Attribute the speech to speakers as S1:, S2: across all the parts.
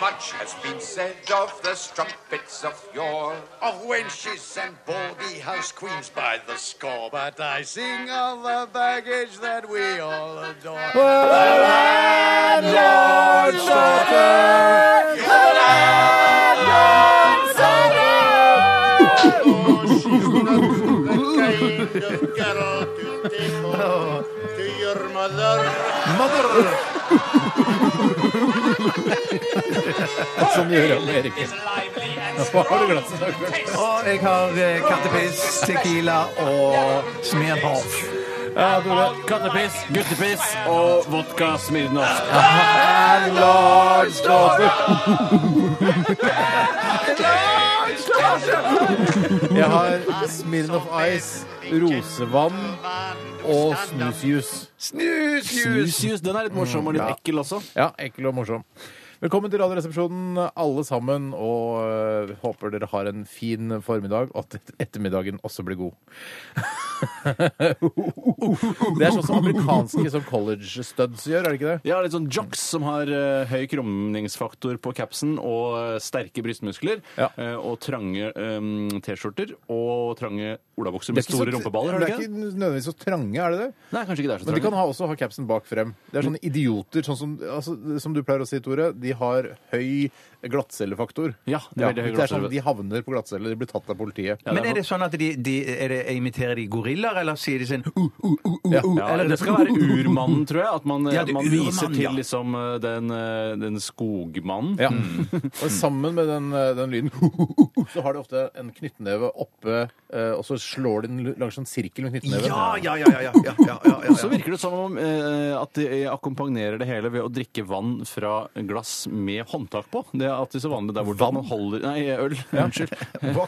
S1: Much has been said of the strumpets of yore, of wenches and baldy house queens by the score. But I sing of the baggage that we all adore. kind of girl to take home to your mother.
S2: Som du hører om Erik. Hva har du glasset av?
S3: Og jeg har eh, kattepiss, tequila og smirbarf.
S2: Ja, Tore. Kattepiss, guttepiss og vodka Smirnoff.
S4: Ah,
S2: Jeg har Smirnoff Ice, rosevann og snusjuice. Snusjuice! Den er litt morsom og litt ekkel også. Ja, ekkel og morsom. Velkommen til Radioresepsjonen, alle sammen. Og øh, håper dere har en fin formiddag, og at ettermiddagen også blir god. det er sånn som amerikanske sånn college-studs gjør, er det ikke det?
S4: Ja, litt sånn jocks som har eh, høy krumningsfaktor på capsen og eh, sterke brystmuskler.
S2: Ja.
S4: eh, og trange eh, T-skjorter og trange olabukser med
S2: Det er ikke
S4: store
S2: så-
S4: rumpeballer. har
S2: Det
S4: de
S2: er
S4: ikke?
S2: ikke nødvendigvis så trange, er det det?
S4: Nei, kanskje ikke det er så
S2: Men de
S4: trange.
S2: kan ha, også ha capsen bak frem. Det er sånne idioter, sånn som, altså, som du pleier å si, Tore. De har høy glattcellefaktor.
S4: Ja, det er veldig høy
S2: det er sånn,
S4: glattcelle.
S2: De havner på glattcelle, de blir tatt av politiet.
S4: Ja, det
S3: Men er det sånn at de, de er det, imiterer de gorillaer, eller sier de sånn uh, uh, uh, uh,
S2: Ja.
S3: uh,
S4: Ja,
S3: eller
S4: det skal være urmannen, tror jeg. At man,
S3: Ja,
S4: at
S3: det er
S4: man
S3: urmannen,
S4: viser til
S3: ja.
S4: liksom eh, den, eh, den skogmannen.
S2: Ja.
S4: Mm.
S2: Og sammen med den, eh, den lyden så har de ofte en knyttneve oppe, eh, og så slår de den langs en sirkel med knyttneven.
S3: Ja, ja, ja, ja, ja, ja, ja, ja, ja.
S4: Og så virker det som om eh, at de akkompagnerer det hele ved å drikke vann fra glass med håndtak på. Det er alltid så vanlig der hvor man holder Nei, øl. Unnskyld.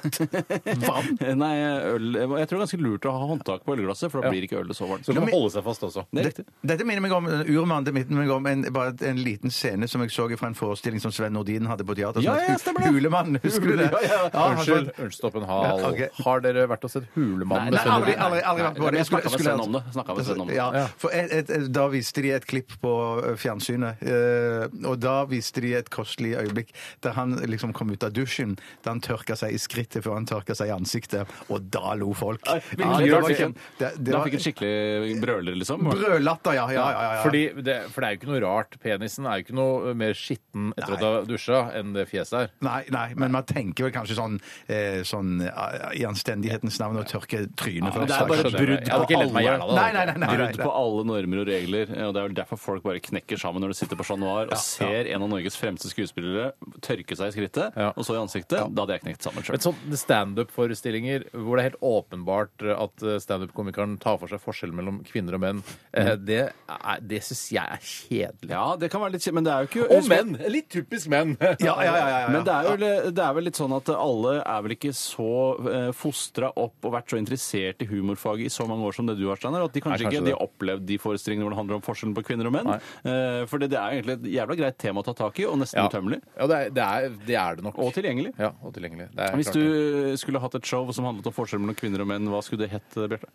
S4: Vann? Nei, øl. Jeg tror det er ganske lurt å ha håndtak på ølglasset, for da blir ikke ølet så varmt.
S2: Så de kan holde seg fast også.
S4: Det er
S3: Dette,
S4: riktig.
S3: dette minner meg om eh, Urmann. Det minner meg om en, bare et- en liten scene som jeg så fra en forestilling som Sven Nordin hadde på teater. som
S4: Ja, ja,
S3: het
S4: stemmer det.
S3: Hulemann, husker du det?
S4: Ja, ja, ja.
S3: Ja, han
S2: Unnskyld,
S3: sa-
S2: unnskyld, stopp en hal.
S3: Ja, ok.
S2: Har dere vært og sett Hulemannen? med
S3: Nei,
S2: sånn Sven
S3: aldri,
S2: Nordin?
S3: aldri, aldri vært på det.
S4: Jeg snakket med
S3: skulle- Altså,
S4: Sven om det. Snakket med Sven om det.
S3: Ja, for et, et, et, da viste de et klipp på eh, fjernsynet, eh, og da viste de et kostelig øyeblikk der han liksom kom ut av dusjen, da han tørka seg i skrittet før han tørka seg i ansiktet, og da lo folk.
S4: Ja,
S3: det
S4: da
S3: var
S4: fikk en-
S3: kjem- det- det
S4: Da
S3: var-
S4: fikk en skikkelig brøler, liksom.
S3: Brødlatter, ja. ja, ja, ja, ja.
S2: Fordi det, for det er jo ikke noe rart. Penisen er jo ikke noe mer skitten etter
S3: Nei.
S2: å ha dusja enn det fjeset er.
S3: Nei, nei, men man tenker vel kanskje sånn, eh, sånn eh, i anstendighetens navn å tørke trynet
S4: Men
S3: først.
S4: det er bare
S2: Jeg
S4: et
S2: skjønner det.
S4: brudd
S2: Jeg hadde
S4: på
S2: ikke ledd meg i hjel
S4: alle
S2: av det.
S3: Nei, nei, nei. nei, nei,
S4: Brudd på alle normer og regler. eh, og Det er vel derfor folk bare knekker sammen når de sitter på Chat Noir og ser en av Norges fremste skuespillere tørke seg i skrittet,
S2: Ja.
S4: og så i ansiktet. Da hadde jeg knekt sammen
S2: Men
S4: sjøl.
S2: sånn standup-forestillinger hvor det er helt åpenbart at eh, standup-komikeren tar for seg forskjellen mellom kvinner og menn, eh,
S3: Mm.
S2: det, er- det syns jeg er kjedelig.
S4: Ja, det kan være litt kjipt, men det er jo ikke
S2: Og menn! Litt typisk menn.
S3: Ja, ja, ja, ja, ja.
S4: Men det er, jo, det er vel litt sånn at alle er vel ikke så eh, fostra opp og vært så interessert i humorfaget i så mange år som det du har, Steinar, at de kanskje,
S2: Nei, kanskje
S4: ikke de
S2: det.
S4: har opplevd de forestillingene hvor det handler om forskjellen på kvinner og menn. Eh, for det, det er jo egentlig et jævla greit tema å ta tak i, og nesten
S2: Ja.
S4: utømmelig.
S2: Ja, det er det, er, det, er det nok.
S4: Og tilgjengelig.
S2: Ja, og tilgjengelig. Det er
S4: Hvis
S2: klart
S4: du
S2: det.
S4: skulle hatt et show som handlet om forskjell mellom kvinner og menn, hva skulle det hett, Bjarte?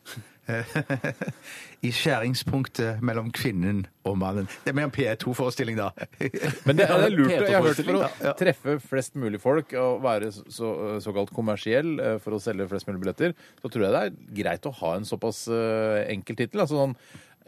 S3: I skjæringspunktet mellom kvinnen og mannen. Det er mer en P2-forestilling, da. E
S2: Men det, det er E lurt.
S4: Pete
S2: Jeg har hørt for
S4: forestilling,
S2: å treffe flest mulig folk og være så, så- såkalt kommersiell eh, for å selge flest mulig billetter, så tror jeg det er greit å ha en såpass eh, enkel tittel. Altså sånn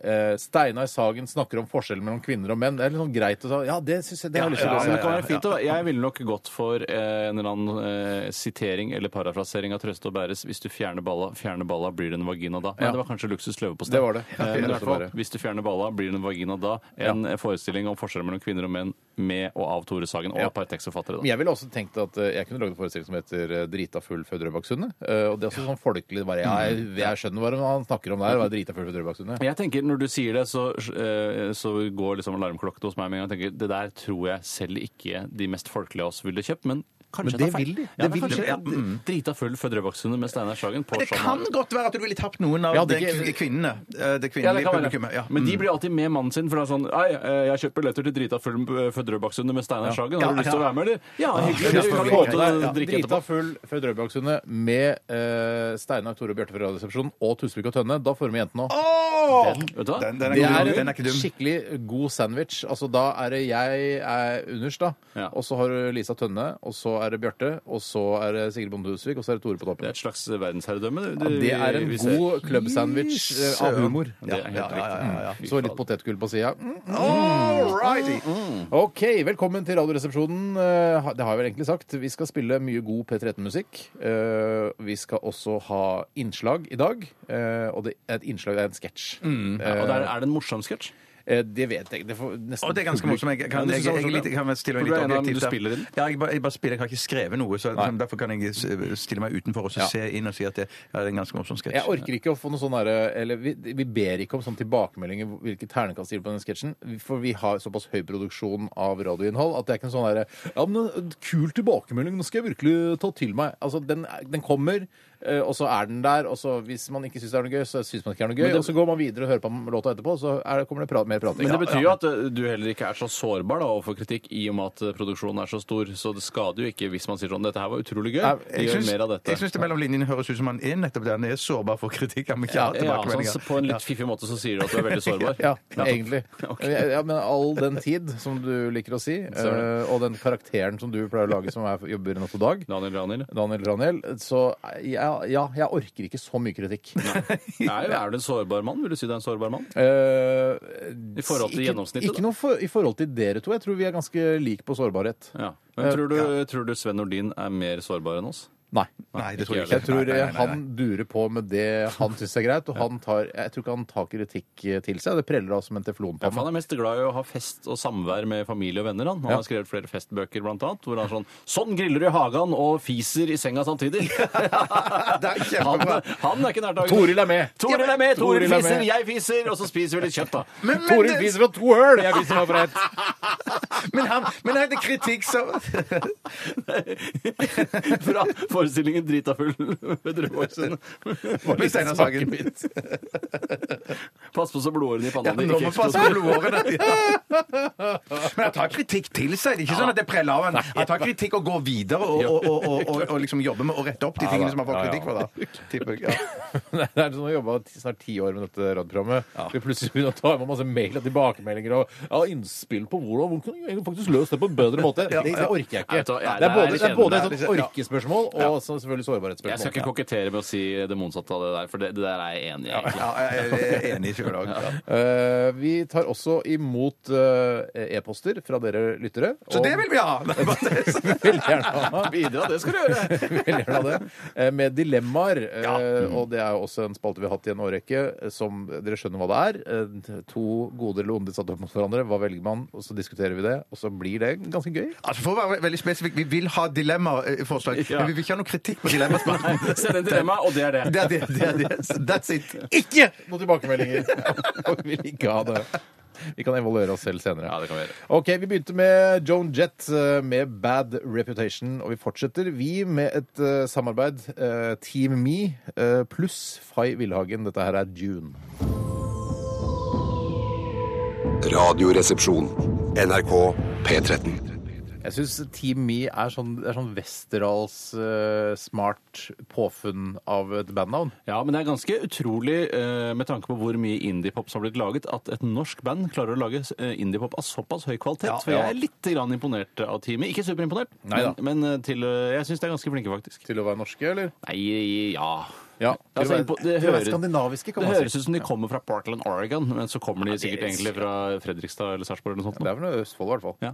S2: eh, Steinar Sagen snakker om forskjellen mellom kvinner og menn. Det er litt sånn greit å ta Ja, det syns jeg det har jeg lyst til
S4: Ja,
S2: å
S4: men
S2: lese.
S4: det kan være fint. å- Jeg ville nok gått for eh, en eller annen eh, sitering eller parafrasering av Trøste og Bæres. Hvis du fjerner balla, fjerner balla, blir det en vagina da. Nei,
S2: Ja.
S4: det var kanskje luksus løvepostei.
S2: Det var det.
S4: Eh, men i
S2: Trøste
S4: hvert
S2: og
S4: fall,
S2: Bære.
S4: hvis du fjerner balla, blir det en vagina da. En eh, forestilling om forskjellen mellom kvinner og menn med og av Tore Sagen og
S2: Ja.
S4: et par tekstforfattere.
S2: Men
S4: Da.
S2: jeg ville også tenkt at eh, jeg kunne lagd en forestilling som heter eh, 'Drita full før Drøbaksundet'. Eh, Og det er også sånn folkelig bare jeg, jeg skjønner hva han snakker om der. Hva er 'drita full før Drøbaksundet'?
S4: Jeg tenker, Når du sier det, så, eh, så går liksom alarmklokka hos meg med en gang. Jeg tenker, Det der tror jeg selv ikke de mest folkelige av oss ville kjøpt, men Kanskje
S2: Men
S4: jeg
S2: det
S4: tar feil.
S2: vil de.
S4: Ja,
S2: Det vil de, Mm.
S4: kanskje
S2: ja.
S4: jeg Drita full født Rødbakksundet med Steinar Sagen. på
S3: Men det
S4: Sjaman.
S3: kan godt være at du ville tapt noen av
S2: Ja,
S3: de
S2: det er ikke-
S3: kvin- kvinnene. eh, Det
S4: Ja, det
S3: kvinnelige
S4: kan være.
S3: publikummet. Ja.
S2: Mm.
S4: Men de blir alltid med mannen sin. For det er sånn Ei, eh, jeg kjøper billetter til Drita full eh, født Rødbakksundet med Steinar Sagen. Har du lyst til å være med, eller? Ja,
S2: Ja,
S4: hyggelig. Vi kan
S2: vi
S4: gå
S2: kan
S4: ut
S2: der,
S4: og
S2: ja.
S4: drikke
S2: Drita
S4: etterpå.
S2: full Født Rødbergsundet med eh, Steinar, Tore og Bjarte fra Radioresepsjonen og Tusvik og Tønne. Da får vi jentene òg.
S4: Vet du hva?
S3: Den, den, er
S2: Det er
S3: god, den er ikke
S2: en
S3: dum.
S2: skikkelig god sandwich. Altså, da er det jeg er underst, da.
S4: Ja.
S2: Og så har du Lisa Tønne, og så er det Bjarte, og så er det Sigrid Bonde Tusvik, og så er det Tore på
S4: Det
S2: toppen.
S4: er et slags verdensherredømme.
S2: Ja, det er en
S4: vi ser.
S2: god klubbsandwich eh, av humor.
S4: Det er helt
S3: Ja, ja, ja, ja, ja.
S4: riktig.
S2: Så litt potetgull på sida. Mm.
S3: All righty. Mm.
S2: OK, velkommen til Radioresepsjonen. Eh, ha- Det har jeg vel egentlig sagt. Vi skal spille mye god P13-musikk. Eh, Vi skal også ha innslag i dag. Eh, Og det et innslag det er en sketsj.
S3: Mm.
S4: Ja, Eh, og der, er det en morsom sketsj?
S2: Eh, Det vet jeg ikke. Det får nesten
S3: Og det er ganske
S2: publikum-
S3: morsomt. Jeg kan,
S4: Ja,
S3: jeg,
S4: det synes
S3: jeg,
S2: sånn
S4: jeg var så
S3: jeg,
S4: bra.
S3: litt- kan være- stille meg litt
S4: Hvor er en av dem
S3: objektivt.
S4: du
S3: der.
S4: spiller i den?
S3: Ja, jeg, bare, jeg bare spiller. Jeg har ikke skrevet noe, så liksom,
S2: Nei.
S3: derfor kan jeg s- stille meg utenfor og så se inn og si at det, ja, det er en ganske morsom sketsj.
S2: Jeg orker ikke å få noe sånn derre Eller vi, vi ber ikke om sånn tilbakemeldinger hvor- hvilke ternekast de gir på den sketsjen, for vi har såpass høy produksjon av radioinnhold at det er ikke en sånn derre Ja, men en kul tilbakemelding, nå skal jeg virkelig ta til meg. Altså, den, er- den kommer, eh, og så er den der, og så hvis man ikke syns det er noe gøy, så syns man ikke det er noe gøy, og så går man videre og hører på låta etterpå, og så er, det- kommer det pra mer prating.
S4: Men det betyr jo at eh, du heller ikke er så sårbar da, overfor kritikk i og med at eh, produksjonen er så stor, så det skader jo ikke hvis man sier sånn Dette her var utrolig gøy.
S2: Nei,
S4: Vi
S3: Jeg
S4: gjør
S3: syns-
S4: mer av dette.
S3: Jeg syns det mellom linjene høres ut som han er nettopp der. Han er sårbar for kritikk. Han vil ikke ha
S4: Ja,
S3: tilbakemeldinger.
S4: sånn, på en litt fiffig måte så sier du at du er veldig sårbar.
S2: Ja, egentlig. Ja, men all den tid, som du liker å si, eh, og den karakteren som du pleier å lage som er, jobber natt og dag,
S4: Daniel Daniel.
S2: Daniel Raniel, så ja, ja, jeg orker ikke så mye kritikk.
S4: Er, er du en sårbar mann? Vil du si du er en sårbar mann?
S2: Eh,
S4: I forhold til
S2: ikke,
S4: gjennomsnittet,
S2: Ikke
S4: da?
S2: noe for, i forhold til dere to. Jeg tror vi er ganske like på sårbarhet.
S4: Ja. Men tror du, tror du Sven Nordin er mer sårbar enn oss?
S2: Nei.
S3: Nei, det tror jeg
S4: Ikke
S3: ikke.
S2: Jeg tror
S3: Nei, nei, nei, nei.
S2: han durer på med det han syns er greit, og han tar, jeg tror ikke han tar kritikk eh, til seg. Det preller av som en
S4: Ja, for
S2: teflonpanne.
S4: han er mest glad i å ha fest og samvær med familie og venner. Han, han har skrevet flere festbøker, blant annet, hvor han er sånn Sånn griller du i hagen og fiser i senga samtidig! han,
S3: kjempebra.
S4: han er ikke nærtagende.
S2: Toril er med.
S4: Toril er med! Toril
S2: Toril er
S4: fiser,
S2: med.
S4: jeg fiser, og så spiser vi litt kjøtt, da.
S3: Men, men,
S2: Toril
S3: det,
S2: spiser fra to høl! Jeg viser meg fra ett.
S3: men, han, men er det kritikk som
S4: Fra forestillingen Drita full ved Drømmeåsen.
S3: Med Steinar Sagen.
S4: Pass på så blodårene i
S3: Ja,
S4: panna
S3: nå
S4: di
S3: må
S4: ikke
S3: man passe på
S4: eksploderer.
S3: blodårene. Ja. Men han tar kritikk til seg. Det er ikke sånn at det preller av han. Han tar kritikk og går videre og, og, og, og, og, og liksom jobber med å rette opp de tingene som han får kritikk for. da. Tipper jeg, ja.
S2: Nei, Det er sånn å jobbe ti- snart ti år med dette radioprogrammet. Vi plutselig begynner å ta med masse mail og tilbakemeldinger og ja, innspill på hvordan, hvordan kan jeg faktisk løse det på en bedre måte. Det, det orker jeg
S4: Nei,
S2: ikke.
S4: vet du hva, jeg-
S2: Det er både,
S4: det
S2: det
S4: er
S2: er både
S4: kjedelig.
S2: et sånt orkespørsmål og så selvfølgelig sårbarhetsspørsmål.
S4: Jeg skal ikke kokettere med å si det motsatte av det der, for det, det der er jeg enig i. egentlig.
S3: Ja, jeg er enig sjøl òg.
S2: Eh, vi tar også imot eh, e-poster fra dere lyttere.
S3: Så det vil vi ha!
S2: vi vil gjerne ha.
S4: Bidra, det skal du gjøre! Mm.
S2: Vi vil gjerne ha det. Eh, Med dilemmaer. eh, Og det er jo også en spalte vi har hatt i en årrekke, eh, som dere skjønner hva det er. Eh, To goder eller onde satt opp mot hverandre. Hva velger man? Og så diskuterer vi det, og så blir det ganske gøy.
S3: Altså For å være veldig spesifikk, vi vil ha dilemmaforslag,
S4: Ja.
S3: men vi vil ikke ha noe kritikk på dilemmaspørsmål.
S4: Send en dilemma, og det er det.
S3: Det er det. det, er det. That's it.
S2: Ikke noen tilbakemeldinger! Og vi vil ikke ha det. Vi kan evaluere oss selv senere.
S4: Ja, det kan vi gjøre.
S2: Ok, Vi begynte med Joan Jett eh, med 'Bad Reputation', og vi fortsetter, vi, med et eh, samarbeid. eh, Team Me eh, pluss Fay Villhagen. Dette her er June.
S5: Radioresepsjon. NRK P13.
S2: Jeg syns Team Me er sånn, det er sånn Westerdals eh, smart påfunn av et bandnavn.
S4: Ja, men det er ganske utrolig eh, med tanke på hvor mye indiepop som har blitt laget, at et norsk band klarer å lage eh, indiepop av såpass høy kvalitet.
S2: Ja,
S4: for
S2: ja.
S4: jeg er litt grann imponert av teamet. Ikke superimponert,
S2: Neida.
S4: men, men eh, til, eh, jeg syns de er ganske flinke, faktisk.
S2: Til å være norske, eller?
S4: Nei, ja
S2: Ja.
S4: Altså, impo- det
S2: til å
S4: hører-
S2: være skandinaviske, kan
S4: Det
S2: man
S4: høres
S2: si.
S4: ut som de kommer fra Portland, Oregon, men så kommer de sikkert
S2: det-
S4: egentlig fra Fredrikstad eller Sarpsborg eller noe sånt.
S2: Det er vel noe Østfold, i hvert fall.
S4: Ja.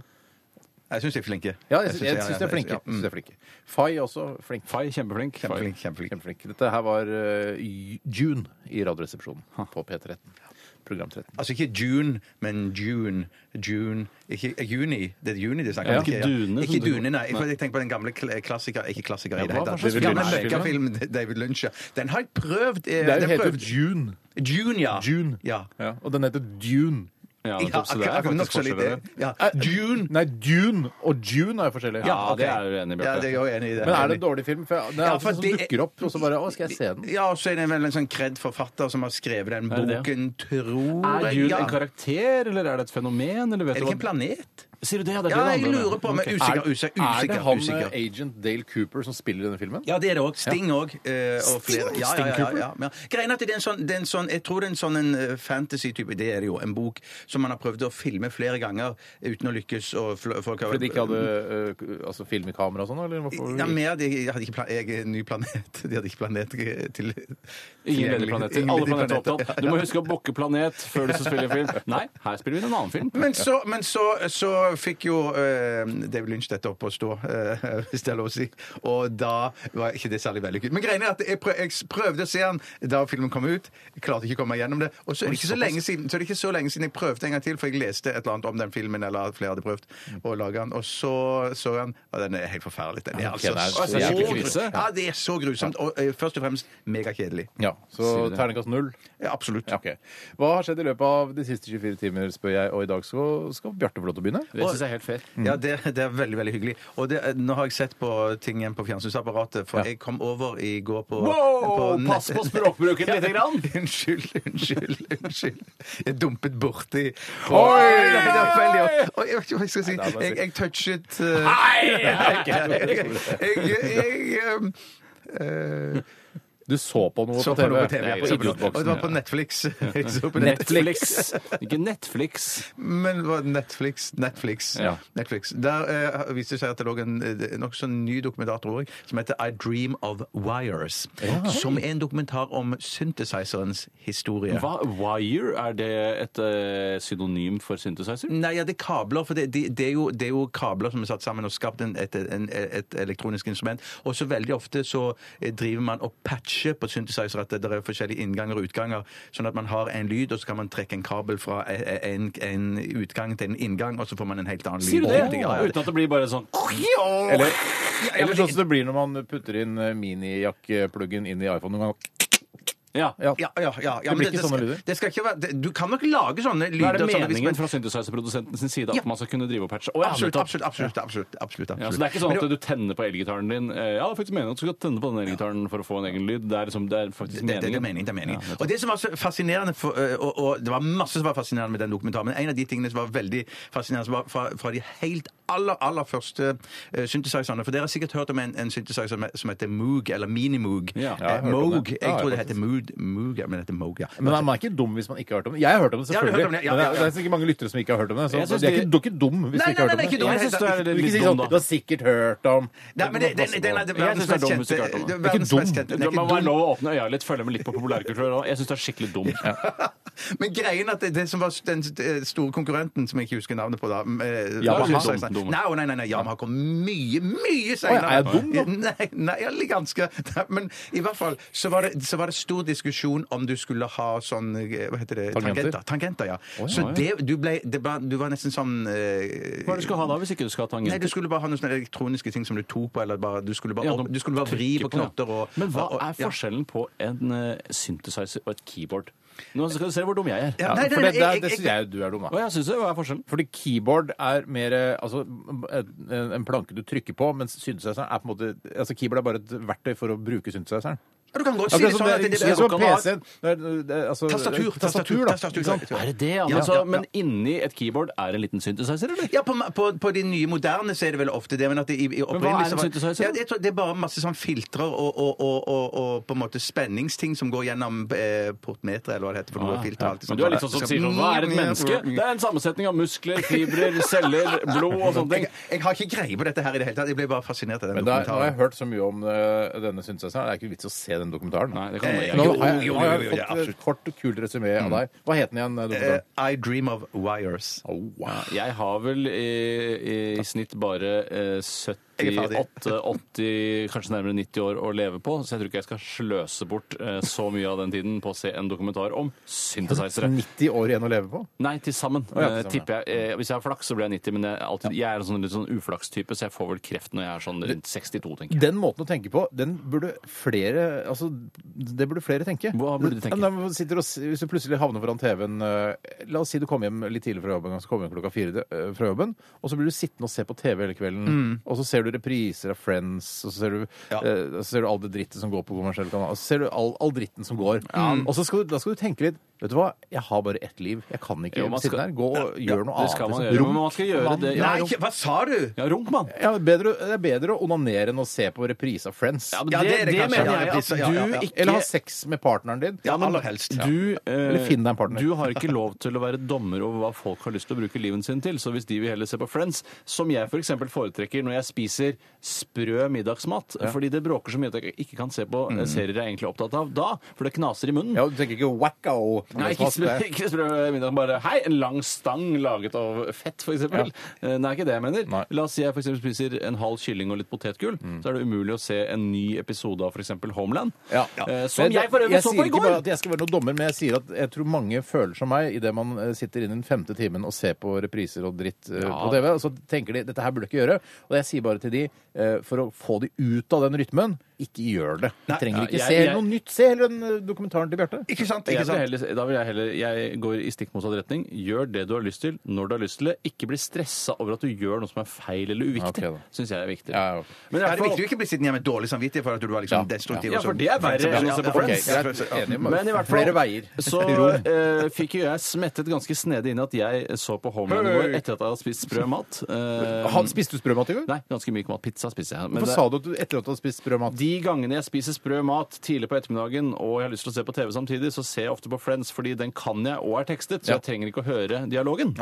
S3: Jeg syns de er flinke.
S2: Ja, jeg, sy- jeg
S3: ja,
S2: syns de er flinke.
S3: ja, mm.
S2: Synes de er flinke. Fay også flink.
S4: Fay, kjempeflink. Fay.
S3: Kjempeflink, kjempeflink.
S2: Kjempeflink. Dette her var eh, Ju- June i Radioresepsjonen på P13. Program 13.
S3: Altså ikke June, men June. June. Ikke eh, juni. Det er juni de snakker om.
S4: Ikke Dune, som
S3: Ikke
S4: du-
S3: Dune, nei. For Jeg tenker på den gamle kl- klassiker, ikke klassiker i det
S4: hva
S3: hele
S4: var
S3: tatt.
S4: slags
S3: Gamle
S4: Lynch-film?
S3: møkkafilm, David Lynch. ja. Den har jeg prøvd. eh,
S2: Det
S3: den
S2: heter
S3: prøvd-
S2: June.
S3: June, ja.
S2: June.
S3: Ja.
S2: Og den heter Dune.
S4: Ja,
S3: Ja,
S4: nettopp, så det er
S3: akkurat-
S4: faktisk
S3: nokså litt
S4: forskjeller,
S3: det. Ja. Dune!
S2: Nei, Dune og June er jo forskjellige.
S4: Ja,
S2: ok.
S4: det er jeg enig i,
S3: Ja, det er
S4: Bjarte.
S3: jeg også enig i. det.
S2: Men er det en dårlig film? For det er
S3: Ja,
S2: alltid
S3: for
S2: sånn
S3: det-
S2: som dukker opp, og så bare Å, skal jeg se den?
S3: Ja, og så er det vel en sånn kred-forfatter som har skrevet den
S4: Er det det?
S3: boken, tror
S4: Er
S3: jeg.
S4: Jul
S3: Ja.
S4: en karakter, eller er det et fenomen? Eller vet
S3: Er
S4: du
S3: det ikke en
S4: hva-
S3: planet?
S4: Sier du det? Ja, det er
S3: Ja,
S4: det det
S3: jeg
S4: handler om,
S3: lurer på, men
S4: ja. Ok.
S3: usikker, usikker,
S2: Er det
S3: usikker.
S2: han eh,
S3: usikker.
S2: agent Dale Cooper som spiller i denne filmen?
S3: Ja, det er det òg. Sting òg. Og flere. Ja, ja, ja, ja, ja. Greien er at det er en sånn, det er en sånn Jeg tror det er en sånn en eh, fantasy-type Det er det jo. En bok som man har prøvd å filme flere ganger uten å lykkes. Og fl- folk har
S2: Fordi de ikke hadde eh, altså, film i kamera og sånn? Eller hvorfor?
S3: ja, mer, de hadde ikke plan jeg er en ny planet. De hadde ikke planet til
S4: Ingen ledige planeter.
S3: Ingen
S4: Alle
S3: ledige
S4: planeter er
S3: planeter.
S4: opptatt. Du må huske å booke planet før du skal spille film. Nei, her spiller vi en annen film.
S3: Men så, men så, så fikk jo eh, David Lynch dette opp å stå, eh, hvis det er lov å si. Og da var ikke det særlig vellykket. Men greia er at jeg, prøv, jeg prøvde å se den da filmen kom ut. Jeg klarte ikke å komme meg gjennom det. Og så er det ikke så lenge siden, så er det ikke så lenge siden jeg prøvde en gang til, for jeg leste et eller annet om den filmen, eller at flere hadde prøvd
S2: Mm.
S3: å lage den. Og så så jeg den, og den er helt forferdelig. Den er altså
S2: den er så
S3: så
S2: jævlig
S3: grusom.
S4: kvise.
S3: Ja, det er så grusomt. Og eh, først og fremst megakjedelig.
S2: Ja,
S4: Sier
S2: Så
S4: du det?
S2: terningkast null.
S3: Ja, absolutt.
S2: Ja, ok. Hva har skjedd i løpet av de siste 24 timer, spør jeg, og i dag skal, skal Bjarte få lov til å begynne?
S4: Det syns jeg er helt fair.
S2: Mm.
S3: Ja, det, det er veldig veldig hyggelig. Og det, nå har jeg sett på ting igjen på fjernsynsapparatet, for
S2: Ja.
S3: jeg kom over i går på,
S4: Wow!
S3: nett-
S4: Pass på språkbruken lite grann!
S3: Unnskyld, unnskyld, unnskyld. Jeg dumpet borti på-
S2: Oi!
S3: Nei, det var veldig- Oi, Jeg vet ikke hva jeg skal si.
S2: Nei, det er bare
S3: Jeg, jeg touchet
S2: Nei!
S3: eh, Jeg, jeg ehm, eh,
S2: Du så på noe
S3: så
S2: på
S3: på
S2: TV?
S3: noe på TV.
S2: Nei,
S3: jeg så på noe. Og
S2: idiotboksen,
S3: det var på
S2: ja.
S3: Netflix. Jeg så på nett-
S4: Netflix. Ikke Netflix.
S3: Men det var Netflix, Netflix,
S4: Ja.
S3: Netflix. Der eh, viste det seg at det lå en eh, nokså ny dokumentator også, som heter I Dream of Wires. Som er en dokumentar om synthesiserens historie.
S4: Hva, wire, er det et eh, synonym for synthesizer?
S3: Nei, ja, det er kabler, for det, det, det, er jo, det er jo kabler som er satt sammen og skapt en, et, en, et elektronisk instrument. Og så veldig ofte så eh, driver man og patcher på synthesizer at det, det er forskjellige innganger og utganger, sånn at man har en lyd, og så kan man trekke en kabel fra eh, eh, en, en utgang til en inngang, og så får man en helt annen lyd.
S4: Sier du det?
S3: Ja, ja, ja.
S4: Uten at det blir bare sånn
S2: Eller, eller sånn som det blir når man putter inn eh, minijack-pluggen inn i iPhone noen gang.
S4: Ja.
S2: Ja.
S3: Ja, ja, ja, ja,
S2: Det blir
S3: men
S2: ikke sånne
S3: skal,
S2: lyder.
S3: Det skal ikke være, det, du kan nok lage sånne lyder.
S4: Hva er det
S3: sånn at hvis
S4: meningen
S3: man-
S4: fra synthesizer-produsenten sin side
S3: Ja.
S4: at man skal kunne drive og patche? Å, ja,
S3: Absolutt,
S4: nettopp.
S3: absolutt, absolutt. absolutt, absolutt, absolutt.
S4: Ja, så det er ikke sånn
S3: Men
S4: at du tenner på elgitaren din. Eh, Ja, det er faktisk meningen at du skal tenne på den elgitaren for å få en egen lyd. Det er, liksom, det er faktisk
S3: det, det, det er meningen. Det er meningen. og det som var så fascinerende for, eh, og, og det var masse som var fascinerende med den dokumentaren, men en av de tingene som var veldig fascinerende, som var fra, fra de helt aller, aller første eh, synthesizerne For dere har sikkert hørt om en, en synthesizer som- som heter Moog, eller Minimoog.
S4: Ja. Ja,
S2: jeg har
S3: Eh,
S2: hørt om
S3: Moog.
S2: det. Ja, jeg
S3: Jeg
S2: har
S3: tror det
S2: hørt
S3: heter Moog, Moog ja, men det heter Moog, ja.
S2: Men man er ikke dum hvis man ikke har hørt om det. Jeg har hørt om det,
S3: Ja, du har
S2: selvfølgelig.
S3: hørt om det, ja,
S2: Men det
S3: ja,
S2: er,
S3: ja.
S2: det er sikkert mange lyttere som ikke har hørt om det. Så
S4: Jeg synes
S2: du, er
S4: de-
S2: ikke, du er ikke dum hvis
S3: Nei,
S2: du ikke har
S3: nei,
S2: hørt om
S3: nei, ikke
S2: det.
S3: dum.
S4: Jeg synes du
S2: Du
S4: er
S2: vil ikke
S4: litt
S2: si
S4: dum,
S2: sånn Du
S4: da.
S2: har sikkert hørt om
S3: Nei, men det, den, den, den, den,
S4: Jeg synes det er dum
S3: verdens mest
S4: musikk, Arthur.
S3: kjente-
S4: Det er
S2: ikke
S3: verdens mest
S2: dum.
S3: kjente- den er
S4: Det
S3: ikke
S4: må
S3: dum.
S4: være lov å åpne øya litt, følge med litt på populærkultur. og Jeg syns det er skikkelig dumt.
S3: Men greien at det, det som var den store konkurrenten, som jeg ikke husker navnet på da eh,
S4: Yamaha.
S3: synes jeg-
S4: Dum, dum.
S3: Nei, å, nei, nei, nei, Yamaha kom mye, mye
S2: Å, ja, er
S3: senere.
S2: jeg dum, da?
S3: Nei, nei, eller ganske. Nei, Men i hvert fall så var, det, så var det stor diskusjon om du skulle ha sånn eh, Hva heter det?
S2: Tangenter?
S3: Tangenter, Tangenter, ja. Så det, du ble det var, Du var nesten sånn eh,
S4: Hva er det du skal ha da, hvis ikke du skal ha
S3: Nei, du
S4: tangenter?
S3: skulle bare ha noen sånne elektroniske ting som du tok på, eller bare Du skulle bare,
S4: Ja,
S3: opp,
S4: du
S3: du skulle bare vri på
S4: trykker på, ja.
S3: knotter og
S4: Men hva
S3: og-
S4: er
S3: ja.
S4: forskjellen på en eh, synthesizer og et keyboard? Nå skal du se hvor dum jeg er.
S3: Ja,
S2: Ja,
S3: nei, nei,
S2: For det,
S3: nei,
S2: det,
S3: jeg-
S2: det
S3: jeg-
S2: syns jeg jo du er dum, da.
S4: Å, jeg synes det. Hva er forskjellen?
S2: Fordi keyboard er mer eh, altså, en- en planke du trykker på, mens synthesizeren er på en måte altså Keyboard er bare et verktøy for å bruke synthesizeren.
S3: Ja, Du kan godt si
S2: Akkurat
S3: det
S2: som
S3: sånn at
S2: det-
S3: det, det,
S2: det er liksom som
S4: kan ha-
S2: PC-en. Det er- det er- altså,
S3: Tastatur,
S2: Tastatur, da. Ikke sant?
S3: tastatur.
S4: Er det det? Ja,
S3: Ja,
S4: men, så,
S3: ja, ja.
S4: men inni et keyboard er en liten synthesizer, eller?
S3: Ja, på, på, på de nye moderne så er det vel ofte det. Men, at det, i, i
S4: hva er en
S3: opprinnelig så var-
S4: synthesizer?
S3: Ja, jeg tror det er bare masse sånn filtre og, og, og, og, og på en måte spenningsting som går gjennom eh, portmeter, eller hva det heter. for noe filter og alt det
S4: Ah, Men du er litt sånn som sier sånn Hva er et menneske? Det er en sammensetning av muskler, fibrer, celler, blod og sånne
S3: Jeg,
S4: ting.
S3: jeg har ikke greie på dette her i det hele tatt. Jeg ble bare fascinert av den
S2: Men det er, nå har jeg
S3: dokumentaren.
S2: hørt så mye om eh, denne synthesizeren. Det er ikke vits å se den dokumentaren.
S4: Nei, det kan man
S3: Eh,
S4: gjøre.
S2: Nå
S3: Jo,
S2: har jeg,
S3: jo, jo,
S2: nå har jeg
S3: jo, jo, ja,
S2: fått et kort og kult resymé av deg. Hva het den igjen? eh,
S3: Mm. Eh,
S2: Dokumentaren?
S3: I Dream of Wires.
S2: Au, wow.
S4: Jeg har vel i, i, snitt bare eh, 70
S3: Jeg er ferdig.
S4: 88, 80, kanskje nærmere 90 år å leve på, så jeg tror ikke jeg skal sløse bort eh, så mye av den tiden på å se en dokumentar om synthesizere.
S2: 90 år igjen å leve på.
S4: Nei, til sammen.
S2: ja, til
S4: eh,
S2: sammen,
S4: tipper jeg. Eh, Hvis jeg har flaks, så blir jeg 90, men jeg, er alltid, jeg er en sånn, litt sånn uflakstype, så jeg får vel kreft når jeg er sånn rundt 62, tenker jeg.
S2: Den måten å tenke på, den burde flere altså, det burde flere tenke.
S4: Hva burde de tenke?
S2: Ja, men når man sitter og, s- hvis du plutselig havner foran TV-en eh, La oss si du kommer hjem litt tidlig fra jobben, så kommer du hjem klokka fire eh, fra jobben, og så blir du sittende og se på TV hele kvelden,
S4: Mm.
S2: og så ser du repriser av Friends, og så ser du, eh, så ser du all det drittet som går på kommersiell kanal, og så ser du all, all dritten som går, Mm. og så skal du, da skal du tenke litt Vet du hva, jeg har bare ett liv. Jeg kan ikke
S4: Jo, man
S2: sitte
S4: skal-
S2: der. Gå og gjør noe
S4: det skal
S2: annet.
S4: man
S2: liksom.
S4: gjøre, men man skal gjøre
S2: Mann.
S4: det-
S2: Nei,
S4: Ja,
S3: ikke- hva sa du?
S4: Ja, runk, mann!
S2: ja, bedre, det er bedre å onanere enn å se på reprise av Friends.
S4: Ja, men
S3: Ja,
S4: det,
S3: det er det
S4: det,
S3: kanskje.
S4: mener
S3: Ja,
S4: jeg at
S3: reprise, ja, ja,
S4: du
S3: ja.
S4: ikke
S2: Eller ha sex med partneren din.
S3: Ja, aller helst.
S4: Du, eh,
S2: Eller finn deg en partner.
S4: Du har ikke lov til å være dommer over hva folk har lyst til å bruke livet sin til. Så hvis de vil heller se på Friends, som jeg f.eks. foretrekker når jeg spiser sprø middagsmat, fordi det bråker så mye at jeg ikke kan se på eh, serier jeg er egentlig er opptatt av da, for det knaser i munnen.
S2: Mm. Ja, du tenker ikke wacko?
S4: Nei, ikke sprø, ikke sprø middag, bare hei, en lang stang laget av fett, for eksempel. Eh, Nei, ikke det jeg mener.
S2: Nei. Mm.
S4: La oss si jeg for eksempel spiser en halv kylling og litt potetgull, så er det umulig å se en ny episode av for eksempel Homeland.
S2: Ja.
S4: Eh, Som
S2: Men
S4: jeg for øvrig så
S2: sier
S4: på i
S2: ikke
S4: går!
S2: bare at jeg skal være noen dommer, men jeg sier at jeg tror mange føler som meg idet man eh, sitter inne i den femte timen og ser på repriser og dritt eh,
S4: Ja.
S2: på TV, og så tenker de dette her burde jeg ikke gjøre. Og jeg sier bare til de, eh, for å få de ut av den rytmen, ikke gjør det. Du trenger
S4: Ja,
S2: ikke
S4: jeg-
S2: se
S4: jeg-
S2: noe nytt. Se heller den eh, dokumentaren til Bjarte.
S3: Ikke sant?
S4: Jeg
S3: Ikke
S4: vil
S3: sant?
S4: heller, da vil jeg heller Jeg går i stikk motsatt retning. Gjør det du har lyst til, når du har lyst til det. Ikke bli stressa over at du gjør noe som er feil eller uviktig.
S2: Ok, da.
S4: Syns jeg er viktig.
S2: Ja, ok.
S4: Men i
S3: Ja,
S4: hvert
S3: det er
S4: fall-
S3: viktig å ikke bli sittende hjemme med dårlig samvittighet for at du var liksom destruktiv.
S4: Ja, for
S3: og så-
S2: sånn?
S4: det er verre enn å se på
S2: Ok,
S4: Friends.
S2: greit. Enig, bare
S4: Men i hvert fall
S2: flere veier.
S4: så eh, fikk jo jeg smettet ganske snedig inn at jeg så på Homeland i går etter at jeg hadde spist sprø mat. Eh,
S2: Han spiste du sprømat i går?
S4: Nei, ganske myk mat. Pizza spiser jeg. Men
S2: Hvorfor
S4: det-
S2: sa du at du etter at du hadde spist sprømat?
S4: De gangene jeg spiser sprø mat tidlig på ettermiddagen og jeg har lyst til å se på TV samtidig, så ser jeg ofte på Friends, fordi den kan jeg og er tekstet, så
S2: Ja.
S4: jeg trenger ikke å høre dialogen.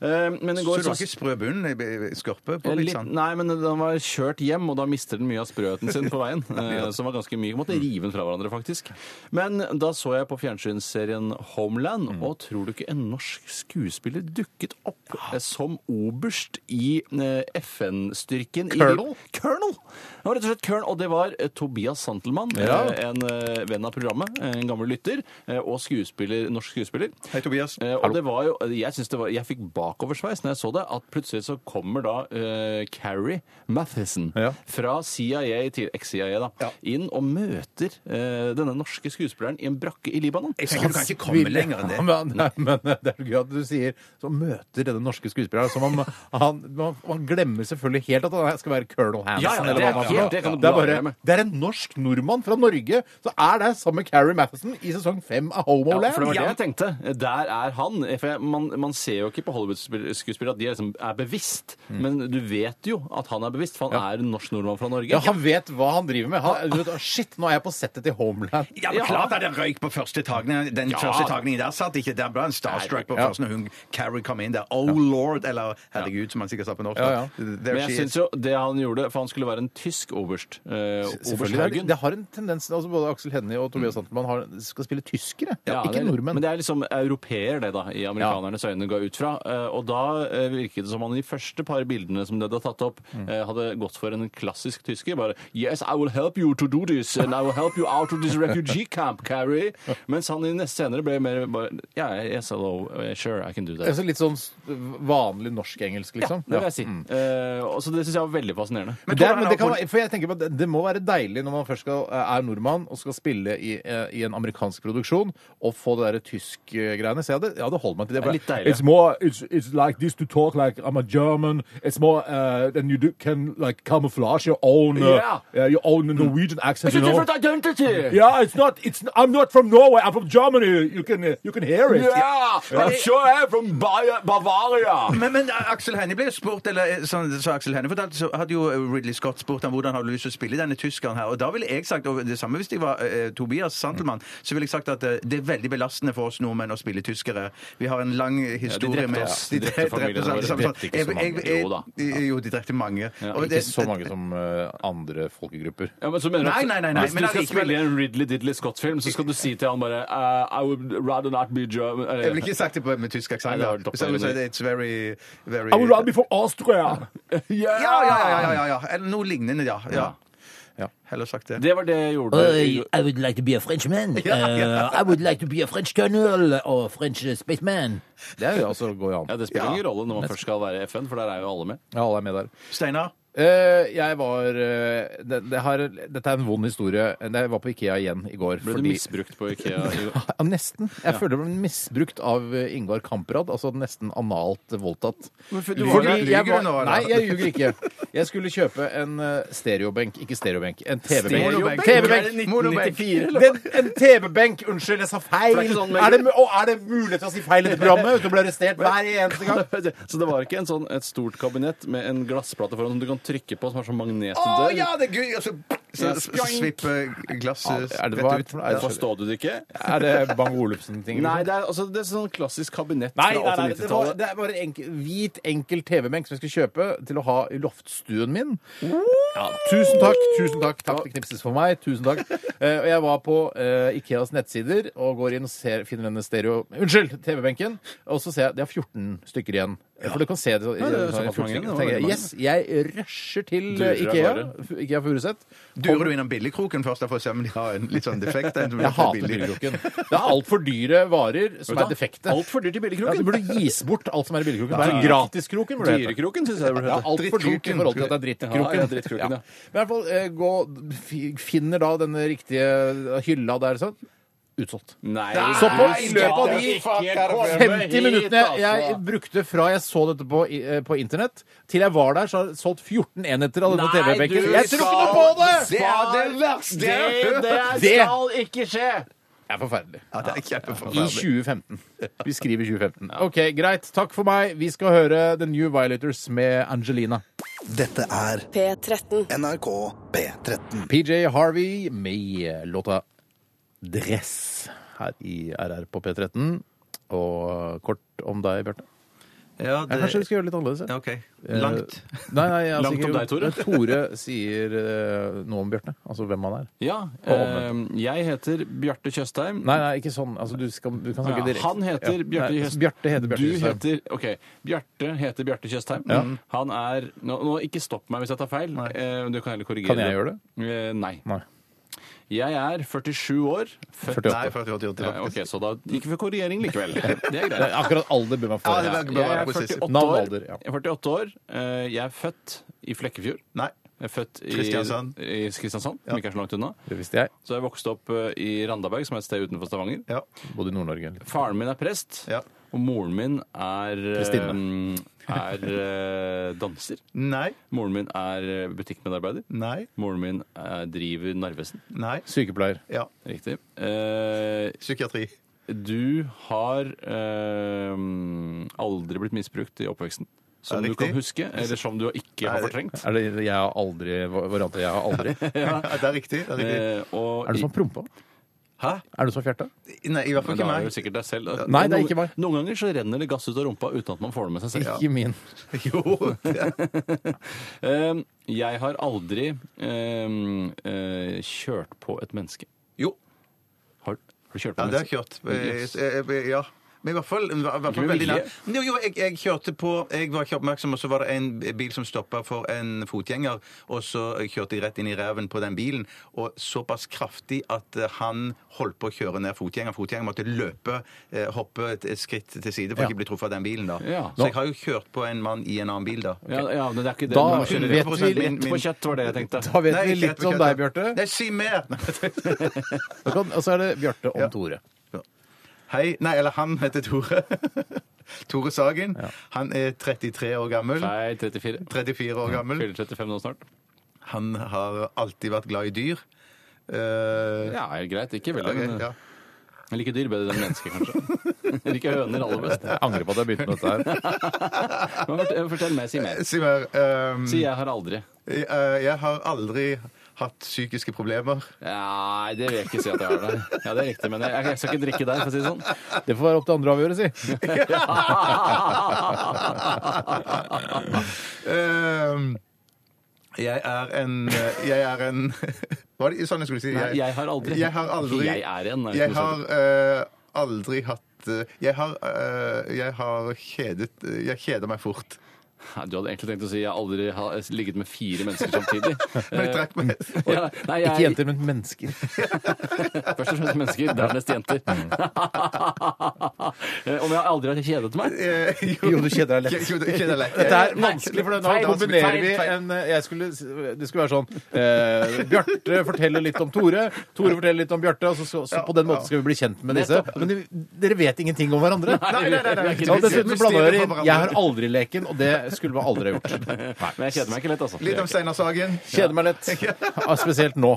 S4: Eh, men den
S3: Så
S4: går
S3: du har ikke sprø bunn i i skorpe på
S4: Eh,
S3: sånn.
S4: Litt,
S3: pizzaen?
S4: nei, men den var kjørt hjem, og da mister den mye av sprøheten sin på veien. eh, som var ganske myk. Måtte rive den fra hverandre, faktisk. Men da så jeg på fjernsynsserien Homeland, og tror du ikke en norsk skuespiller dukket opp eh, som oberst i eh, FN-styrken? i-
S2: Colonel?
S4: Colonel! Det var rett og slett Colonel, og det var eh, Tobias Santelmann,
S2: Ja.
S4: eh, en eh, venn av programmet, eh, en gammel lytter, eh, og skuespiller, norsk skuespiller.
S3: Hei, Tobias.
S4: Eh, og det var jo, jeg, synes det var, jeg fikk bakoversveis når jeg så det, at plutselig så kommer da eh, Carrie Mathisen
S2: Ja.
S4: fra CIA til ex-CIA da, inn og møter eh, denne norske skuespilleren i en brakke i Libanon.
S3: Jeg tenker du kan ikke komme lenger enn det.
S2: Ja, men, nei, men det er jo gøy at du sier så møter denne norske skuespilleren som om han, man, man glemmer selvfølgelig helt at han skal være Colonel Hansen.
S4: Ja, ja, det
S2: eller hva han er
S4: er
S2: for
S4: helt-
S2: noe.
S4: det kan du
S2: det, er
S4: bladre
S2: bare,
S4: med.
S2: det er en norsk nordmann fra Norge som er der sammen med Carrie Mathison i sesong fem av Homoland.
S4: Ja, for det var det jeg tenkte. Der er han. For jeg, man, man ser jo ikke på Hollywood-skuespillere at de liksom er bevisst,
S2: Mm.
S4: men du vet jo at han er bevisst, for han er en norsk nordmann fra Norge.
S2: Ja, han vet hva han driver med. Han, du vet, shit, nå er jeg på settet til Homeland.
S3: Ja, men
S4: Ja.
S3: klart at det røyk på første tagning. Den første tagningen der satt ikke Der ble en starstruck på
S2: Ja.
S3: først når hun Carrie kom inn der. Oh lord, eller herregud, som han sikkert sa på norsk.
S2: Ja, ja.
S3: There
S4: Men jeg
S3: she
S4: synes
S3: is.
S4: jo det han gjorde, for han skulle være en tysk oberst. Eh, oberst
S2: Selvfølgelig er det,
S4: Haugen.
S2: det har en tendens altså Både Aksel Hennie og Tobias Santelmann har- skal spille tyskere,
S4: Mm. Ja,
S2: ikke
S4: det er-
S2: nordmenn.
S4: Men det er liksom europeer, det, da, i amerikanernes øyne, går jeg ut fra. Eh, Og da eh, virket det som han i de første par bildene som det hadde tatt opp,
S2: Mm.
S4: eh, hadde gått for en klassisk tysker. Bare Yes, I will help you to do this, and I will help you out of this refugee camp, Carrie. Mens han i neste senere ble mer bare Ja, yes, hello, eh, sure, I can do that.
S2: Altså litt sånn s- vanlig norsk-engelsk,
S4: Ja,
S2: liksom.
S4: det vil jeg si. Eh, og så det syns jeg var veldig fascinerende.
S2: Men det, er, men det, kan, være- for jeg tenker på at det, det må være deilig når man først skal, eh, er nordmann og skal spille i, eh, i en amerikansk produksjon, og få det derre tysk-greiene. Så jeg hadde, jeg hadde holdt meg til det. for
S4: Det er litt
S2: jeg-
S4: deilig.
S2: It's more, it's, it's like this to talk like I'm a German. It's more uh, than you do, can like camouflage your own, uh,
S4: Yeah.
S2: uh, your own Norwegian accent.
S4: It's a
S2: You know?
S4: different identity!
S2: Yeah, it's not. It's I'm not from Norway. I'm from Germany. You can uh, you can hear it.
S4: Yeah, I'm sure I'm from Bayer- Bavaria!
S3: Men, men eh, Aksel Hennie ble jo spurt, eller eh, sånn, så Aksel Hennie fortalte, så hadde jo Ridley Scott spurt ham hvordan har du lyst til å spille i denne tyskeren her. Og da ville jeg sagt, og det samme hvis jeg var eh, Tobias Santelmann, så ville jeg sagt at eh, det er veldig belastende for oss nordmenn å spille tyskere. Vi har en lang historie
S4: drepte
S3: med
S4: oss. De drepte familiene våre.
S3: sånn,
S2: De drepte
S3: sånn.
S2: ikke så
S3: Jeg- jeg-
S4: mange. Jo da.
S3: jeg- Jo, de drepte mange. Og
S2: Ikke
S3: det-
S2: så mange som eh, andre folkegrupper.
S4: Ja, men så mener du at-
S3: Nei, nei, nei, nei,
S4: Hvis
S3: men
S4: du skal
S3: allikevel-
S4: spille i en Ridley Diddley Scott-film, så skal du si til han bare eh, I would rather not be German eh,
S3: Jeg ville ikke sagt det på- med tysk aksent.
S4: Nei, det var
S3: da.
S4: toppen,
S3: Så jeg ville sagt,
S4: eller?
S3: It's very, very
S4: be for Austria!
S3: ja, ja, ja, ja, ja, ja. Eller noe lignende, ja. ja.
S2: Ja.
S3: Heller sagt det.
S4: Det var det jeg gjorde.
S6: I, I would like to be a Frenchman. Uh, I would like to be a French colonel or French uh, spaceman.
S2: Det er jo altså går jo
S4: Ja,
S2: an.
S4: Det spiller ingen rolle når man først skal være i FN, for der er jo alle med.
S2: Ja, alle er med der.
S3: Steinar?
S2: Eh, jeg var eh, det, det her, Dette er en vond historie. Jeg var på Ikea igjen i går.
S4: Ble du misbrukt på Ikea?
S2: Ja, nesten. Jeg føler det ble misbrukt av eh, Ingvar Kamprad. Altså nesten analt voldtatt.
S3: du var der.
S2: jeg
S3: Lyger du nå, eller?
S2: Nei, jeg ljuger ikke. Jeg skulle kjøpe en eh, stereobenk. Ikke stereobenk, en TV-benk.
S3: Stereobenk?
S2: TV-benk.
S3: Er det 1994,
S2: Den, en TV-benk! Unnskyld, jeg sa feil!
S4: For det er ikke sånn,
S2: Er det, mu- å, er det mulig til å si feil i dette programmet? Du blir arrestert hver eneste gang.
S4: Så det var ikke en sånn, et stort kabinett med en glassplate foran som du kan trykke på, som er sånn
S3: Å
S4: magnetdør?
S3: ja, det er gøy! Og så, så,
S4: Ja,
S3: så, så svipper eh, glasset
S2: Ja, er det- hva er det
S3: rett
S2: for
S3: ut.
S2: noe? Er det for-
S4: Forstod du det ikke?
S2: Er det Bang Olufsen-ting? liksom?
S4: Nei, det er, altså, det er sånn klassisk kabinett
S2: Nei,
S4: fra
S2: nei, nei, det, var,
S4: 80-90-tallet.
S2: det er bare en enkel, hvit, enkel TV-benk som jeg skal kjøpe til å ha i loftstuen min. Ja, tusen takk. tusen Takk Takk til Knipses for meg. Tusen takk. Eh, og jeg var på eh, Ikeas nettsider og går inn og ser, finner denne stereo... Unnskyld, TV-benken. Og så ser jeg de har 14 stykker igjen. For du kan se det, så,
S4: det er
S2: så-
S4: såpass
S2: 14
S4: mange, det var
S2: stykker. Tenker jeg,
S4: veldig mange.
S2: Yes, jeg rusher til
S4: Durer
S2: eh, Ikea.
S4: bare.
S2: F- Ikea Furuset.
S3: Durer du innom billigkroken først da, for å se om de har en litt sånn defekt? en som
S2: Jeg
S3: heter
S2: hater
S3: billig-
S2: billigkroken. Det er altfor dyre varer som er defekte.
S4: Altfor dyrt i
S2: Ja, det
S4: billigkroken.
S2: burde gis bort alt som er i billigkroken. Bare gratiskroken burde det hete.
S4: Dyrekroken, syns jeg det burde
S2: Ja,
S4: hete.
S2: altfor dyrt i forhold til at det er
S4: Ja, ja,
S2: drittkroken.
S4: drittkroken, ja.
S2: Men i hvert fall eh, gå, fi- finner da denne riktige hylla der sånn. Utsolgt.
S4: Nei,
S2: Så på løpet av de
S4: de
S2: 50 minuttene jeg,
S3: altså.
S2: jeg brukte fra jeg så dette på, i- eh, på internett, til jeg var der, så har jeg solgt 14 enheter av denne
S4: Nei,
S2: TV-benken.
S4: du
S2: Jeg tror ikke noe på det!
S3: Det er det verste jeg har hørt!
S2: Det
S4: ikke skje!
S2: er forferdelig.
S3: Ja, det er
S2: I
S3: kjempeforferdelig.
S2: 2015. Vi skriver 2015. OK, greit. Takk for meg. Vi skal høre The New Violators med Angelina.
S7: Dette er
S8: P13.
S7: NRK P13.
S2: PJ Harvey med låta 'Dress' her i RR på P13. Og kort om deg, Bjarte.
S3: Ja,
S2: Ja, Kanskje vi skal gjøre det litt annerledes?
S3: Ja,
S2: ja.
S3: OK. Langt.
S2: Eh, Nei, nei, jeg,
S4: Langt om deg, Tore.
S2: Tore sier eh, noe om Bjarte. Altså hvem han er.
S4: Ja, eh, jeg heter Bjarte Tjøstheim.
S2: Nei, nei, ikke sånn. Altså, du, skal, du kan snakke
S4: Ja,
S2: direkte.
S4: han heter
S2: Ja.
S4: Bjarte
S2: Nei,
S4: Tjøstheim.
S2: Bjarte heter Bjarte
S4: Du
S2: Tjøstheim.
S4: heter OK. Bjarte heter Bjarte Tjøstheim. Mm. Han er nå, nå, ikke stopp meg hvis jeg tar feil. Eh, Du kan heller korrigere
S2: Kan jeg gjøre det?
S4: Eh, Nei.
S2: Nei.
S4: Jeg er 47 år. Født
S2: 48.
S3: Nei, 48,
S4: Ja, OK,
S3: faktisk.
S4: så da gikk vi for korrigering likevel. Det er
S2: Det er
S4: greit.
S2: Akkurat alder bør man få.
S3: Ja, det er-
S4: Jeg er
S3: presis.
S4: 48
S2: Navn og
S4: år.
S2: alder, ja.
S4: Jeg er 48 år. Eh, Jeg er født i Flekkefjord.
S3: Nei.
S4: Jeg er født i
S3: Kristiansand.
S4: i Kristiansand, som ikke er så langt unna.
S2: Det visste jeg.
S4: Så jeg vokste opp eh, i Randaberg, som er et sted utenfor Stavanger.
S3: Ja.
S2: Bodde i Nord-Norge. litt.
S4: Faren min er prest,
S3: Ja.
S4: og moren min er eh,
S2: Prestinne.
S4: Er eh, danser.
S3: Nei.
S4: Moren min er eh, butikkmedarbeider.
S3: Nei.
S4: Moren min eh, driver Narvesen.
S3: Nei.
S2: Sykepleier.
S3: Ja.
S4: Riktig. Eh,
S3: Psykiatri.
S4: du har eh, aldri blitt misbrukt i oppveksten. Som
S3: Ja,
S4: du
S3: riktig.
S4: kan huske, eller som du ikke har
S3: Nei.
S4: fortrengt.
S2: Er det jeg har aldri Variante jeg har aldri. Er
S3: Ja, det er riktig. Det sånn? er riktig.
S4: Eh, og
S2: du
S4: i-
S2: som har prompa?
S3: Hæ?
S2: Er du som har fjerta?
S3: Nei, i hvert fall
S4: Men da
S3: ikke
S4: er det
S3: meg.
S4: jo sikkert deg selv.
S2: Nei, det er
S4: Noen-
S2: ikke meg.
S4: Noen ganger så renner det gass ut av rumpa uten at man får det med seg selv.
S2: Ikke min.
S3: Jo, det-
S4: Eh, jeg har aldri eh, eh, kjørt på et menneske.
S3: jo.
S4: Har, har du kjørt på
S3: Ja,
S4: et
S3: det har jeg
S4: menneske?
S3: kjørt. Eh,
S4: Yes.
S3: eh, eh, Ja. Men i hvert fall, i hvert
S4: Ikke
S3: fall
S4: med
S3: veldig
S4: vilje.
S3: nært. Jo, jo, jeg, jeg kjørte på Jeg var ikke oppmerksom, og så var det en bil som stoppa for en fotgjenger. Og så kjørte jeg rett inn i reven på den bilen, og såpass kraftig at eh, han holdt på å kjøre ned fotgjengeren. Fotgjengeren måtte løpe, eh, hoppe et et skritt til side for
S2: Ja.
S3: ikke å bli truffet av den bilen, da.
S4: Ja.
S3: Så jeg har jo kjørt på en mann i en annen bil, da.
S4: Ja, ja, men det er ikke det.
S2: Da
S4: Men-
S2: vet
S3: skjønner jeg.
S2: vi
S3: Min-
S2: litt
S4: Rett på kjøtt var det jeg tenkte.
S2: Da vet
S3: Nei,
S2: vi
S3: ikke rett
S2: litt
S3: på
S2: om deg,
S3: kjøttet.
S2: Bjarte.
S3: Nei, si mer!
S2: Du kan- Og så er det Bjarte om Tore.
S3: Hei. Nei, eller han heter Tore. Tore Sagen. Han er 33 år gammel.
S4: Nei, 34.
S3: 34 år gammel.
S4: Fyller 35 nå snart.
S3: Han har alltid vært glad i dyr. Eh,
S4: Ja, er greit. Ikke veldig.
S3: ok,
S4: men
S3: ja.
S4: Jeg liker dyr bedre enn mennesker, kanskje. Jeg liker høner aller best.
S2: Jeg angrer på at jeg begynte med dette her.
S4: Men fort- Fortell meg, si mer.
S3: Siver, Eh, ehm,
S4: Si jeg har aldri.
S3: eh, jeg har aldri hatt psykiske problemer?
S4: Nei, det vil jeg ikke si at jeg har. Nei. Ja, det er riktig, men jeg, jeg skal ikke drikke der, for å si det sånn.
S2: Det får være opp til andre å avgjøre, si.
S3: Ehm, jeg er en eh, Jeg er en Var det sånn jeg skulle si?
S4: Nei, jeg har aldri.
S3: Jeg har aldri
S4: Jeg er en, er det
S3: Jeg
S4: noe
S3: har
S4: sånt?
S3: eh, aldri hatt eh, jeg har, eh, jeg har kjedet eh, Jeg kjeder meg fort.
S4: Nei, Du hadde egentlig tenkt å si jeg har aldri har ligget med fire mennesker samtidig.
S3: Men jeg trakk meg
S2: Eh,
S4: Ja, nei, jeg,
S2: Ikke jenter, men mennesker.
S4: Først og fremst mennesker, dernest jenter.
S3: Mm.
S4: Om jeg aldri har kjedet meg?
S3: Eh,
S2: Jo, du kjeder deg lett.
S3: Jo, du kjeder deg lett.
S2: Dette er vanskelig, for nå
S3: Feil,
S2: kombinerer vi
S3: feil, feil.
S2: en eh, jeg skulle, s- Det skulle være sånn eh, Bjarte forteller litt om Tore, Tore forteller litt om Bjarte, og så, så, så på den måten skal vi bli kjent med disse.
S4: Nettopp.
S2: Men de, dere vet ingenting om hverandre.
S4: Nei, nei, nei, nei,
S2: Ja, dessuten så blander dere inn
S3: Mysteriet for hverandre.
S2: 'Jeg har aldri-leken', og det skulle man aldri ha gjort.
S4: Men jeg kjeder meg ikke lett, altså.
S3: Eh, Litt om Steinar Sagen.
S2: Kjeder meg lett. Ja, spesielt nå.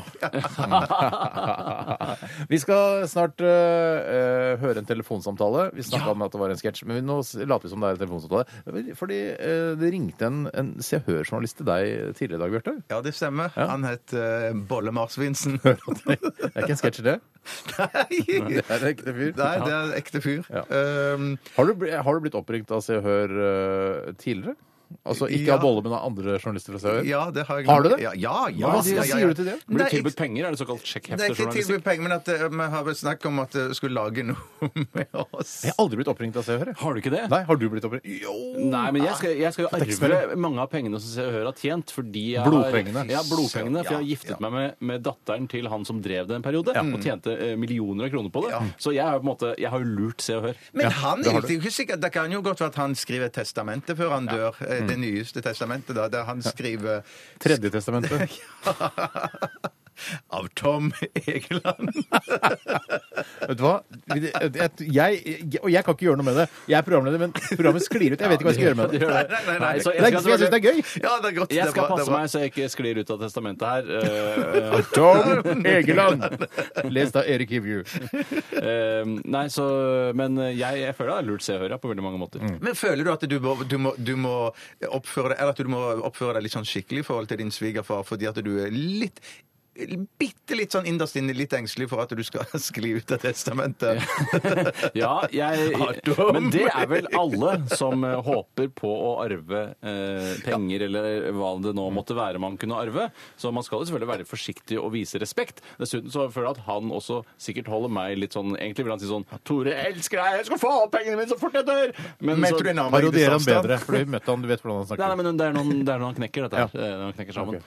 S2: Vi skal snart eh, eh, høre en telefonsamtale. Vi snakka om at det var en sketsj, men vi- nå s- later vi som det er en telefonsamtale. Fordi eh, det ringte en, en Se og Hør-journalist til deg tidligere i dag, Bjarte.
S3: Ja, det stemmer.
S2: Ja.
S3: Han het eh, Bolle Marsvinsen.
S2: Det er ikke en sketsj, det.
S3: Nei,
S2: Det er en ekte fyr.
S3: Nei, det er en ekte fyr.
S2: Ja.
S3: Ehm,
S2: Har, du, bli- har du blitt oppringt av Se og Hør eh, tidligere? Altså ikke
S3: Ja.
S2: av Bolle, men av andre journalister fra Se og Hør?
S3: ja, det har jeg
S2: Har du det?
S3: Ja, ja, ja,
S2: Hva
S3: ja, ja, ja.
S2: sier du til det?
S4: Blir
S3: Nei,
S4: du
S3: jeg-
S4: tilbudt penger? Er liksom- det såkalt
S3: Det er ikke
S4: sjekkheftejournalistikk?
S3: tilbudt penger, men at eh, vi har vel snakk om at jeg skulle lage noe med oss.
S2: Jeg har aldri blitt oppringt av Se og Hør. jeg.
S4: Har du ikke det?
S2: Nei, har du blitt oppringt? Jo!
S4: Nei, men jeg skal, jeg skal jo arve mange av pengene som Se og Hør har tjent. Fordi jeg
S2: Blodpengene.
S4: Har, ja, blodpengene, for jeg har
S3: Ja, Mm.
S4: giftet meg med, med datteren til han som drev det en periode, og tjente eh, millioner av kroner på det. Så jeg har jo på en måte, jeg har jo lurt Se og Hør.
S3: Men han
S2: det har
S3: er
S2: du.
S3: jo ikke sikkert Det kan jo godt være at han skriver testamentet før han dør. Eh,
S2: Mm.
S3: Det nyeste testamentet, da, der han skriver
S2: Tredje testamentet.
S3: Av Tom Egeland.
S2: Vet du hva? Jeg, jeg, og jeg kan ikke gjøre noe med det. Jeg er programleder, men programmet sklir ut. Jeg vet ikke hva jeg skal gjøre med det.
S3: Nei, nei, nei.
S4: Nei, så
S2: Det er ikke som jeg syns det er gøy.
S3: Ja, det er
S4: Jeg
S3: godt. det er
S4: skal
S3: bra, det er
S4: passe
S3: bra.
S4: meg så jeg ikke sklir ut av testamentet her. eh,
S2: Tom Egeland. Lest av Erik Hivju.
S4: Eh, nei, så, men jeg, jeg føler jeg har lurt Se og Hør ja, på veldig mange måter.
S3: Men føler du at du må, du, må, du, må oppføre deg, eller at du må oppføre deg litt sånn skikkelig i forhold til din svigerfar fordi at du er litt Bitte litt sånn innerst inne litt engstelig for at du skal skli ut av testamentet.
S4: Ja, jeg,
S3: dum.
S4: men det er vel alle som eh, håper på å arve eh, penger eller hva det nå måtte være man kunne arve. Så man skal jo selvfølgelig være forsiktig og vise respekt. Dessuten så føler jeg at han også sikkert holder meg litt sånn Egentlig vil han si sånn Tore, jeg elsker deg, jeg skal få alle pengene mine så fort jeg dør! Men så-
S3: Mente du en annen
S2: Parodierer han
S3: avstand?
S2: bedre, for du møtte han, du vet hvordan han
S4: Nei, nei,
S2: snakker.
S4: men det er noen, det er noen han knekker, dette her. Det er noen han knekker sammen.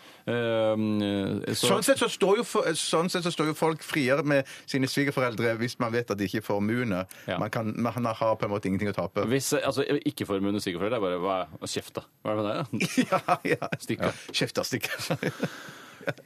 S4: Eh, så,
S3: Sånn sett, så står jo, fo- sånn sett så står jo folk friere med sine svigerforeldre hvis man vet at de ikke er formuende.
S4: Ja.
S3: Man, kan, man har på en måte ingenting å tape.
S4: Hvis, eh, altså, ikke formuen svigerforeldre, det er bare hva, kjeft, da. Hva er det med deg? da?
S3: Ja, ja.
S4: Stikk
S3: Ja.
S4: av.
S3: Kjeft, da, stikk.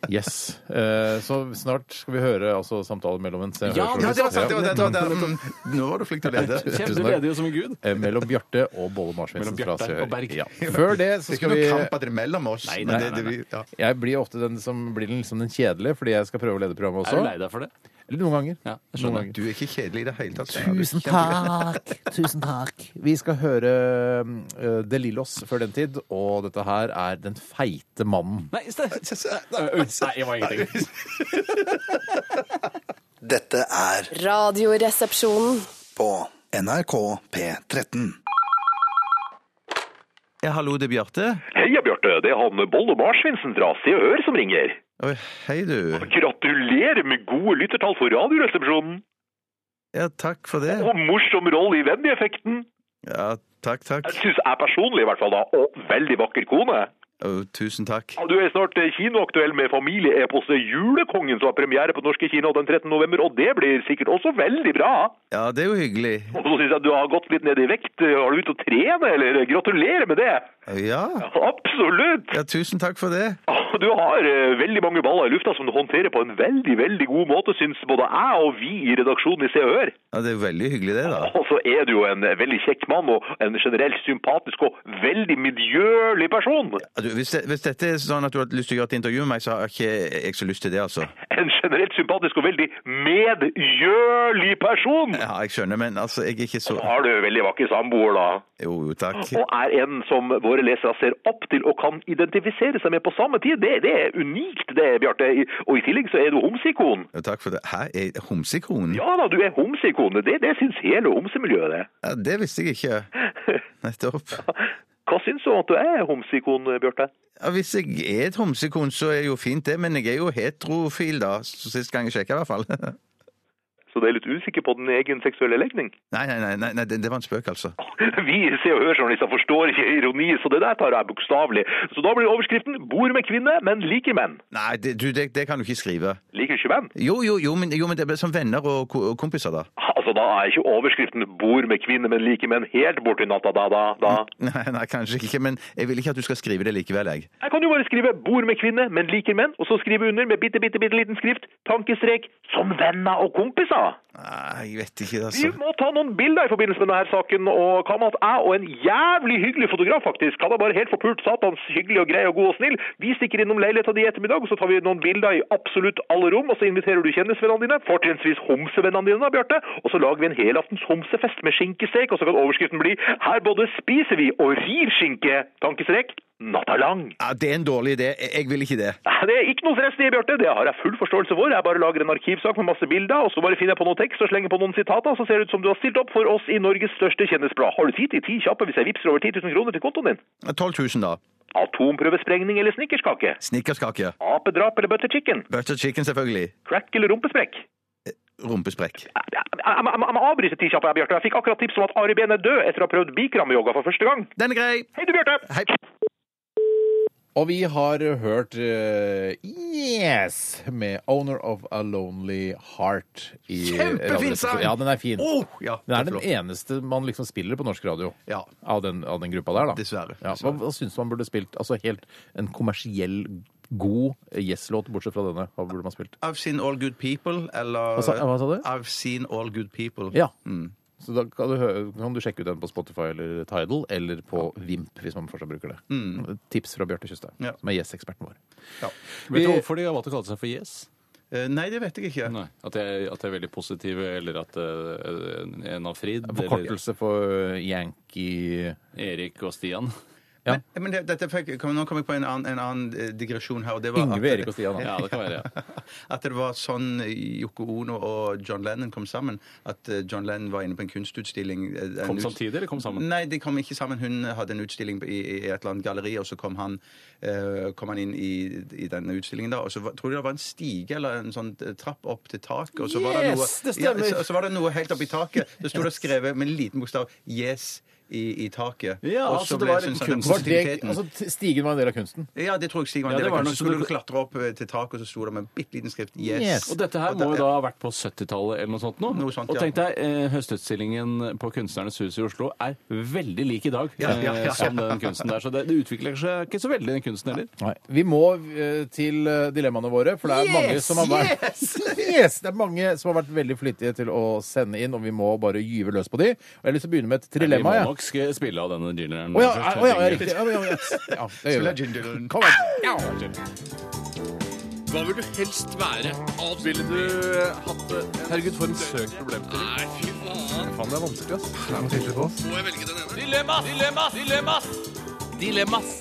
S2: Yes. Eh, Så snart skal vi høre altså, samtalen mellom en Se og
S4: Ja,
S3: Ja, det var sant! Det
S2: Hør-journalist.
S3: var, det, det var, det var, mm, nå var du flink til å lede.
S4: Kjeft,
S2: Tusen
S4: du
S2: takk.
S4: leder jo som en gud.
S2: Eh, Mellom Bjarte og Bolle Marsvinsen
S4: Mellom Bjarte
S2: fra Se og
S4: og Berg.
S2: Hør. Ja. Før det så
S3: Det er ikke
S2: skal
S3: noe
S2: vi
S3: kamp at det er mellom oss.
S4: Nei,
S3: men
S4: nei,
S3: det- det
S4: nei,
S3: vi- ja.
S2: Jeg blir ofte den som blir den, liksom den kjedelige, fordi jeg skal prøve å lede programmet
S4: Er du lei
S2: også.
S4: deg for det?
S2: Eller noen ganger.
S4: Ja, jeg
S2: Noen
S4: skjønner.
S2: ganger.
S3: Du er ikke kjedelig i det hele tatt.
S2: Tusen takk! Tusen takk. Vi skal høre eh, De Lillos før den tid, og dette her er Den feite mannen.
S4: Nei, ste- Nei, jeg var ingenting.
S7: Dette er
S8: Radioresepsjonen.
S7: på NRK P13.
S3: Ja, hallo, det er Bjarte.
S9: Heia, Bjarte. Det er han Bolle Marsvinsen fra Se og Hør som ringer.
S3: Oi, Hei, du.
S9: Gratulerer med gode lyttertall for Radioresepsjonen!
S3: Ja, takk for det.
S9: Og morsom rolle i Wendy-effekten!
S3: Ja, takk, takk.
S9: Syns jeg personlig, i hvert fall. da, Og veldig vakker kone.
S3: Å, tusen takk.
S9: Ja, Du er snart eh, kinoaktuell med familieeposet 'Julekongen', som har premiere på norske kino den 13. november, og det blir sikkert også veldig bra.
S3: Ja, det er jo hyggelig.
S9: Og så syns jeg du har gått litt ned i vekt. Har du begynt å trene, eller? Gratulerer med det!
S3: Ja.
S9: Absolutt!
S3: ja, tusen takk for det.
S9: Ja, Du har eh, veldig mange baller i lufta som du håndterer på en veldig veldig god måte, syns både jeg og vi i redaksjonen i Se og Hør.
S3: Ja, det er veldig hyggelig det, da.
S9: Og så er du jo en eh, veldig kjekk mann, og en generelt sympatisk og veldig miljølig person.
S3: Ja, Du, hvis, det, hvis dette er sånn at du har lyst til å gjøre et intervju med meg, så har ikke jeg så lyst til det, altså.
S9: En generelt sympatisk og veldig medgjørlig person.
S3: Ja, jeg skjønner, men altså, jeg er ikke så
S9: Så har du veldig vakker samboer, da.
S3: Jo, jo, takk.
S9: Og er en som våre lesere ser opp til og kan identifisere seg med på samme tid. det, det er unikt, det, Bjarte. I- Og i tillegg så er du homseikon.
S3: Ja, Takk for det. Hæ, er homsekron?
S9: Ja da, du er homseikon. Det, det syns hele homsemiljøet, det.
S3: Ja, det visste jeg ikke. Nettopp.
S9: Hva syns du at du er homseikon, Bjarte?
S3: Ja, hvis jeg er et homsekon, så er jo fint det, men jeg er jo heterofil, da. Så Sist gang jeg sjekka, i hvert fall.
S9: Så du er litt usikker på din egen seksuelle legning?
S3: Nei, nei, nei, nei, nei det, det var en spøk, altså.
S9: Vi se- og hørjournalister forstår ikke ironi, så det der tar jeg bokstavelig. Så da blir overskriften 'Bor med kvinne, men liker menn'.
S3: Nei, det, du, det, det kan du ikke skrive.
S9: Liker du ikke menn?
S3: Jo, jo, jo, men, jo, men det ble som venner og, ko og kompiser, da.
S9: Altså, da er ikke overskriften 'Bor med kvinne, men liker menn' helt borti natta, da, da, da.
S3: Nei, nei, kanskje ikke, men jeg vil ikke at du skal skrive det likevel, jeg.
S9: Jeg kan jo bare skrive 'Bor med kvinne, men liker menn', og så skrive under med bitte, bitte, bitte liten skrift 'Tankestrek som venner og kompiser'.
S3: Nei, jeg vet ikke,
S9: Vi
S3: altså.
S9: må ta noen bilder i forbindelse med denne her saken, og hva med at jeg og en jævlig hyggelig fotograf faktisk, han er bare helt forpult satans hyggelig og grei og god og snill, vi stikker innom leiligheten din i ettermiddag, og så tar vi noen bilder i absolutt alle rom, og så inviterer du kjendisvennene dine, fortrinnsvis homsevennene dine da, Bjarte, og så lager vi en helaftens homsefest med skinkestek, og så kan overskriften bli «Her både spiser vi og rir skinke», tankestrek, natta lang.
S3: Ja, det er en dårlig idé. Jeg- Jeg vil ikke det.
S9: Nei, Det er ikke noe stress, det, Bjarte. Det har jeg full forståelse for. Jeg bare lager en arkivsak med masse bilder, og så bare finner jeg på noe tekst og slenger på noen sitater, så ser det ut som du har stilt opp for oss i Norges største kjendisblad. Har du tid til ti kjappe hvis jeg vippser over 10 000 kroner til kontoen din?
S3: 12 000, da.
S9: Atomprøvesprengning eller snickerskake?
S3: Snickerskake.
S9: Apedrap eller butter chicken?
S3: Butter chicken, selvfølgelig.
S9: Crack eller rumpesprekk?
S3: Rumpesprekk.
S9: Jeg, jeg, jeg, jeg må avbryte ti kjappe, jeg, Bjarte. Jeg fikk akkurat tips om at Ari Behn er død etter å ha prøvd bikramyoga for første gang.
S3: Den er grei!
S9: Hei du, Bjarte!
S3: Hei.
S2: Og vi har hørt eh, Yes med Owner of a Lonely Heart. i
S3: Kjempefin
S2: Radioresepsjonen.
S3: sang!
S2: Ja, den er fin.
S3: Oh, ja,
S2: den er
S3: det er
S2: den
S3: flott.
S2: eneste man liksom spiller på norsk radio
S3: Ja.
S2: av, den, av den gruppa der, da.
S3: Dessverre.
S2: Ja, hva hva syns man burde spilt? Altså helt en kommersiell, god Yes-låt, bortsett fra denne. Hva burde man spilt?
S3: I've seen all good people, eller
S2: Hva sa- hva sa du?
S3: I've seen all good people.
S2: Ja. Mm. Så da kan du, hø- kan du sjekke ut den på Spotify eller Tidal, eller på Vimp, hvis man fortsatt bruker det. Tips fra Bjarte Tjøstheim,
S3: Ja.
S2: som er Yes-eksperten vår.
S3: Ja.
S4: Vet du hvorfor de har valgt å kalle seg for Yes?
S3: Eh, Nei, det vet jeg ikke.
S4: Nei, At de er, at de er veldig positive, eller at eh, en av Frid eller
S2: Forkortelse for Yankee
S4: Erik og Stian
S3: Men, men det, dette fikk, kom, nå kom jeg på en annen, en annen eh, digresjon her. og det var
S2: Yngve,
S3: at-
S2: Erik og Stian.
S4: Ja, det kan være. ja.
S3: At det var sånn Yoko Ono og John Lennon kom sammen. At eh, John Lennon var inne på en kunstutstilling. eh, en
S4: Kom
S3: ut-
S4: samtidig, eller kom sammen?
S3: Nei, de kom ikke sammen. Hun hadde en utstilling i, i et eller annet galleri, og så kom han, eh, kom han inn i, i denne utstillingen. da, og så var- Tror du det var en stige eller en sånn eh, trapp opp til taket? og så var det noe,
S2: Yes, det
S3: Ja,
S2: stemmer.
S3: så, så var det noe helt oppi taket. Det sto det skrevet med en liten bokstav 'Yes' i, i taket.
S4: Ja,
S3: Og så
S4: altså, det
S3: ble
S4: var
S3: jeg
S4: en
S3: sånn at den
S4: kunst-
S2: Var det,
S3: positiviteten-
S2: altså, t- stigen var en del av kunsten.
S3: ja, det tror jeg Stig var en
S4: Ja,
S3: del
S4: det
S3: av
S4: var nok
S3: kunsten. Så
S4: så
S3: skulle
S4: du-
S3: du klatre opp eh, til taket, og så sto det med en bitte liten skrift 'Yes'.
S2: Yes.
S4: Og dette her
S3: Og
S4: må
S3: det-
S4: jo da ha vært på 70-tallet eller noe sånt nå.
S3: Noe sånt,
S4: og
S3: ja.
S4: tenk deg, eh, høstutstillingen på Kunstnernes hus i Oslo er veldig lik i dag
S3: Ja, ja, ja,
S4: eh,
S3: ja.
S4: som den kunsten der. Så det, det utvikler seg ikke så veldig, den kunsten heller.
S2: Nei. Vi må eh, til eh, dilemmaene våre, for det er mange som har vært yes! Det er mange som har vært veldig flittige til å sende inn, og vi må bare gyve løs på de. Og jeg har lyst til å begynne med et
S4: Vi må
S2: dilemma. jeg.
S4: nok sk- spille av denne jingeren.
S2: Å ja, å ja, ja, riktig. Ja, ja, ja. Ja, det gjør vi. Kom igjen. Ja.
S4: Hva vil du helst være? Ville du eh, hatt det? Herregud, for en søk problemstilling. Nei, fy faen. det er vanskelig, ass. Må jeg velge den ene? Dilemmas! Dilemmas! Dilemmas! Dilemmas!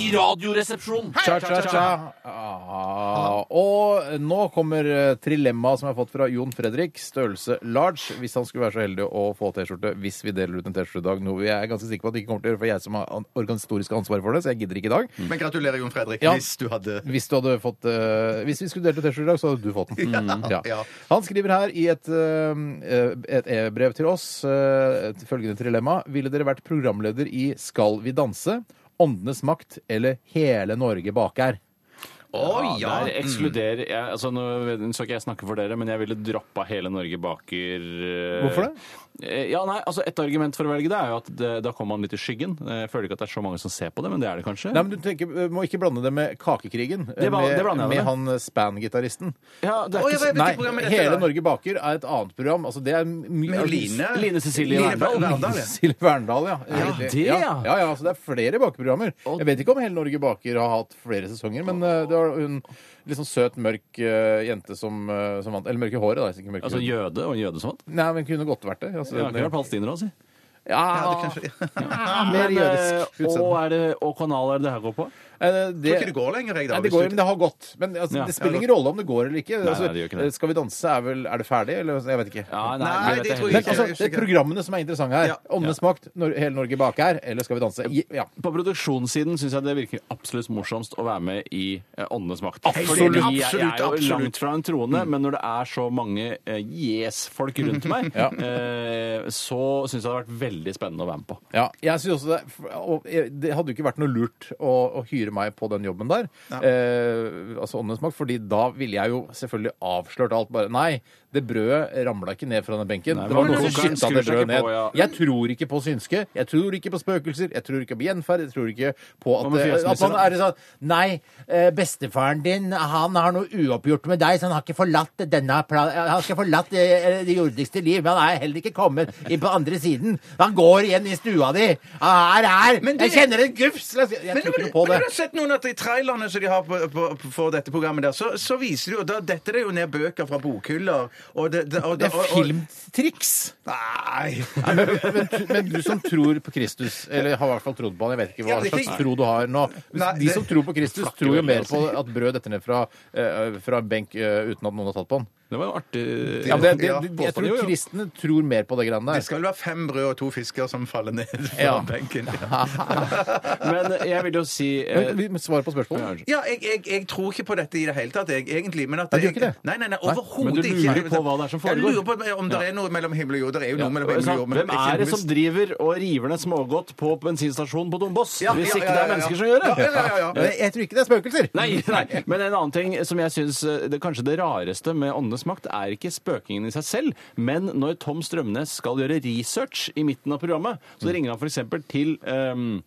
S4: I radioresepsjonen.
S2: Cha, cha, cha. Ah, og nå kommer eh, trilemma som jeg har fått fra Jon Fredrik, størrelse large, hvis han skulle være så heldig å få T-skjorte, hvis vi deler ut en T-skjorte i dag, noe jeg er ganske sikker på at det ikke kommer til å gjøre, for jeg som har an- organisatorisk ansvar for det, så jeg gidder ikke i dag.
S3: Men gratulerer, Jon Fredrik,
S2: Ja.
S3: hvis du hadde
S2: Hvis, du hadde fått, eh, hvis vi skulle delt ut T-skjorte i dag, så hadde du fått den. Mm, Ja.
S3: ja.
S2: Han skriver her i et eh, et e-brev til oss eh, et følgende trilemma. Ville dere vært programleder i Skal vi danse, Åndenes makt eller Hele Norge baker?
S3: Å ja!
S4: Der ekskluderer jeg altså Nå skal ikke jeg snakke for dere, men jeg ville droppa hele Norge baker. eh,
S2: Hvorfor det?
S4: eh, Ja, nei, altså Et argument for å velge det er jo at det, da kommer man litt i skyggen. Eh, Jeg føler ikke at det er så mange som ser på det, men det er det kanskje.
S2: Nei, men du tenker, eh, må ikke blande det med Kakekrigen. eh,
S4: Det bla-
S2: med
S4: det blander jeg
S2: med
S4: med.
S2: han eh, Span-gitarristen.
S4: ja, det er
S3: Å, jeg
S4: ikke
S3: vet
S4: så-
S3: ikke
S2: Nei,
S3: program er dette,
S2: Hele
S3: da?
S2: Norge baker er et annet program. Altså, det er mye
S3: Med Line.
S4: Line Cecilie
S3: Line
S4: Verndal.
S3: Verndal, ja.
S2: Silje Verndal, ja.
S4: Ja, det,
S2: ja.
S4: ja.
S2: Ja, ja, så det er flere bakeprogrammer. Jeg vet ikke om Hele Norge baker har hatt flere sesonger, men eh, det var en litt sånn søt, mørk eh, jente som, eh, som vant. Eller mørk i håret, da. Ikke mørk i
S4: Altså
S2: huden.
S4: jøde og en jøde som vant.
S2: Nei, men kunne godt vært det. Altså,
S4: Det har ikke vært palestinere, altså.
S3: Ja, det kanskje- Ja, mer
S4: men, eh,
S3: jødisk
S4: Og,
S3: utseende.
S4: er det, og kanal er det det her går på?
S2: Eh,
S3: Tror ikke det går lenger, jeg, da.
S2: Nei, det
S3: hvis
S2: går,
S3: du-
S2: men det har gått. Men altså,
S4: Ja.
S2: det spiller ingen rolle om det går eller ikke.
S4: nei,
S2: Altså,
S4: det gjør ikke det.
S2: Skal vi danse er vel Er det ferdig, eller? Jeg vet ikke.
S4: Ja, nei,
S3: Nei,
S4: det
S3: det
S4: vet
S2: Men
S4: jeg
S3: tror jeg
S4: heller
S3: ikke.
S2: altså, det er programmene som er interessante her.
S3: Ja.
S2: Åndenes makt, når hele Norge bak her, eller Skal vi danse? I- Ja.
S4: På produksjonssiden syns jeg det virker absolutt morsomst å være med i eh, Åndenes makt.
S2: Absolutt,
S4: Fordi jeg, jeg er jo
S3: absolutt, absolutt.
S4: langt fra en troende, men når det er så mange eh, yes-folk rundt meg,
S2: Ja.
S4: eh, så syns jeg det har vært veldig spennende å være med på.
S2: Ja, jeg synes også Det og jeg- det hadde jo ikke vært noe lurt å, å hyre meg på den jobben der. Eh, altså Åndenes makt, fordi da ville jeg jo selvfølgelig avslørt alt. bare, Nei, det brødet ramla ikke ned fra den benken.
S4: Nei,
S2: det var
S4: men
S2: noen som
S4: kokeren
S2: skytta det
S4: skrur seg
S2: brødet
S4: ikke
S2: ned.
S4: på, ja.
S2: Jeg tror ikke på synske. Jeg tror ikke på spøkelser. Jeg tror ikke på gjenferd. Jeg tror ikke på at,
S4: Hva med
S2: det- at
S4: fjesnissen,
S2: man er sånn Nei, eh, bestefaren din han har noe uoppgjort med deg, så han har ikke forlatt denne pla- Han skal forlatt eh, det jordiske liv, men han er heller ikke kommet inn på andre siden. Han går igjen i stua di. Han er her! Jeg kjenner en gufs! Jeg tror ikke noe på det.
S3: men har du sett noen at i trailerne som de har på, på, på, for dette programmet der, så, så viser de jo da detter det jo ned bøker fra bokhyller. Og det, det, og,
S2: Det er
S3: og- og-
S2: filmtriks.
S3: Nei.
S2: Nei, men, men, men du som tror på Kristus, eller har i hvert fall trodd på han, jeg vet ikke hva
S3: Ja, det er
S2: slags
S3: ikke-
S2: tro du har nå
S3: Nei,
S2: De
S3: det-
S2: som tror på Kristus, tror jo mer på at brød detter ned fra, eh, fra en benk eh, uten at noen har tatt på den.
S4: Det var jo artig.
S2: Ja, det, det,
S3: Ja,
S2: jeg tror
S4: påstår de jo, ja.
S2: kristne tror mer på det greiene
S3: Det
S2: der.
S3: skal vel være fem brød og to fisker som faller ned fra
S2: Ja.
S3: benken.
S4: Men jeg vil jo si eh,
S2: Men, men Svar på spørsmålet.
S3: Ja, jeg, jeg, jeg tror ikke på dette i det hele tatt, jeg, egentlig. Men at
S2: Nei, du gjør
S3: jeg-
S2: ikke det?
S3: Nei, nei, nei,
S4: Men
S3: overhodet
S4: du
S3: ikke.
S4: lurer på hva det er som foregår.
S3: Jeg lurer på om det er noe mellom himmel og jord. Det er jo noe mellom himmel og jord. men
S4: Hvem
S3: ikke
S4: er det som
S3: nødvendigvis-
S4: driver og river ned smågodt på bensinstasjonen på Dombås? Hvis ikke det er mennesker som gjør det?
S3: Ja, ja, ja, ja.
S2: Jeg, jeg tror ikke det er spøkelser.
S4: Nei, nei, men en annen ting som jeg syns det kanskje det rareste med Åndenes makt, er ikke spøkingen i seg selv, men når Tom Strømnes skal gjøre research i midten av programmet, så ringer han f.eks. til ehm,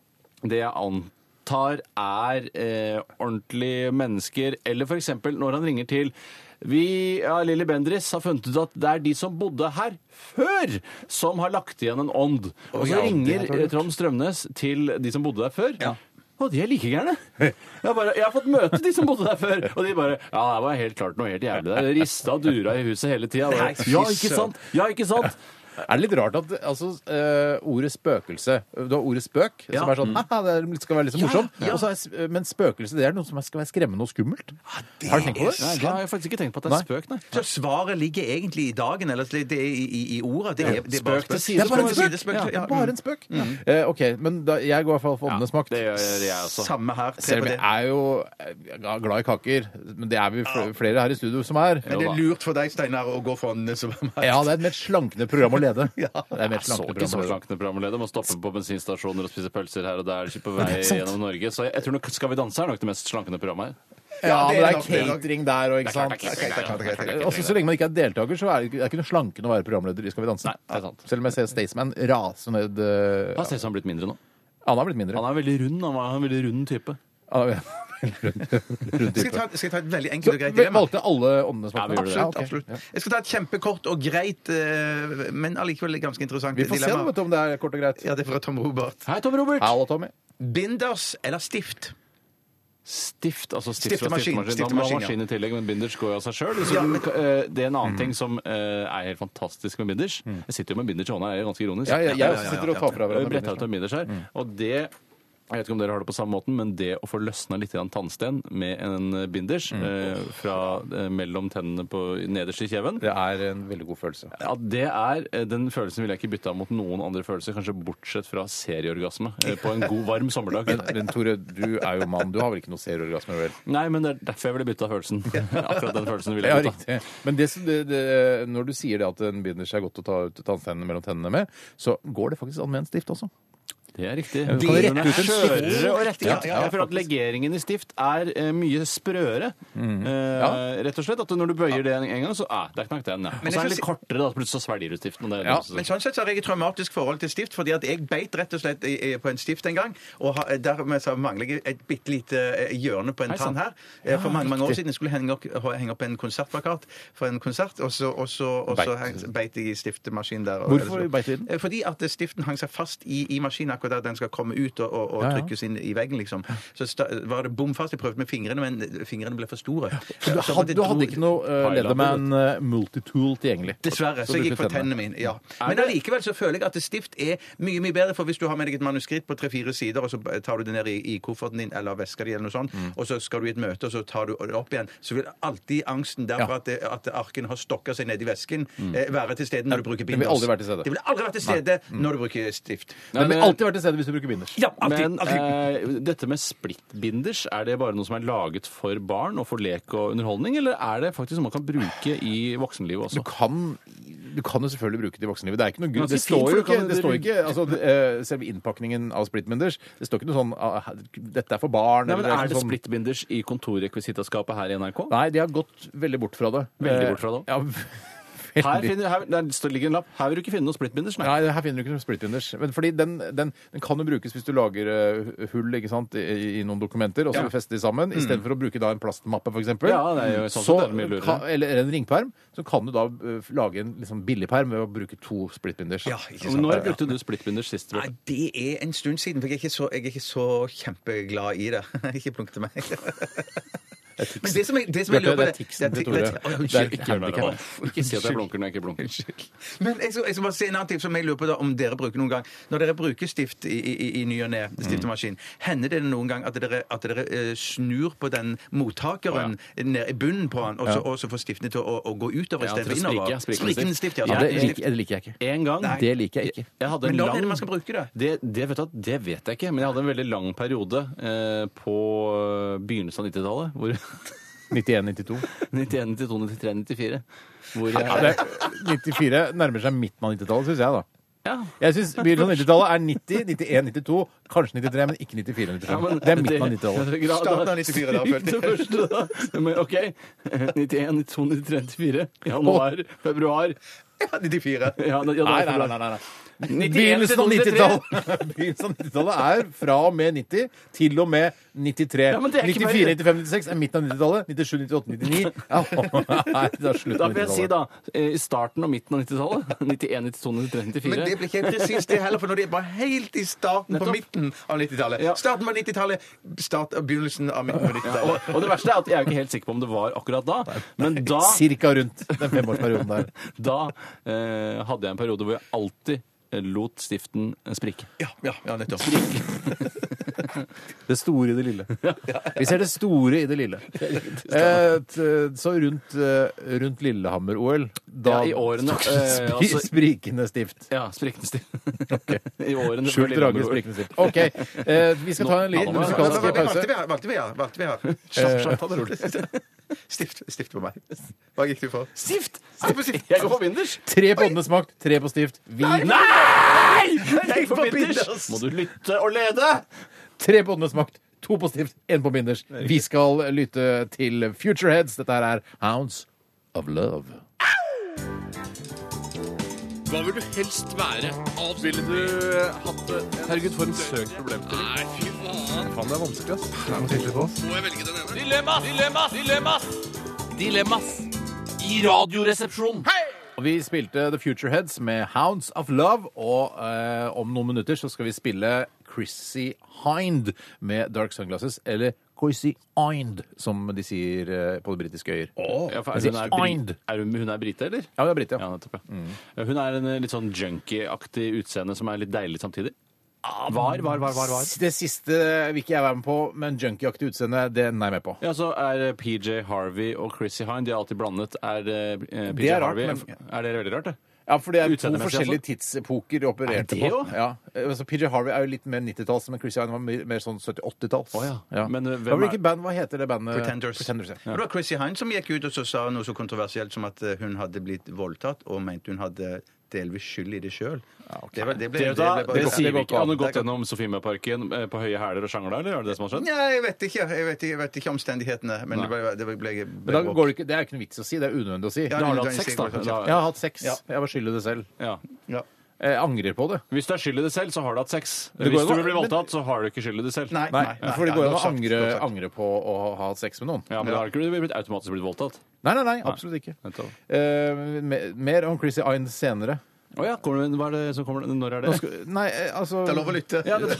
S4: det jeg antar er eh, ordentlige mennesker, eller f.eks. når han ringer til vi, ja, Lilly Bendriss har funnet ut at det er de som bodde her før, som har lagt igjen en ånd. Og så ringer eh, Trond Strømnes til de som bodde der før. Og de er like gærne! Jeg, bare, jeg har fått møte de som bodde der før, og de bare Ja, det var helt klart noe helt jævlig der. Det Rista og dura i huset hele tida.
S3: Nei, fy
S4: Ja, ikke sant? Ja, ikke sant?
S2: Er det litt rart at altså, eh, ordet spøkelse Du har ordet spøk, som er
S3: Mm.
S2: sånn «Haha, det er- skal være litt så morsomt, og så er, sp- men spøkelse det er noe som er- skal være skremmende og skummelt. Har du tenkt på
S4: Nei,
S2: det?
S4: det har jeg faktisk ikke tenkt på at det er spøk, nei.
S3: Så svaret ligger egentlig i dagen, eller det det er i, i, i ordet. Det er, det er bare
S4: Spøk til side,
S3: Det er bare en
S4: spøk.
S3: side, spøk.
S4: Ja,
S3: Ja, mm.
S2: Bare en spøk. Eh, OK, men da, jeg går i hvert fall for åndenes makt.
S4: Det altså- gjør jeg også.
S3: Samme her. Se
S2: Selv
S3: på
S2: om jeg
S3: det.
S2: er jo eh, glad i kaker, men det er vi fl- flere her i studio som er.
S3: Men det er lurt for deg, Steinar, å gå for åndene som er meg.
S2: Ja, det er et mer slankende program å lede. Det er et mer
S4: Så
S2: slankende program å
S4: ikke så
S2: lede.
S4: slankende programleder. Må stoppe på bensinstasjoner og spise pølser her og der ikke på vei gjennom Norge. Så jeg, jeg tror nok Skal vi danse er nok det mest slankende programmet her.
S2: Ja, men det er
S3: nok det.
S2: catering der og ikke sant. Også så lenge man ikke er deltaker, så er det ikke, det er ikke noe slankende å være programleder i Skal vi danse.
S4: Nei, det er sant.
S2: Selv om jeg ser Staysman rase ned eh,
S4: Da ser jeg han har blitt mindre nå.
S2: Han har blitt mindre.
S4: Han er veldig rund. Han er en veldig rund type.
S2: Han er- Rund
S3: Skal jeg,
S2: type.
S3: ta, skal jeg ta et veldig enkelt og greit
S2: Vi
S3: dilemma?
S2: Valgte alle åndene som var
S3: Absolutt. absolutt. Jeg skal ta et kjempekort og greit, eh, men allikevel ganske interessant
S2: Vi får se da,
S3: dilemma.
S2: vet du, om det er kort og greit.
S3: Ja, det er fra Tom Robert.
S4: Hei, Tom Robert!
S2: Hallo, Tommy.
S3: Binders eller stift?
S4: Stift, altså stift fra
S3: Stiftemaskin,
S4: stiftemaskin. Da må man ha
S3: stiftemaskin, ja.
S4: maskin i tillegg, men binders går jo av seg sjøl. eh, Det er en annen ting som eh, er helt fantastisk med binders. Jeg sitter jo med binders i hånda, jeg er ganske ironisk.
S2: Ja, jeg, jeg
S3: ja,
S2: også
S3: ja,
S2: sitter og tar fra
S4: Jeg
S2: hverandre
S4: bretta ut
S2: binders.
S4: en binders her, og det jeg vet ikke om dere har det på samme måten, men det å få løsna litt grann tannsten med en binders eh, fra eh, mellom tennene på nederst i kjeven,
S2: Det er en veldig god følelse.
S4: ja, det er eh, Den følelsen ville jeg ikke bytta mot noen andre følelser, kanskje bortsett fra serieorgasme eh, på en god, varm sommerdag.
S2: Men, men Tore, du er jo mann. Du har vel ikke noe serieorgasme? vel?
S4: Nei, men det er derfor jeg ville bytta følelsen. Akkurat den følelsen ville
S2: Ja,
S4: jeg bytta.
S2: riktig. Men det, som- det, det, når du sier det at en binders er godt å ta ut tannsteinene mellom tennene med, så går det faktisk an med en stift også.
S4: Det er riktig.
S2: Du kan rette
S4: Den
S2: ut
S4: er
S2: en stift.
S4: skjørere og rettere.
S2: Ja, ja,
S4: jeg føler at legeringen i stift er eh, mye sprøere. Eh, Rett og slett at når du bøyer det en, en gang, så ah, der knakk den. Ja. Og
S3: Men
S4: så er
S3: jeg
S4: den litt
S3: synes-
S4: kortere, da. så Plutselig så svelger du stiften. Og det, er
S2: Ja,
S4: det som-
S3: Men sånn sett så har jeg et traumatisk forhold til stift, fordi at jeg beit rett og slett i, i, på en stift en gang, og ha, dermed så mangler jeg et bitte lite eh, hjørne på en
S4: Hei,
S2: sånn.
S4: sant.
S3: tann her. Eh, For mange, mange år siden jeg skulle henge opp, henge opp en konsertplakat for en konsert, og så, og så, og så
S2: Beit.
S3: heng- beit jeg i stiftemaskinen der. og-
S2: Hvorfor beit du i den?
S3: Eh, Fordi at stiften hang seg fast i, i maskinen. akkurat at den skal komme ut og, og, og
S2: Ja, ja.
S3: trykkes inn i veggen, liksom. Så sta, var det bom fast. Jeg prøvde med fingrene, men fingrene ble for store.
S2: Du,
S3: Så
S2: hadde,
S3: måtte jeg
S2: du
S3: dro-
S2: hadde ikke noe eh,
S4: Thailand,
S2: Leatherman eh, multitool tilgjengelig.
S3: Dessverre. Så
S2: du
S3: jeg gikk
S2: brukte
S3: for tennene mine. ja.
S2: Er
S3: Men
S2: det-
S3: allikevel så føler jeg at stift er mye mye bedre, for hvis du har med deg et manuskript på tre-fire sider, og så tar du det ned i, i kofferten din eller veska di, eller noe sånt, og så skal du i et møte, og så tar du det opp igjen, så vil alltid angsten der for at, det- at arken har stokka seg nedi vesken, eh, være til stede når du bruker
S2: den vil
S3: binders.
S2: aldri være til stede.
S3: Det vil aldri være til stede når du bruker stift.
S2: Den
S4: men-
S2: vil alltid være til stede hvis du bruker binders.
S3: Ja, alltid,
S4: Men
S3: alltid.
S4: eh, dette med splittbinders, er det bare noe som er laget for barn og for lek og underholdning, eller er det faktisk noe man kan bruke i voksenlivet
S2: Du
S4: også?
S2: kan, du kan jo selvfølgelig bruke det i voksenlivet. Det er ikke noe grunn.
S4: Ganske
S2: Det står
S4: fint,
S2: jo
S4: for du
S2: ikke,
S4: kan-
S2: det står ikke altså, det, eh, Selve innpakningen av splitminders Det står ikke noe sånn ah, Dette er for barn.
S4: Nei, men
S2: eller
S4: Er det
S2: noe sånn-
S4: splittbinders i kontorrekvisitaskapet her i NRK?
S2: Nei, de har gått veldig bort fra det. Eh,
S4: Veldig bort fra det.
S2: Ja,
S4: Her,
S2: veldig.
S4: finner, her, der står- ligger en lapp. Her vil du ikke finne noen splittbinders. Nei.
S2: Nei, her finner du ikke noen splittbinders. Men fordi den, den, den kan jo brukes hvis du lager eh, hull ikke sant, i, i noen dokumenter, og så fester de sammen. I stedet Istedenfor å bruke da en plastmappe, f.eks.
S4: Ja, det er jo sånn
S2: så,
S4: sett er det mye lurere.
S2: kan- eller en ringperm. Så kan du da eh, lage en liksom, billig perm ved å bruke to splittbinders.
S3: Ja, ikke sant.
S4: Når brukte du splittbinders sist? Bjørte?
S3: Nei, det er en stund siden, for jeg er ikke så, jeg er ikke så kjempeglad i det. ikke plunk til meg. Men det som jeg, det som
S2: Bjarte,
S3: jeg lurer på
S2: det er tiksen til Tore.
S3: det- Å, ja,
S2: Det er
S3: unnskyld.
S2: ikke
S4: Ikke
S2: helvete.
S4: si at jeg blunker når jeg ikke blunker.
S3: Men jeg skal, jeg skal bare si en annen ting som jeg lurer på da, om dere bruker noen gang. Når dere bruker stift i, i, i ny og ne,
S4: Mm.
S3: stiftemaskin, hender det noen gang at dere, at dere eh, snur på den mottakeren ned i bunnen på den, og så, og så får stiftene til å, å gå utover
S4: Ja, til
S3: istedenfor
S4: å
S3: innover?
S4: sprike, sprike
S3: Sprikende
S4: stift.
S3: stift, ja.
S4: Ja,
S2: Det
S3: Sprikende stift.
S2: liker, det liker jeg ikke.
S4: En gang
S2: Det liker jeg ikke.
S4: Jeg hadde en
S3: Men når
S4: lang-
S3: er det man skal bruke det?
S4: Det, det, vet du, at det vet jeg ikke, men jeg hadde en veldig lang periode eh, på eh, begynnelsen av 90-tallet. Hvor
S2: 91-92.
S4: 91, 92, 93, 94. Hvor
S2: Ja,
S4: jeg,
S2: det er- 94 nærmer seg midten av 90-tallet, syns jeg, da.
S4: ja.
S2: Jeg syns begynnelsen av 90-tallet er 90, 91, 92, kanskje 93, men ikke 94. 95.
S4: Ja, men-
S2: det er midten av 90-tallet.
S4: Ja, da-
S3: Starten av 94 da, følte jeg.
S4: Det første, da. Men OK. 91, 92, 93, 94. Januar, februar.
S3: Ja, 94.
S4: Ja, da- ja, da-
S2: Nei, nei, nei. nei, nei.
S4: 91
S2: Begynnelsen av
S4: 93.
S2: 90-tallet Begynnelsen av 90-tallet er fra og med 90 til og med 93.
S4: Ja, men det er ikke
S2: 94,
S4: bare-
S2: 95, 96 er midten av 90-tallet. 97, 98, 99 ja, Nei, det er slutten
S4: Da
S2: av
S4: vil jeg si,
S2: 90-tallet.
S4: da, eh, i starten og midten av 90-tallet 91, 92, 93, 94.
S3: Men det blir ikke helt presist det heller, for når det var helt i starten på
S4: Nettopp.
S3: midten av 90-tallet.
S4: Ja.
S3: Starten på 90-tallet, start og begynnelsen av midten på 90-tallet.
S4: Og det verste er at jeg er jo ikke helt sikker på om det var akkurat da, men da,
S2: Cirka rundt den femårsperioden der.
S4: da eh, hadde jeg en periode hvor jeg alltid eh, lot stiften eh, sprike.
S3: Ja, ja, ja, nettopp.
S2: Det store i det lille. Vi ser det store i det lille. Eh, t- Så rundt, eh, rundt Lillehammer-OL Da
S4: Ja, i årene, eh,
S2: spri-
S4: altså-
S2: Sprikende stift.
S4: Ja, sprikende stift. I årene det
S2: Skjult
S4: ble
S2: drage,
S4: litt
S2: sprikende stift. OK. Eh, Vi skal ta en liten
S4: Nå- nå-
S3: Hva- hva-
S2: musikalsk
S3: hva- hva- Valgte
S2: pause.
S3: vi her? Valgte vi her? Valgte vi her? Stift, stift på meg. Hva gikk du for?
S4: Stift!
S3: Stift på stift.
S4: Jeg går for binders!
S2: Tre på åndesmakt, tre på stift. Vi
S4: Nei! Jeg går for
S3: for
S4: binders!
S3: binders!
S4: Må du lytte og lede!
S2: Tre på åndesmakt, to på stift, én på binders. Vi skal lytte til Futureheads. Dette her er Hounds of Love.
S4: Hva vil du helst være? Ville du hatt det? Herregud, for en søk problemstilling. Nei, fy faen. Faen, det er vanskelig, ass. Må jeg velge den ene? Dilemmas! Dilemmas! Dilemmas! Dilemmas i radioresepsjonen.
S2: Og Vi spilte The Future Heads med Hounds of Love, og eh, om noen minutter så skal vi spille Chrissy Hind med Dark Sunglasses, eller Chrissy Hind, som de sier eh, på de britiske øyer.
S4: Ja, for
S2: Jeg
S4: er hun,
S2: sier
S4: er brit,
S2: Eind.
S4: er hun, hun er brite, eller?
S2: Ja, Mm. det er britt, ja.
S4: Ja, nettopp. Ja. Ja, Hun er en eh, litt sånn junkie-aktig utseende som er litt deilig samtidig. Var, var, var, var. var.
S2: Det siste vil ikke jeg være med på, men junkieaktig utseende, det er jeg med på.
S4: Ja, så er eh, PJ Harvey og Chrissy Hine, de er alltid blandet. Er eh, eh, PJ
S2: Det er rart,
S4: Harvey
S2: men-
S4: Er det veldig rart, det?
S2: Ja, for det er to
S4: Utseendemessig,
S2: forskjellige tidsepoker de
S4: Er
S2: opererte
S4: det
S2: på.
S4: jo?
S2: Ja. Eh, Altså, PJ Harvey er jo litt mer 90-talls, men Chrissy Hind var mer, mer sånn 70-80-talls.
S4: Å, ja. Men, eh, hvem
S2: Hva,
S4: er-
S2: hvilket band, hva heter det bandet?
S3: Pretenders.
S2: ja.
S3: Og Det var Chrissy Hine som gikk ut og så sa noe så kontroversielt som at eh, hun hadde blitt voldtatt, og mente hun hadde delvis skyld i det sjøl. Det, var- det ble-
S4: Det,
S3: det ble bare-
S4: sier vi ikke. Har du
S3: Det
S4: gått
S3: går-
S4: gjennom Sofiemarken eh, på høye hæler og sjangla, eller er det det som har skjedd?
S3: Nei, jeg vet ikke. Jeg vet ikke, jeg vet ikke omstendighetene. Men det ble, det ble, ble,
S2: Men da går det ikke, det er ikke noe vits å si, det er unødvendig å si.
S3: Ja,
S4: Da har du hatt
S3: det er
S4: sex, da.
S3: sikkert.
S4: da
S2: Jeg har hatt sex. Jeg var skyld i det selv.
S4: ja.
S3: Ja.
S2: Jeg angrer på det.
S4: Hvis du er skyld i det selv, så har du hatt sex.
S2: Det går
S4: Hvis
S2: jo
S4: du
S2: an,
S4: blir
S2: men-
S4: voldtatt, så har du ikke skyld i det selv.
S3: Nei,
S2: Nei,
S3: nei, nei,
S2: for det
S3: nei,
S2: går
S3: godt
S2: an å
S3: sagt,
S2: angre,
S3: godt sagt.
S2: angre på å ha hatt sex med noen.
S4: Ja, men da har du ikke blitt automatisk blitt voldtatt.
S2: Nei, nei, nei, absolutt ikke.
S4: Nettopp.
S2: Eh, me- mer om Chrissy Ine senere.
S4: Å ja, kommer det, hva er det som kommer Når er det?
S2: Nei, eh, altså
S3: Det er lov å lytte.
S4: Ja, det,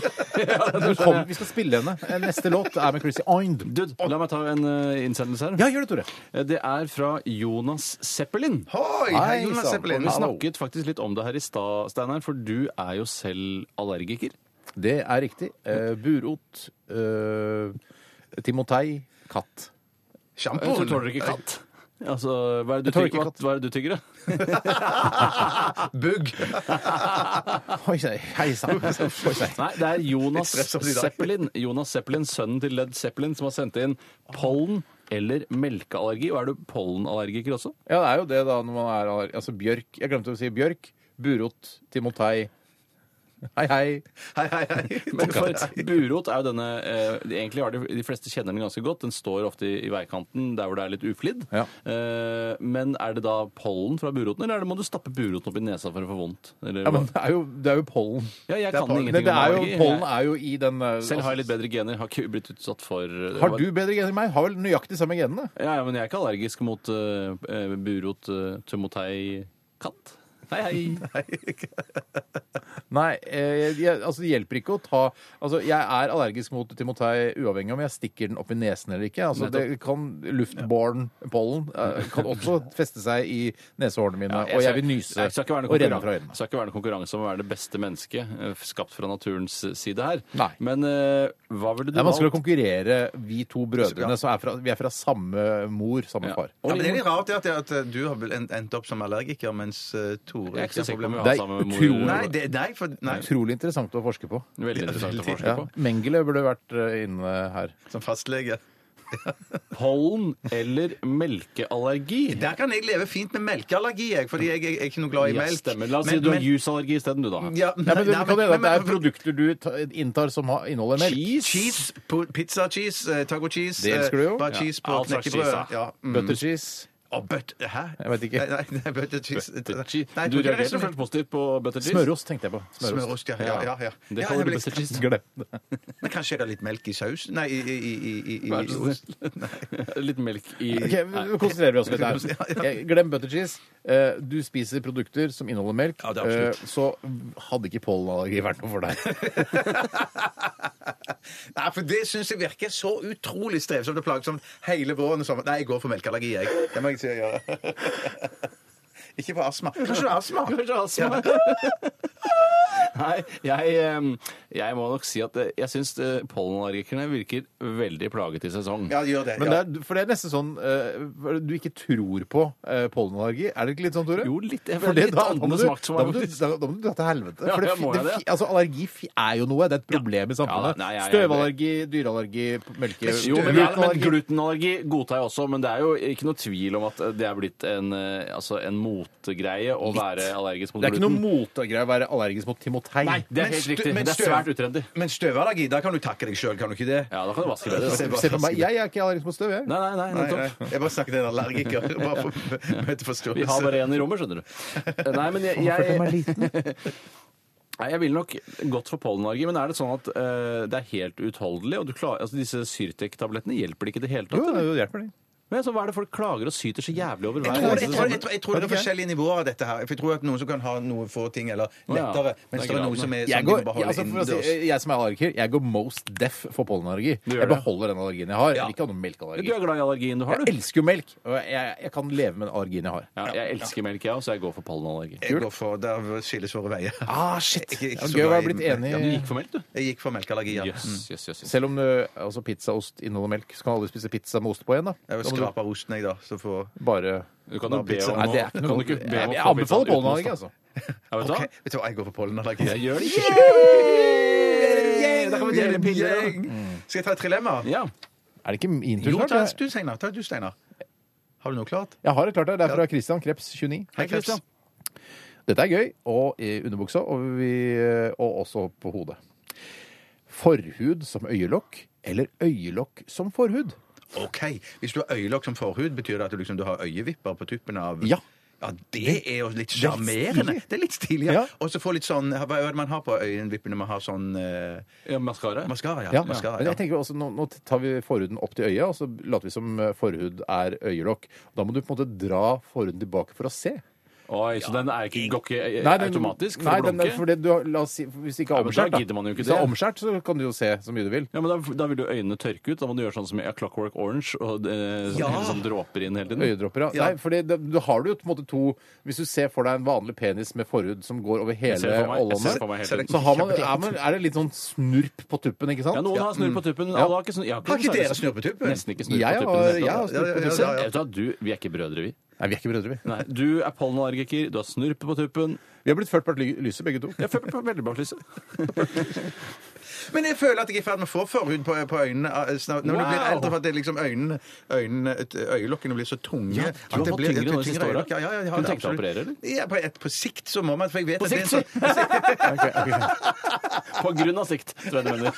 S2: Nå kom- Vi skal spille henne. Eh, Neste låt er med Chrissy Eind.
S4: du, la meg ta en eh, innsendelse her.
S2: Ja, gjør det, Tore.
S4: Eh, Det er fra Jonas Zeppelin.
S3: Hoi! Hei,
S2: Hei,
S3: Jonas
S2: sann.
S3: Zeppelin.
S4: Vi
S2: Hallo.
S4: snakket faktisk litt om det her i stad, Steinar, for du er jo selv allergiker.
S2: Det er riktig. Eh, burot, eh, timotei, katt.
S3: Sjampo.
S4: Jeg tror tåler ikke katt. Altså, hva er det du
S2: Jeg tåler ikke
S4: tygger?
S2: katt.
S4: Hva er det du tygger, da?
S3: Bugg.
S2: Oi sei, hei sann. Oi, sei.
S4: Nei, det er Jonas
S3: Litt stress over i dag.
S4: Zeppelin, Jonas Zeppelin, sønnen til Led Zeppelin, som har sendt inn pollen eller melkeallergi. Og er du pollenallergiker også?
S2: Ja, det er jo det, da, når man er aller- Altså bjørk. Jeg glemte å si bjørk. Burot, timotei. Hei, hei.
S3: Hei, hei, hei.
S4: Men for burot er jo denne eh, de- Egentlig har de, de fleste kjenner den ganske godt. Den står ofte i, i veikanten der hvor det er litt uflidd.
S2: Ja.
S4: Eh, men er det da pollen fra buroten, eller er det må du stappe buroten opp i nesa for å få vondt? Eller,
S2: Ja, men
S4: hva?
S2: det er jo, det er jo pollen.
S4: ja, jeg
S3: det er
S4: kan
S3: pollen.
S2: Men
S4: ingenting
S2: det er
S4: om
S2: jo,
S4: allergi.
S2: pollen
S4: Jeg-
S2: er jo i den eh, altså,
S4: Selv har jeg litt bedre gener, har ikke blitt utsatt for eh,
S2: Har du bedre gener enn meg? Har vel nøyaktig samme genene?
S4: Ja, ja, men jeg er ikke allergisk mot eh, eh, burot, uh, tomotei, katt. Hei, hei.
S2: Nei, eh, jeg, altså det hjelper ikke å ta Altså, jeg er allergisk mot timotei uavhengig om jeg stikker den opp i nesen eller ikke. Altså, det kan Luftborn pollen eh, kan også feste seg i nesehårene mine, og jeg vil nyse
S4: Nei, det skal ikke være noe
S2: og renne
S4: konkurran-
S2: fra
S4: det
S2: øynene.
S4: skal ikke være noen konkurranse om å være det beste mennesket eh, skapt fra naturens side her.
S2: Nei.
S4: Men eh, hva ville du
S2: Det er vanskelig å
S4: valgt?
S2: konkurrere, vi to brødrene som er fra, vi er fra samme mor, samme
S4: Ja.
S2: far.
S4: Og
S3: Ja, men det er litt rart det at, at eh, du har vel en- endt opp som allergiker, mens eh, Tore
S4: Jeg er ikke så
S3: har
S4: sikker på om
S3: problemer.
S4: vi
S2: Det
S4: har
S2: er
S4: samme mor.
S2: utrolig-
S3: Nei, det, nei, for, nei,
S2: Utrolig interessant å forske på.
S4: Veldig interessant å forske
S2: Ja.
S4: på.
S2: Mengele burde vært eh, inne her.
S3: som fastlege.
S4: Pollen eller melkeallergi?
S3: Der kan jeg leve fint med melkeallergi, jeg, fordi jeg, jeg er ikke noe glad i
S4: Ja,
S3: melk.
S4: stemmer. La oss si du har juiceallergi isteden, du, da.
S3: Ja,
S2: Ja, men det,
S3: nei,
S2: kan hende
S3: men-
S2: at det er
S3: men-
S2: produkter du ta- inntar som har, inneholder melk.
S4: Cheese?
S3: Cheese, på- pizza cheese, eh, taco cheese.
S2: Det elsker du jo.
S3: eh, Bare
S2: Ja,
S3: cheese på
S4: all slags
S3: knekkebrød.
S4: cheese, da.
S3: Ja. Mm.
S2: Butter cheese.
S3: Og bøtt... Hæ?
S2: Jeg vet ikke.
S3: Nei, nei, nei butter cheese.
S4: Butter cheese.
S3: Nei,
S4: du
S3: jeg tror ikke det er
S4: reagerer
S3: så mye.
S4: selvfølgelig positivt på butter cheese.
S2: Smørost tenkte jeg på.
S3: Smørost, ja. ja, ja, ja.
S4: Det
S3: ja,
S4: kaller
S3: jeg
S4: du
S3: vil-
S4: butter cheese.
S2: Glem det.
S3: Men kanskje jeg har litt melk i saus? Nei, i, i, i, i, i,
S4: Vær
S3: i
S4: så
S3: ost.
S4: Litt melk i
S2: Ok,
S4: Nei.
S2: Nå konsentrerer vi oss litt her. Eh, Glem butter cheese. Eh, Du spiser produkter som inneholder melk,
S3: Ja, det er
S2: eh,
S3: absolutt.
S2: så hadde ikke pollenallergi vært noe for deg.
S3: Nei, for det syns jeg virker så utrolig strevsomt og plagsomt hele våren og sommeren. Nei, jeg går for melkeallergi, jeg. Det må jeg si jeg gjør. Ikke for astma. Kanskje du har astma?
S4: Kanskje astma. Nei, jeg, ehm, jeg må nok si at eh, jeg syns pollenallergikerne virker veldig plaget i sesong.
S3: Ja, gjør det.
S2: Men
S3: ja.
S2: det er, for det er nesten sånn eh, du ikke tror på eh, pollenallergi. Er det ikke litt sånn, Tore?
S4: Jo, litt. Jeg
S2: For
S4: føler
S2: det-
S4: litt
S2: da- da må
S4: andenes
S2: du-
S4: makt som
S2: da
S4: er
S2: må du-
S4: faktisk-
S2: Da da må du dra til helvete.
S4: Ja,
S2: For det,
S4: ja, må
S2: fi-
S4: jeg
S2: det, fi- altså, allergi fi- er jo noe. Det er et problem i samfunnet.
S4: Ja, nei, jeg er
S2: Støvallergi, dyreallergi, melke...
S4: Jo, men, det er, men Glutenallergi godtar jeg også, men det er jo ikke noe tvil om at det er blitt en, eh, altså en motegreie å være allergisk mot
S2: Det er ikke
S4: gluten.
S2: noe motgreie å være allergisk mot timotei.
S4: Nei, det er
S3: Men
S4: helt
S3: stø-
S4: riktig.
S3: men
S4: Det er
S3: støv-
S4: svært utrendy.
S3: Men støvallergi, da kan du takke deg sjøl, kan du ikke det?
S4: Ja, da kan du vaske bedre. da.
S2: Se på meg. Jeg er ikke allergisk mot støv, jeg.
S4: Nei, nei, nei,
S3: Nei,
S4: nettopp.
S3: nei. Jeg bare snakket til en allergiker. Bare for møte forståelse.
S4: Vi har bare én i rommet, skjønner du. Nei, men jeg, jeg, Nei, jeg ville nok gått for pollenallergi, men er det sånn at eh, det er helt utholdelig? og du klarer, altså Disse Syrtec-tablettene hjelper det ikke i det hele tatt?
S2: Jo,
S4: eller?
S2: det hjelper, det.
S4: Men så Hva er det folk klager og syter så jævlig over
S3: Jeg
S4: hver
S3: tror, jeg,
S4: eneste sånn?
S3: tror, jeg,
S4: sommer?
S3: tror, jeg tror det er forskjellige nivåer av dette her. For jeg tror at noen som kan ha noe få ting, eller lettere,
S4: Det
S3: mens
S4: er
S3: det er
S4: gradene.
S3: noe som er
S2: jeg,
S3: sånn
S2: går,
S3: du må beholde
S2: ja, altså, for å si,
S3: innendørs.
S2: jeg som er allergiker, jeg går most deaf for pollenallergi.
S4: gjør
S2: Jeg
S4: det.
S2: beholder den allergien jeg har. Jeg vil ikke ha noen melkeallergi.
S4: Du er glad i allergien du har,
S2: Jeg
S4: du?
S2: elsker jo melk, og jeg, jeg kan leve med den allergien jeg har.
S4: Ja, jeg elsker melk, jeg òg, så jeg går for pollenallergi.
S3: Jeg går for, Der skilles våre veier.
S2: Ah, shit!
S3: Ikke- ikke
S2: Ja,
S3: så
S2: gøy å
S3: glad
S2: være
S3: i
S2: blitt
S3: melk.
S2: enig.
S4: Du gikk for melk, du?
S3: Jeg gikk for melkeallergi, ja.
S4: Jøss, jøss, jøss. jøss.
S2: Selv om ø, altså, pizzaost inneholder melk, så kan alle spise pizza med ost på igjen. da. Da
S3: Jeg
S2: må du
S3: skraper osten, jeg, da. Så får
S2: bare...
S4: Du kan jo be om
S2: Nei, det er ikke
S4: du kan
S2: noe...
S4: jo ikke be om
S2: Jeg,
S4: å
S2: jeg
S4: få pizzaen
S2: anbefaler
S4: uten ost,
S2: pollenallergi,
S4: da.
S2: altså.
S4: Ja, vet du
S3: Ok,
S4: hva?
S3: Vet du hva, jeg går for pollenallergi.
S4: Jeg gjør det ikke. Da kan vi
S3: Vi er
S4: dele
S3: en
S4: piller. da.
S3: gjeng. Skal jeg ta et trilemma?
S4: Ja.
S2: Er det ikke min tur
S3: Jo, ta
S2: snart?
S3: du, Steinar. Ta du, Steinar. Har du noe klart?
S2: Jeg har det klart her. Det er fra Christian Kreps, 29.
S3: Hei, Kristian.
S2: Dette er gøy, og i underbuksa, og, vi, og også på hodet. Forhud som øyelokk, eller øyelokk som forhud?
S3: OK. Hvis du har øyelokk som forhud, betyr det at du, liksom, du har øyevipper på tuppen av
S2: Ja.
S3: Ja, det er jo litt sjarmerende.
S2: stilig.
S3: Det er litt stilig, ja.
S2: Ja.
S3: Og så få litt sånn Hva er det man har på øyenvippene? Man har sånn eh,
S4: ja Maskara.
S3: maskara, ja.
S2: Ja,
S3: Mascara,
S2: men
S3: ja.
S2: jeg tenker også, nå, nå tar vi forhuden opp til øyet, og så later vi som eh, forhud er øyelokk. Da må du på en måte dra forhuden tilbake for å se.
S4: Oi, så den er ikke, går ikke eh,
S2: Nei, den-
S4: automatisk
S2: Nei,
S4: for å
S2: den,
S4: blunke?
S2: for det, du har, la oss si, hvis det ikke
S4: Nei,
S2: er
S4: men da
S2: omskjært,
S4: gidder man jo ikke
S2: Hvis det er
S4: se.
S2: omskjært, så kan du jo se så mye du vil.
S4: Ja, men da, da vil jo øynene tørke ut. Da må du gjøre sånn som i A Clockwork Orange, og eh, sånn, hele sånn dråper inn hele tiden.
S2: Øyedråper, ja. Nei, for du har du jo på en måte to Hvis du ser for deg en vanlig penis med forhud som går over
S4: Jeg ser
S2: hele
S4: det for meg. Jeg ser
S2: ålene,
S4: det for meg hele tiden.
S2: så har man, er, man, er det litt sånn snurp på tuppen, ikke sant?
S4: Ja, noen har snurr på tuppen. men
S2: Mm. Ja.
S4: Alle har ikke, sånn- jeg
S3: Har ikke
S4: sånn-
S3: dere snurr på tuppen?
S4: Nesten ikke snurr
S2: Jeg
S4: på
S2: har-
S4: tuppen.
S2: jeg har snurr på
S4: Ja, ja, ja,
S2: tuppen.
S4: ja, ja. Vet du hva, du, vi er ikke brødre, vi.
S2: Nei, vi er ikke brødre, vi.
S4: Nei, du er pollenallergiker, du har snurp på tuppen.
S2: Vi har blitt ført bak ly- lyset, begge to.
S4: Jeg føler på veldig bak lyset.
S3: Men jeg føler at jeg er i ferd med å få forhud på, på øynene eh, snart, når du blir
S4: Wow.
S3: eldre. For at det er liksom øynene, øynene, øyelokkene blir så tunge.
S4: Ja, du
S3: at
S4: har
S3: det
S4: fått
S3: blir-
S4: tyngre nå de siste åra.
S3: øyelokker. Ja, ja, jeg har
S4: Kunne
S3: det,
S4: tenkt deg å
S3: absolutt.
S4: operere, eller?
S3: Ja, på, et, på sikt så må man. For jeg vet
S4: På
S3: at det er en
S4: sikt,
S3: sånn-
S4: På grunn av sikt, tror jeg du mener.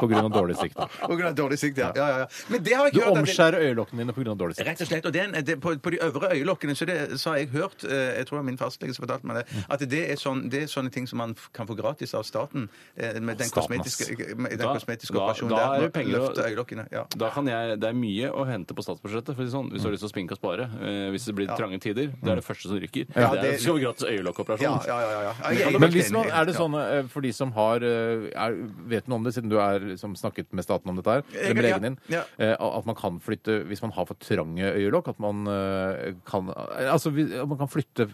S2: På grunn av dårlig sikt.
S3: På grunn av dårlig sikt, ja. ja, ja, ja. Men det har jeg
S2: Du
S3: ikke hørt. at det-
S2: omskjærer øyelokkene dine på grunn av dårlig sikt.
S3: Rett og slett, og det, er en- det, på, på de øvre øyelokkene så, det, så har jeg hørt, eh, jeg tror det var min fastlege som fortalte meg det, at det er, sånn, det er sånne ting som man f- kan få gratis av staten eh, med den
S2: Staten,
S3: kosmetiske, eh, med den
S4: Da-
S3: kosmetiske
S4: da-
S3: operasjonen
S4: da er
S3: der.
S4: det penger å-
S3: løfte øyelokkene. Ja.
S4: Da kan jeg, Det er mye å hente på statsbudsjettet. For å si sånn,
S2: Mm.
S4: hvis du har lyst til å spinke og spare. Eh, hvis det blir trange tider, det er det første som ryker. det er,
S3: det-
S4: skal vi gratis øyelokkoperasjon.
S3: Ja, ja, ja, ja, ja. Jeg- jeg-
S2: Men hvis
S3: jeg-
S2: man, er det sånn eh, for de som har eh, er, Vet noe om det, siden du er liksom, snakket med staten om dette her, eller med
S3: ja,
S2: legen din,
S3: ja.
S2: eh, at man kan flytte hvis man har for trange øyelokk, at man eh, kan eh, Altså vi- at man kan flytte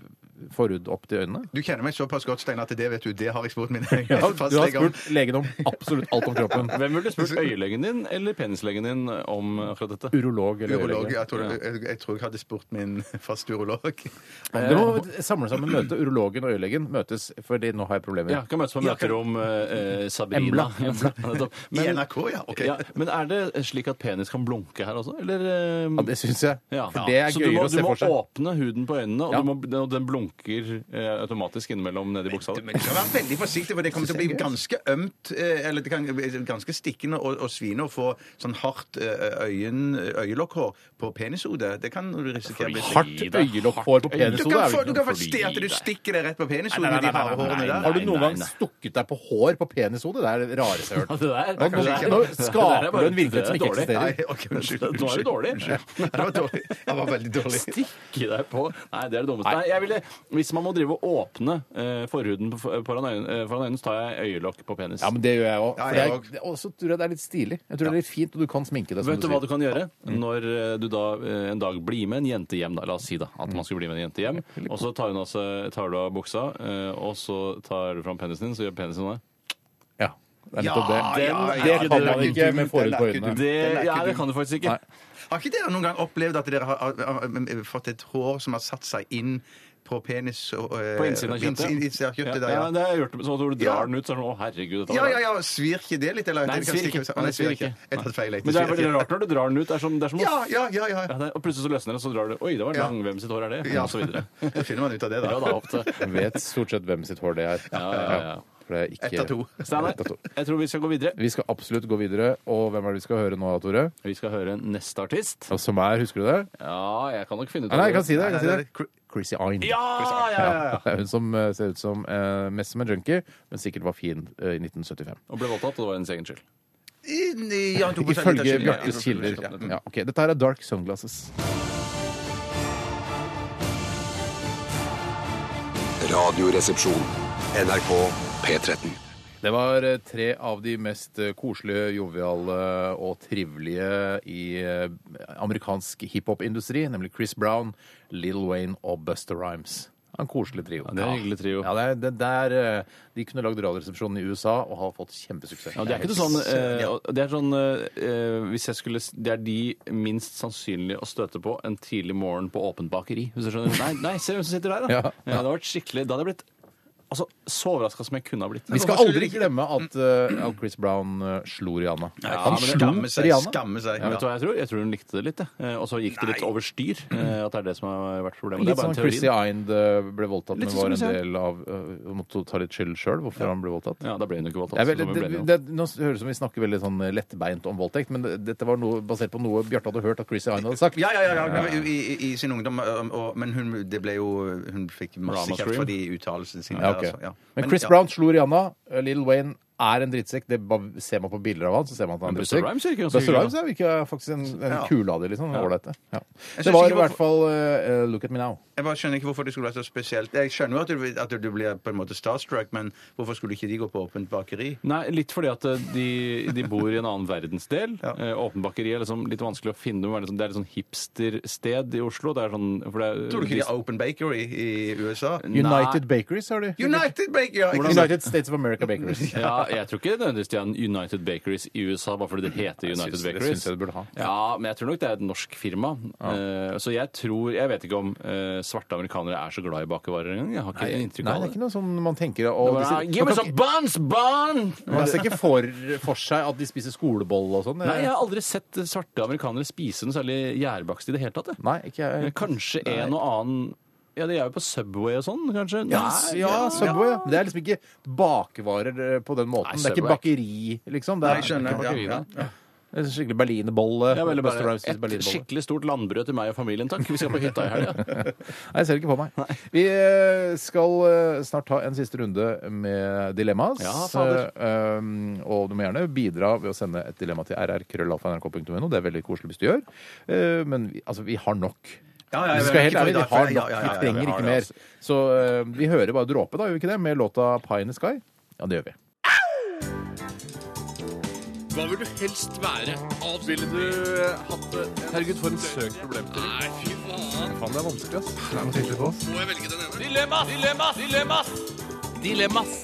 S2: forhud opp til øynene?
S3: Du kjenner meg såpass godt, Stein, at det vet du, det har jeg spurt min
S2: Ja, du har
S3: fastlege om.
S2: spurt legen om absolutt alt om kroppen.
S4: Hvem ville spurt øyelegen din eller penislegen din om akkurat dette?
S2: Urolog eller
S3: Urolog,
S2: øyelege.
S3: jeg tror, jeg, jeg tror jeg hadde spurt min faste urolog.
S2: Du Eh, må samle sammen møte. Urologen og øyelegen møtes, fordi nå har jeg
S4: Ja,
S2: problemer.
S4: kan møtes på møterom eh, eh, Sabrina.
S2: Embla.
S4: Nettopp.
S3: I NRK, ja, ok.
S4: ja, men er det slik at penis kan blunke her også, eller eh,
S2: Ja, det syns jeg.
S4: ja.
S2: For det er
S4: Så du må,
S2: gøyere å se for
S4: Du
S2: seg.
S4: må åpne huden på øynene, og,
S2: Ja.
S4: du må, og den blunker eh, automatisk innimellom nedi buksa. di.
S3: Men du skal være veldig forsiktig, for det kommer til å bli ganske ømt, eh, eller det kan bli ganske stikkende og, og svine å få sånn hardt eh, øyen, øyelokkhår på penishodet. Det kan du risikere. å bli stikk.
S2: Hardt øyelokkhår på
S3: Du
S2: penishodet
S3: kan,
S2: er
S3: få,
S2: vel
S3: du
S2: ikke
S3: kan
S2: noe
S3: få et sted at du stikker det rett på penishodet
S2: Nei,
S3: med
S2: nei,
S3: de
S2: nei,
S3: harde
S2: nei,
S3: hårene
S2: nei,
S3: der.
S2: Har du noen
S4: nei,
S2: gang
S4: nei.
S2: stukket deg på hår på penishodet? Det er det rareste jeg har hørt.
S4: Det der,
S2: Nå, nå,
S4: kanskje-
S2: nå
S4: det der er
S2: skaper
S4: bare-
S2: du en virkelighet som
S4: det er
S2: ikke
S4: dårlig.
S2: eksisterer.
S3: Nei, ok, unnskyld.
S4: Nå er det dårlig.
S3: Nei, Det var dårlig. Det var veldig dårlig.
S4: Stikke deg på Nei, det er det dummeste. Nei, jeg ville, hvis man må drive og åpne eh, forhuden på- foran øynene, eh, foran øynene, så tar jeg øyelokk på penis.
S2: Ja, men det gjør jeg òg.
S3: Ja, jeg òg.
S2: Og så tror jeg det er litt stilig. Jeg tror det er litt fint, og du kan sminke deg. som
S4: Vet du
S2: sier.
S4: hva du kan gjøre? Når eh, du da eh, en dag blir med en jente hjem, da, la oss si da, at man skulle bli med en jente hjem, og så tar, hun av seg- tar du av buksa, eh, og så tar du fram penisen din, så gjør penisen det.
S2: Ja, det er nettopp det.
S3: Ja, ja, ja,
S2: det
S3: ja,
S2: kan
S3: den er
S2: man
S3: ikke
S2: ikke med
S3: dum,
S2: forhud
S3: den er
S2: på
S3: ikke
S2: øynene.
S3: dum.
S4: Det,
S3: Den er ikke
S4: ja, det
S3: dum.
S4: kan du faktisk ikke.
S2: Nei.
S3: Har ikke dere noen gang opplevd at dere har, har, har, har fått et hår som har satt seg inn på penis og, eh,
S4: På innsiden av kjøttet.
S3: innsiden- innsiden
S4: Ja,
S3: av kjøttet der,
S4: ja,
S3: ja.
S4: det har jeg gjort. Så når du
S3: Ja.
S4: drar den ut, så er det sånn Å, herregud. dette
S3: Ja,
S4: var
S3: ja, ja, svir ikke det litt? Eller?
S4: Nei, den
S3: Det kan
S4: svir
S3: stikke-
S4: ikke.
S3: Å, nei,
S4: Nei, den svir ikke.
S3: Jeg tar feil. jeg.
S4: Men det er veldig rart når du drar den ut. Det er som, det er som å
S3: Ja, ja, ja. ja.
S4: Ja, det, og plutselig så løsner det, så drar du Oi, det var
S3: Ja.
S4: lang. Hvem sitt hår er det?
S3: Ja.
S4: Og så videre.
S3: Da finner man ut av det, da.
S4: Ja, da, ofte.
S2: Jeg vet stort sett hvem sitt hår det er.
S4: Ja, ja, ja.
S2: For det er ikke
S3: Ett av to.
S4: Steinar,
S2: Ett av to.
S4: jeg tror vi skal gå videre.
S2: Vi skal absolutt gå videre. Og hvem er det vi skal høre nå, Tore?
S4: Vi skal høre neste artist.
S2: Og Som er, husker du det?
S4: Ja, jeg kan nok finne ut
S2: Nei, jeg kan si det. Jeg kan si
S3: Nei,
S2: det.
S3: det er-
S2: Chrissy Ayn.
S4: Ja, ja, ja, ja.
S2: Det er hun som eh, ser ut som eh, mest som en junkie, men sikkert var fin eh, i 1975.
S4: Og ble voldtatt, og det var hennes egen skyld.
S3: Inn i- ja, to prosent litt
S2: Ifølge
S3: av skylden, ja, ja,
S2: Bjartes
S3: to prosent,
S2: kilder.
S3: ja.
S2: Ja, ok. Dette her er Dark Sunglasses.
S5: Radioresepsjon. NRK P13.
S2: Det var eh, tre av de mest eh, koselige, joviale eh, og trivelige i eh, amerikansk hiphop-industri, nemlig Chris Brown, Lil Wayne og Buster Rhymes. En koselig trio.
S4: Ja, det er en hyggelig trio.
S2: Ja, det er, det der, eh, de kunne lagd Radioresepsjonen i USA og har fått kjempesuksess.
S4: Ja, det er ikke noe sånn, eh, og det er sånn eh, hvis jeg skulle, s- Det er de minst sannsynlige å støte på en tidlig morgen på åpent bakeri. Hvis du skjønner. Nei, nei, se hvem som sitter der, da!
S2: Ja.
S4: Ja. det hadde vært skikkelig, da hadde jeg blitt altså, så overraska som jeg kunne ha blitt.
S2: Vi skal aldri glemme at, eh, at Chris Brown eh, slo Rihanna. Han
S3: men
S2: slo
S3: skamme seg,
S2: Rihanna.
S3: Skamme seg.
S4: Ja, vet du
S3: Ja.
S4: hva jeg tror? Jeg tror hun likte det litt. jeg. Eh, Og så gikk det litt over styr. eh, At det er det som har vært problemet. Det
S2: Litt
S4: er bare
S2: sånn
S4: en
S2: Chrissy
S4: teori.
S2: Eind ble voldtatt, men
S4: Litt
S2: var
S4: sånn
S2: en
S4: som jeg
S2: del av uh, Måtte ta litt skyld sjøl hvorfor han ble voldtatt.
S4: Ja, da ble hun jo ikke voldtatt.
S2: Jeg vet,
S4: så vi
S2: det,
S4: ble enige om.
S2: det, nå høres det ut som vi snakker veldig sånn lettbeint om voldtekt, men det, dette var noe basert på noe Bjarte hadde hørt at Chrissy Hine hadde sagt.
S3: Ja, ja, ja, ja. I, i, I sin ungdom. um, Og, men hun, det ble jo, hun fikk masse
S4: Rama
S3: kjeft
S4: Scream.
S3: for de uttalelsene sine.
S2: Ja,
S3: der,
S2: ok.
S3: altså, ja.
S2: Men Chris
S3: ja.
S2: Brown slo Rihanna. Little Eh, Wayne er en drittsekk. Det bare ser man på bilder av han, så ser man at han er en
S4: Men Busta
S2: drittsekk.
S4: Rhymes virker ganske
S2: Busta
S4: hyggelig,
S2: Rhymes er virker faktisk en, en
S3: Ja.
S2: kule av de, liksom. Ålreite. Ja.
S3: Jeg
S2: Det
S3: synes
S2: var
S3: ikke
S2: i hvert fall eh, Look at me now.
S3: Jeg bare skjønner ikke hvorfor det skulle være så spesielt. Jeg skjønner jo at du, at du blir på en måte starstruck, men hvorfor skulle ikke de gå på åpent bakeri?
S4: Nei, litt fordi at eh, de, de bor i en annen verdensdel.
S3: Ja.
S4: Eh, Åpen bakeri er liksom litt vanskelig å finne. men Det er litt sånn- det er litt sånn hipstersted i Oslo. Det er sånn, for det er,
S3: Tror du ikke de har Open Bakery i USA?
S2: United Bakeries har de.
S3: United Bakery! ja, ikke sant?
S2: United States of America Bakeries.
S4: Ja, jeg tror ikke nødvendigvis de har en United Bakeries i USA bare fordi det heter United
S2: synes- det
S4: Bakeries.
S2: synes jeg det burde ha.
S4: Ja, men jeg tror nok det er et norsk firma. Eh, så jeg tror Jeg vet ikke om eh, svarte amerikanere er så glad i bakervarer engang. Jeg har ikke inntrykk
S2: Nei,
S4: av
S2: det
S4: det.
S2: er ikke noe sånn man tenker
S4: Det
S2: å,
S4: var-
S2: disse-
S4: Give
S2: man
S4: me
S2: kan
S4: some buns, bun!
S2: ikke- Man ser ikke for, for seg at de spiser skoleboll og sånn.
S4: Nei, jeg har aldri sett svarte amerikanere spise noe særlig gjærbakst i det hele tatt. jeg.
S2: Nei, ikke jeg.
S4: Kanskje en og annen Ja, de er jo på Subway og sånn, kanskje?
S2: Ja,
S4: Nei,
S2: ja, Subway. Ja. Det er liksom ikke bakvarer eh, på den måten.
S4: Nei,
S2: det er ikke
S4: Subway.
S2: bakeri, liksom. Det er,
S3: Nei, jeg skjønner,
S2: det er ikke
S3: ja,
S2: bakeri, da. En skikkelig berlinerbolle.
S4: Jeg vil
S2: Buster
S4: bare
S2: Rhymes spiser
S4: Et
S2: berlinerbolle.
S4: skikkelig stort landbrød til meg og familien, takk. Vi skal på hytta i helga.
S2: Nei, jeg ser det ikke på meg. Vi eh, skal eh, snart ta en siste runde med dilemmas.
S4: Ja, fader.
S2: Eh, um, og du må gjerne bidra ved å sende et dilemma til rrkrøllalfa.nrk.no. Det er veldig koselig hvis du gjør. Eh, men vi, altså, vi har nok.
S3: Ja,
S2: vi
S3: ja, ja,
S2: skal
S3: ikke
S2: helt
S3: for i
S2: ærlig, vi
S3: dag, for-
S2: har
S3: ja,
S2: nok.
S3: ja, ja,
S2: Vi
S3: ja,
S2: trenger
S3: vi har
S2: ikke
S3: det,
S2: mer.
S3: altså.
S2: Så eh, vi hører bare dråpe, da, gjør vi ikke det? Med låta Pie in the Sky. Ja, det gjør vi.
S4: Hva vil du helst være? Ville du eh, hatt det? Herregud, for en søk problemstilling. Nei, fy faen.
S2: Faen, det er vanskelig, ass.
S4: Må jeg velge den ene? Dilemmas! Dilemmas! Dilemmas! Dilemmas!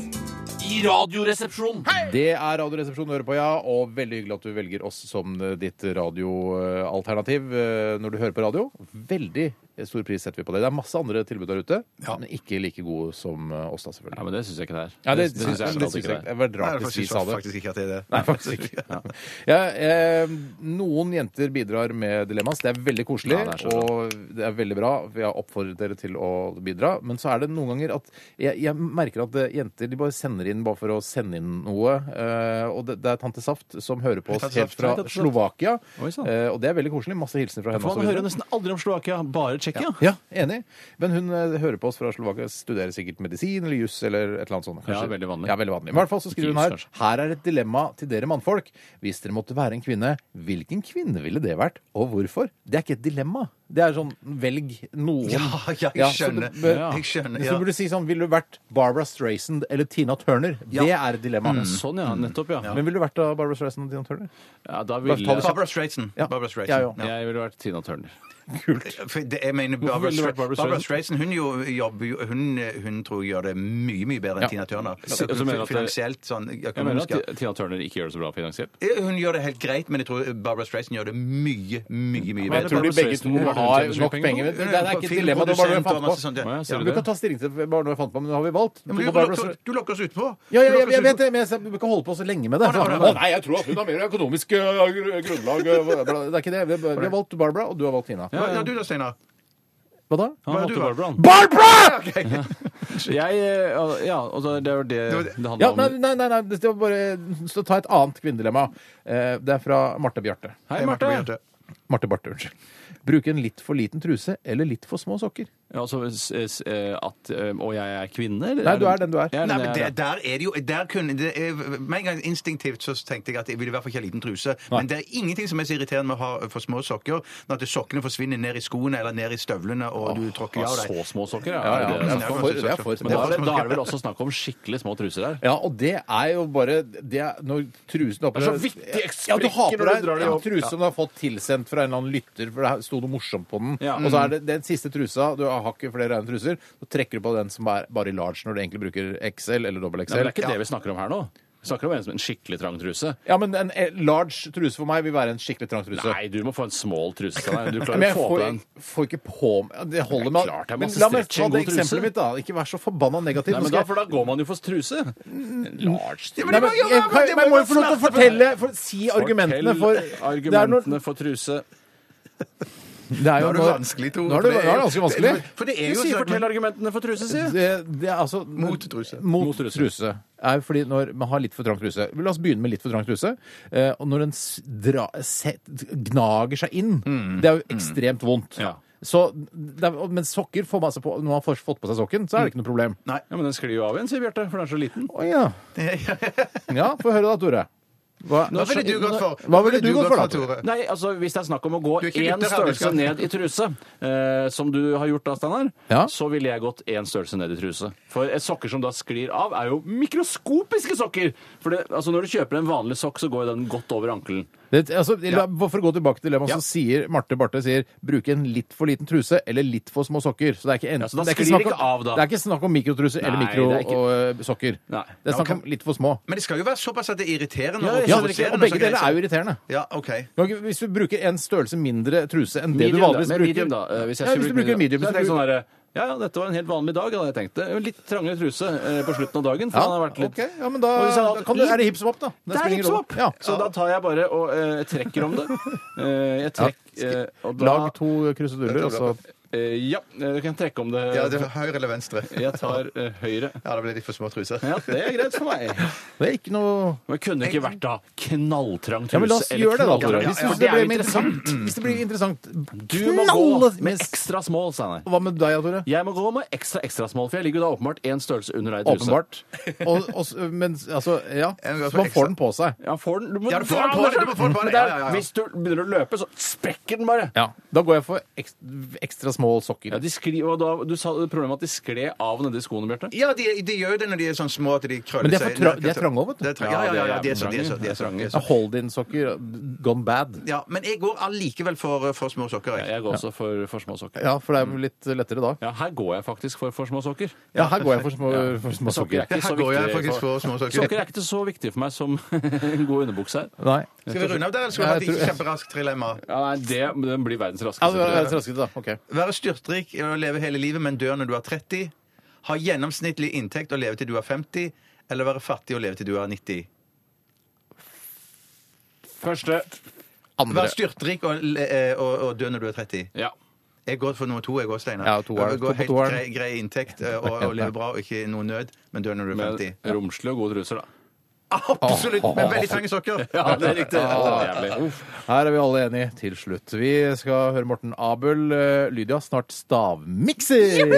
S4: I radioresepsjonen.
S2: Det er Radioresepsjonen du hører på, ja. Og veldig hyggelig at du velger oss som eh, ditt radioalternativ eh, når du hører på radio. Veldig stor pris setter vi på det. Det er masse andre tilbud der ute, men ikke like gode som eh, oss, da,
S4: Ja,
S2: selvfølgelig.
S4: men det syns jeg ikke det er.
S2: Ja, det,
S4: synes jeg
S2: syns
S4: absolutt
S2: jeg
S4: ikke
S2: ikke.
S4: det er.
S2: Det var
S3: Nei,
S2: rart hvis vi
S3: faktisk,
S2: sa det.
S3: faktisk ikke at det er det.
S2: Nei, faktisk ikke. Ja, eh, noen jenter bidrar med dilemmas. Det er veldig koselig,
S4: Ja, det er så bra.
S2: og det er veldig bra. Vi har oppfordret dere til å bidra. Men så er det noen ganger at jeg, jeg merker at eh, jenter de bare sender inn bare for å sende inn noe. Eh, og det, det er Tante Saft som hører på oss
S3: Tante
S2: helt
S3: Saft,
S2: fra
S3: hei, Tante Saft.
S2: Slovakia.
S4: Oi, sann.
S2: Eh, og det er veldig koselig. Masse hilsener fra henne. og
S4: For
S2: så
S4: man
S2: videre.
S4: hører nesten aldri om Slovakia, bare Tsjekkia.
S2: Ja, enig. Men hun eh, hører på oss fra Slovakia, studerer sikkert medisin eller juss eller et eller annet sånt. kanskje.
S4: Ja, veldig vanlig.
S2: Ja, veldig vanlig. Men I hvert fall så skriver hun her
S4: Jus,
S2: her er et dilemma til dere mannfolk. Hvis dere måtte være en kvinne, hvilken kvinne ville det vært, og hvorfor? Det er ikke et dilemma. Det er sånn velg noen.
S3: Ja, ja, jeg
S2: Ja, så
S3: skjønner.
S2: du bør-
S3: Jeg skjønner,
S2: Hvis
S3: ja.
S2: du burde si sånn, ville du vært Barbara Streisand eller Tina Turner? Det er et dilemma.
S4: Sånn, ja. Nettopp, ja.
S2: Men ville du vært da Barbara Streisand og Tina Turner?
S4: ja da
S2: ta
S4: ville
S2: det
S3: Barbara Streisand.
S2: Ja.
S3: Barbara
S2: Ja,
S3: Streisand.
S2: jo.
S3: Ja.
S4: jeg ville vært Tina Turner.
S3: For det- Jeg mener Barbara,
S4: ville det vært Barbara
S3: Stra
S4: Streisand?
S3: Barbara Streisand hun, jo, jobber, jo- hun, hun tror jeg gjør det mye, mye bedre enn
S2: Ja.
S3: Tina Turner.
S4: Så- så mener du at det-
S3: Finansielt, sånn
S4: Jeg mener
S3: økonomisk. ja.
S4: at Tina Turner ikke gjør det så bra finansielt.
S3: Hun gjør det helt greit, men jeg tror Barbara Streisand gjør det mye, mye mye
S2: Men
S3: bedre.
S2: jeg tror de begge to har
S4: Streisand
S2: nok
S4: penger på?
S2: penger. men Det det er ikke et dilemma. Det var bare noe jeg
S3: Filmprodusent og
S2: fant på.
S3: masse sånt.
S4: Å,
S3: ja.
S4: ja, ser
S2: Ja,
S4: du
S2: du
S4: det?
S2: kan ta stilling til det bare noe jeg fant på, men nå har vi valgt.
S3: Men Du
S2: På Barbra
S3: lokker-
S2: Streisand-
S3: du lokker oss utpå!
S2: ja, ja, jeg,
S3: Du lokker
S2: jeg
S3: oss
S2: vet
S3: utpå.
S2: det, men jeg, vi kan ikke holde på så lenge med det.
S3: Å, nei,
S2: Sånn,
S3: å, nei,
S2: Å
S3: nei.
S2: nei, jeg tror at hun har mer økonomisk eh, gr- grunnlag. eh, bla, bla. Det er ikke det. Vi, vi har valgt Barbara, og du har valgt Tina.
S3: Hva gjør du da, Steinar?
S2: Hva da?
S4: Han
S3: er
S4: valgte
S3: du, da?
S4: Barbara. han.
S2: Barbara!
S4: Jeg, eh, ja, og da- det er jo det det
S2: Ja,
S4: handler om.
S2: nei, nei, nei, nei. Det var bare så ta et annet kvinnedilemma. Eh, Det er fra Marte Bjarte.
S4: Hei, Marte.
S2: Marte Bjarte, unnskyld. Bruke en litt for liten truse eller litt for små sokker?
S4: Ja, altså, s- s- eh, at, eh, og jeg er kvinne? Eller?
S2: Nei, du er den du er.
S4: Jeg
S3: Nei,
S4: den
S3: men
S4: jeg er,
S3: det, der er det jo der kunne, det er, Med en gang instinktivt så tenkte jeg at jeg ville i hvert fall ikke ha liten truse. Men det er ingenting som er så irriterende med å ha eh, for små sokker, når at sokkene forsvinner ned i skoene eller ned i støvlene, og du tråkker
S4: ja.
S3: av
S4: Så
S3: deg.
S4: små sokker, ja.
S2: Ja, ja.
S4: Er det det?
S2: Det er for, det er for
S4: Men da
S2: små.
S4: er, det, da er det vel også snakk om skikkelig små truser her.
S2: Ja, og det er jo bare det er, Når trusen oppe
S4: Det er så vittig
S2: ja, du har
S4: sprekker
S2: på
S4: når du
S2: deg
S4: drar det
S2: en
S4: opp.
S2: truse som du har fått tilsendt fra en eller annen lytter, for det sto noe morsomt på den.
S4: Ja. Mm.
S2: Og så er det den siste trusa, du har ikke flere rene truser, så trekker du på den som er bare i large når du egentlig bruker XL eller dobbel
S4: Nei, men
S2: XL.
S4: det er ikke det vi snakker om her nå. Vi snakker om en, som en skikkelig trang truse.
S2: Ja, men en eh, large truse for meg vil være en skikkelig trang truse.
S4: Nei, du må få en small truse til deg. Du klarer
S2: Men jeg
S4: ikke å få
S2: får,
S4: på den.
S2: får ikke på meg Det holder med
S4: klart det er
S2: Men
S4: masse
S2: la meg
S4: stretch i
S2: ta
S4: en
S2: det
S4: god truse.
S2: eksempelet mitt, da. Ikke vær så forbanna negativ.
S4: Nei,
S2: Nå skal
S4: men da,
S2: jeg-
S4: for da går man jo for truse. En large truse.
S2: Nei, men jeg, jeg, jeg, må jo få lov til å fortelle for, Si argumentene for
S4: Fortell
S2: Det er når-
S4: argumentene for truse.
S2: Det er jo
S3: Nå er det
S2: når-
S3: vanskelig, Tor.
S2: Nå er det, nå
S3: For det
S2: er
S3: er
S2: det
S3: jo-
S2: ganske vanskelig.
S3: For det er
S4: Du
S3: jo
S4: sier
S3: sånn-
S4: 'fortell argumentene for truse', sier jeg.
S2: Det, det er altså
S3: Mot truse.
S2: Mot truse. Er jo fordi når man har litt for trang truse La oss begynne med litt for trang truse. Eh,
S3: Mm.
S2: og når den s- dra, se, gnager seg inn, det er jo ekstremt vondt.
S4: Ja.
S2: Så, det er, men sokker får man seg på Når man har først fått på seg sokken, så er det ikke noe problem.
S4: Ja, Men den sklir jo av igjen, sier Bjarte, for den er så liten.
S2: Å ja. ja, få høre da, Tore. Hva,
S3: Hva ville du gått for?
S2: Hva ville du gått for da, Tore?
S4: Nei, altså Hvis det er snakk om å gå
S3: Du er ikke
S4: én
S3: lytter her, du
S4: størrelse
S3: skal-
S4: ned i truse, eh, som du har gjort da, Steinar,
S2: Ja.
S4: så ville jeg gått én størrelse ned i truse. For eh, sokker som da sklir av, er jo mikroskopiske sokker! For det, altså Når du kjøper en vanlig sokk, så går jo den godt over ankelen.
S2: Det, altså, la- For å gå tilbake til det man så sier Marte Barthe sier bruke en litt for liten truse eller litt for små sokker. Så det er ikke, enten,
S4: Ja, så da
S2: det er ikke,
S4: sklir
S2: snakk,
S4: det
S2: om,
S4: ikke av, da.
S2: det er ikke snakk om mikrotruse eller
S4: Nei, det er ikke-
S2: mikrosokker.
S4: Nei.
S2: Det er snakk om litt for små.
S3: Men det skal jo være såpass at det er irriterende.
S4: Ja, jeg
S2: Ja,
S4: skjønner ikke,
S2: og begge deler er jo irriterende.
S3: liksom- Ja, OK.
S2: Kan ikke- Hvis du bruker en størrelse mindre truse enn det
S4: Medium,
S2: du vanligvis
S4: da.
S2: bruker
S4: medium, da. eh, Hvis
S2: ja,
S4: jeg skulle
S2: hvis du
S4: bruke
S2: bruker medium,
S4: så
S2: så
S4: hadde jeg tenkt
S2: bruker-
S4: sånn her, ja, ja, dette var en helt vanlig dag, hadde jeg tenkt det. En Litt trangere truse eh, på slutten av dagen. For
S2: ja,
S4: den har vært litt...
S2: ok. ja, men da
S4: Og hvis jeg hadde hatt
S2: kan du,
S4: litt-
S2: er det hipp som opp, da. Det
S4: Det er
S2: spiller ingen
S4: hipp som
S2: rolle.
S4: opp.
S2: Ja.
S4: Så da tar jeg bare og eh, trekker om det. Eh, jeg trekk, eh, og da,
S2: Lag to kruseduller, og så
S4: Eh, ja, eh, du kan trekke om det.
S3: Ja, det er høyre eller venstre?
S4: Jeg tar eh, høyre.
S3: Ja, det ble litt for små truser.
S4: Ja, det er greit for meg.
S2: Det er ikke noe
S4: Men kunne det ikke vært da knalltrang truse
S2: Ja, men La oss gjøre det, da. Tore.
S4: knalltrang-
S2: Hvis du
S4: Ja,
S2: synes
S4: for
S2: det
S4: er
S2: blir
S4: jo
S2: mer
S4: interessant.
S2: interessant. Mm. Hvis det blir interessant
S4: Du må gå
S2: knall-
S4: med ekstra small, Steinar.
S2: Hva med deg, Tore?
S4: Jeg må gå med ekstra ekstra small, for jeg ligger jo da åpenbart én størrelse under deg i truse.
S2: Åpenbart. Og, og, s- men altså, ja.
S3: Jeg vil gå
S2: Så
S3: for
S2: man får
S3: ekstra.
S2: den på seg.
S4: Ja, får den, du må
S3: Ja, du får den på deg, du må få den på deg.
S4: Men det er-
S3: Ja, ja, ja.
S4: Hvis du begynner å løpe, så sprekker den bare.
S2: Da går jeg for ekstra, ekstra små
S4: Ja,
S2: sokker.
S4: de skli, og da, du sa problemet at de skled av nedi skoene, Bjarte.
S3: Ja, de, de gjør jo det når de er sånn små at de krøller
S2: Men de er
S3: seg. altså.
S2: for tra- de er trange også, vet du.
S3: Det er trange, Ja, ja, ja, ja, de er sånn. De er sånn, de er sånn, de
S4: trange.
S3: er
S2: Ja,
S3: sånn.
S2: Hold-in-sokker gone bad.
S3: Ja, men jeg går allikevel for, eh, for små sokker.
S4: Ja,
S3: Jeg.
S4: jeg går også for, for små sokker.
S2: Ja, for det er jo litt lettere da.
S4: Ja, her går jeg faktisk for for små sokker.
S2: Ja, her går jeg for små, for små
S4: Sokker
S2: sokker.
S4: er ikke så
S3: Her går jeg
S4: viktig
S3: faktisk for små sokker.
S4: Sokker er ikke så viktig for meg som en god underbukse her.
S2: Nei.
S3: Skal vi runde av der, eller skal
S2: Ja,
S3: vi ha
S2: jeg
S3: et
S2: tror-
S3: kjemperaskt trilemma?
S4: Ja, nei, det, Den blir verdens
S2: Ja, det
S4: raskeste.
S2: var det
S4: tror jeg.
S2: var raskere, da. Ok.
S3: Være styrtrik og leve hele livet, men dør når du er 30. Ha gjennomsnittlig inntekt og leve til du er 50. Eller være fattig og leve til du er 90.
S4: Første.
S2: Andre.
S3: Være styrtrik og, le- eh, og, og dø når du er 30.
S4: Ja.
S3: Jeg går for nummer to, jeg går, Steinar.
S2: Ja, toeren.
S3: Jeg
S2: Gå på
S3: går helt
S2: toeren.
S3: grei, grei inntekt eh, og, og leve bra og ikke noe nød, men dør når du er
S4: Med
S3: 50.
S4: romslige og gode truser, da.
S3: Absolutt! Med veldig trange sokker.
S4: Ja, det er riktig.
S2: Ja, Her er vi alle enige til slutt. Vi skal høre Morten Abel, eh, Lydia, snart stavmikser!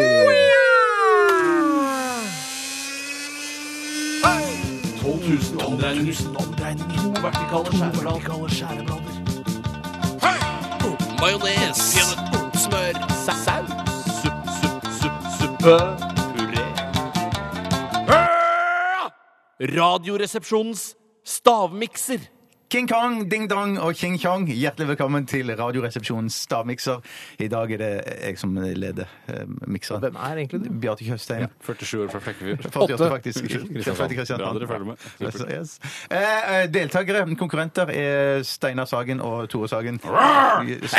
S3: King Kong, Ding Dong og King Kong, hjertelig velkommen til Radioresepsjonens stavmikser. I dag er det jeg som leder eh, mikseren.
S2: Hvem er egentlig du?
S3: Bjarte Tjøstheim.
S4: 47 år fra Flekkefjord.
S3: 48, faktisk.
S4: Kristiansand. Bra dere følger med. Supert.
S3: Yes. Eh, eh, deltakere, konkurrenter, er Steinar Sagen og Tore Sagen. Yes.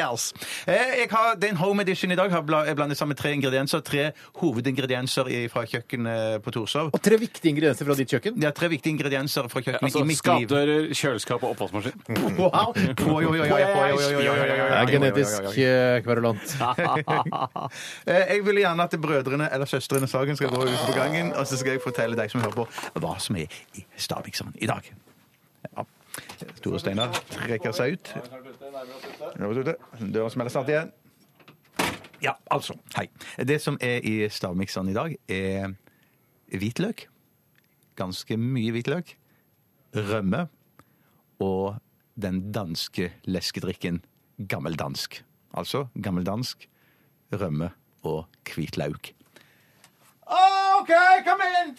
S3: Eh, jeg har, det er en home edition i dag. Har bla- jeg blandet sammen tre ingredienser. Tre hovedingredienser i- fra kjøkkenet på Torshov.
S2: Og tre viktige ingredienser fra ditt kjøkken.
S3: Det er tre viktige ingredienser fra kjøkkenet
S4: Altså,
S3: i Mm. mitt liv.
S4: Skapdører, kjøleskap og oppvaskmaskin.
S3: Wow! Oi, oi, oi, oi, oi, oi, oi, oi, oi, oi, oi.
S2: Det er genetisk eh, kverulant.
S3: Eh, Jeg vil gjerne at brødrene eller søstrene Sagen skal gå ut på gangen, og så skal jeg fortelle deg som hører på, hva som er i Stavmikseren i dag. Ja. Tore Steinar trekker seg ut. Nå er det ute. Døren smeller snart igjen. Ja, altså. Hei. Det som er i Stavmikseren i dag, er hvitløk. Ganske mye hvitløk. Rømme. Og den danske leskedrikken gammeldansk. Altså gammeldansk rømme og hvitlauk. OK, kom inn!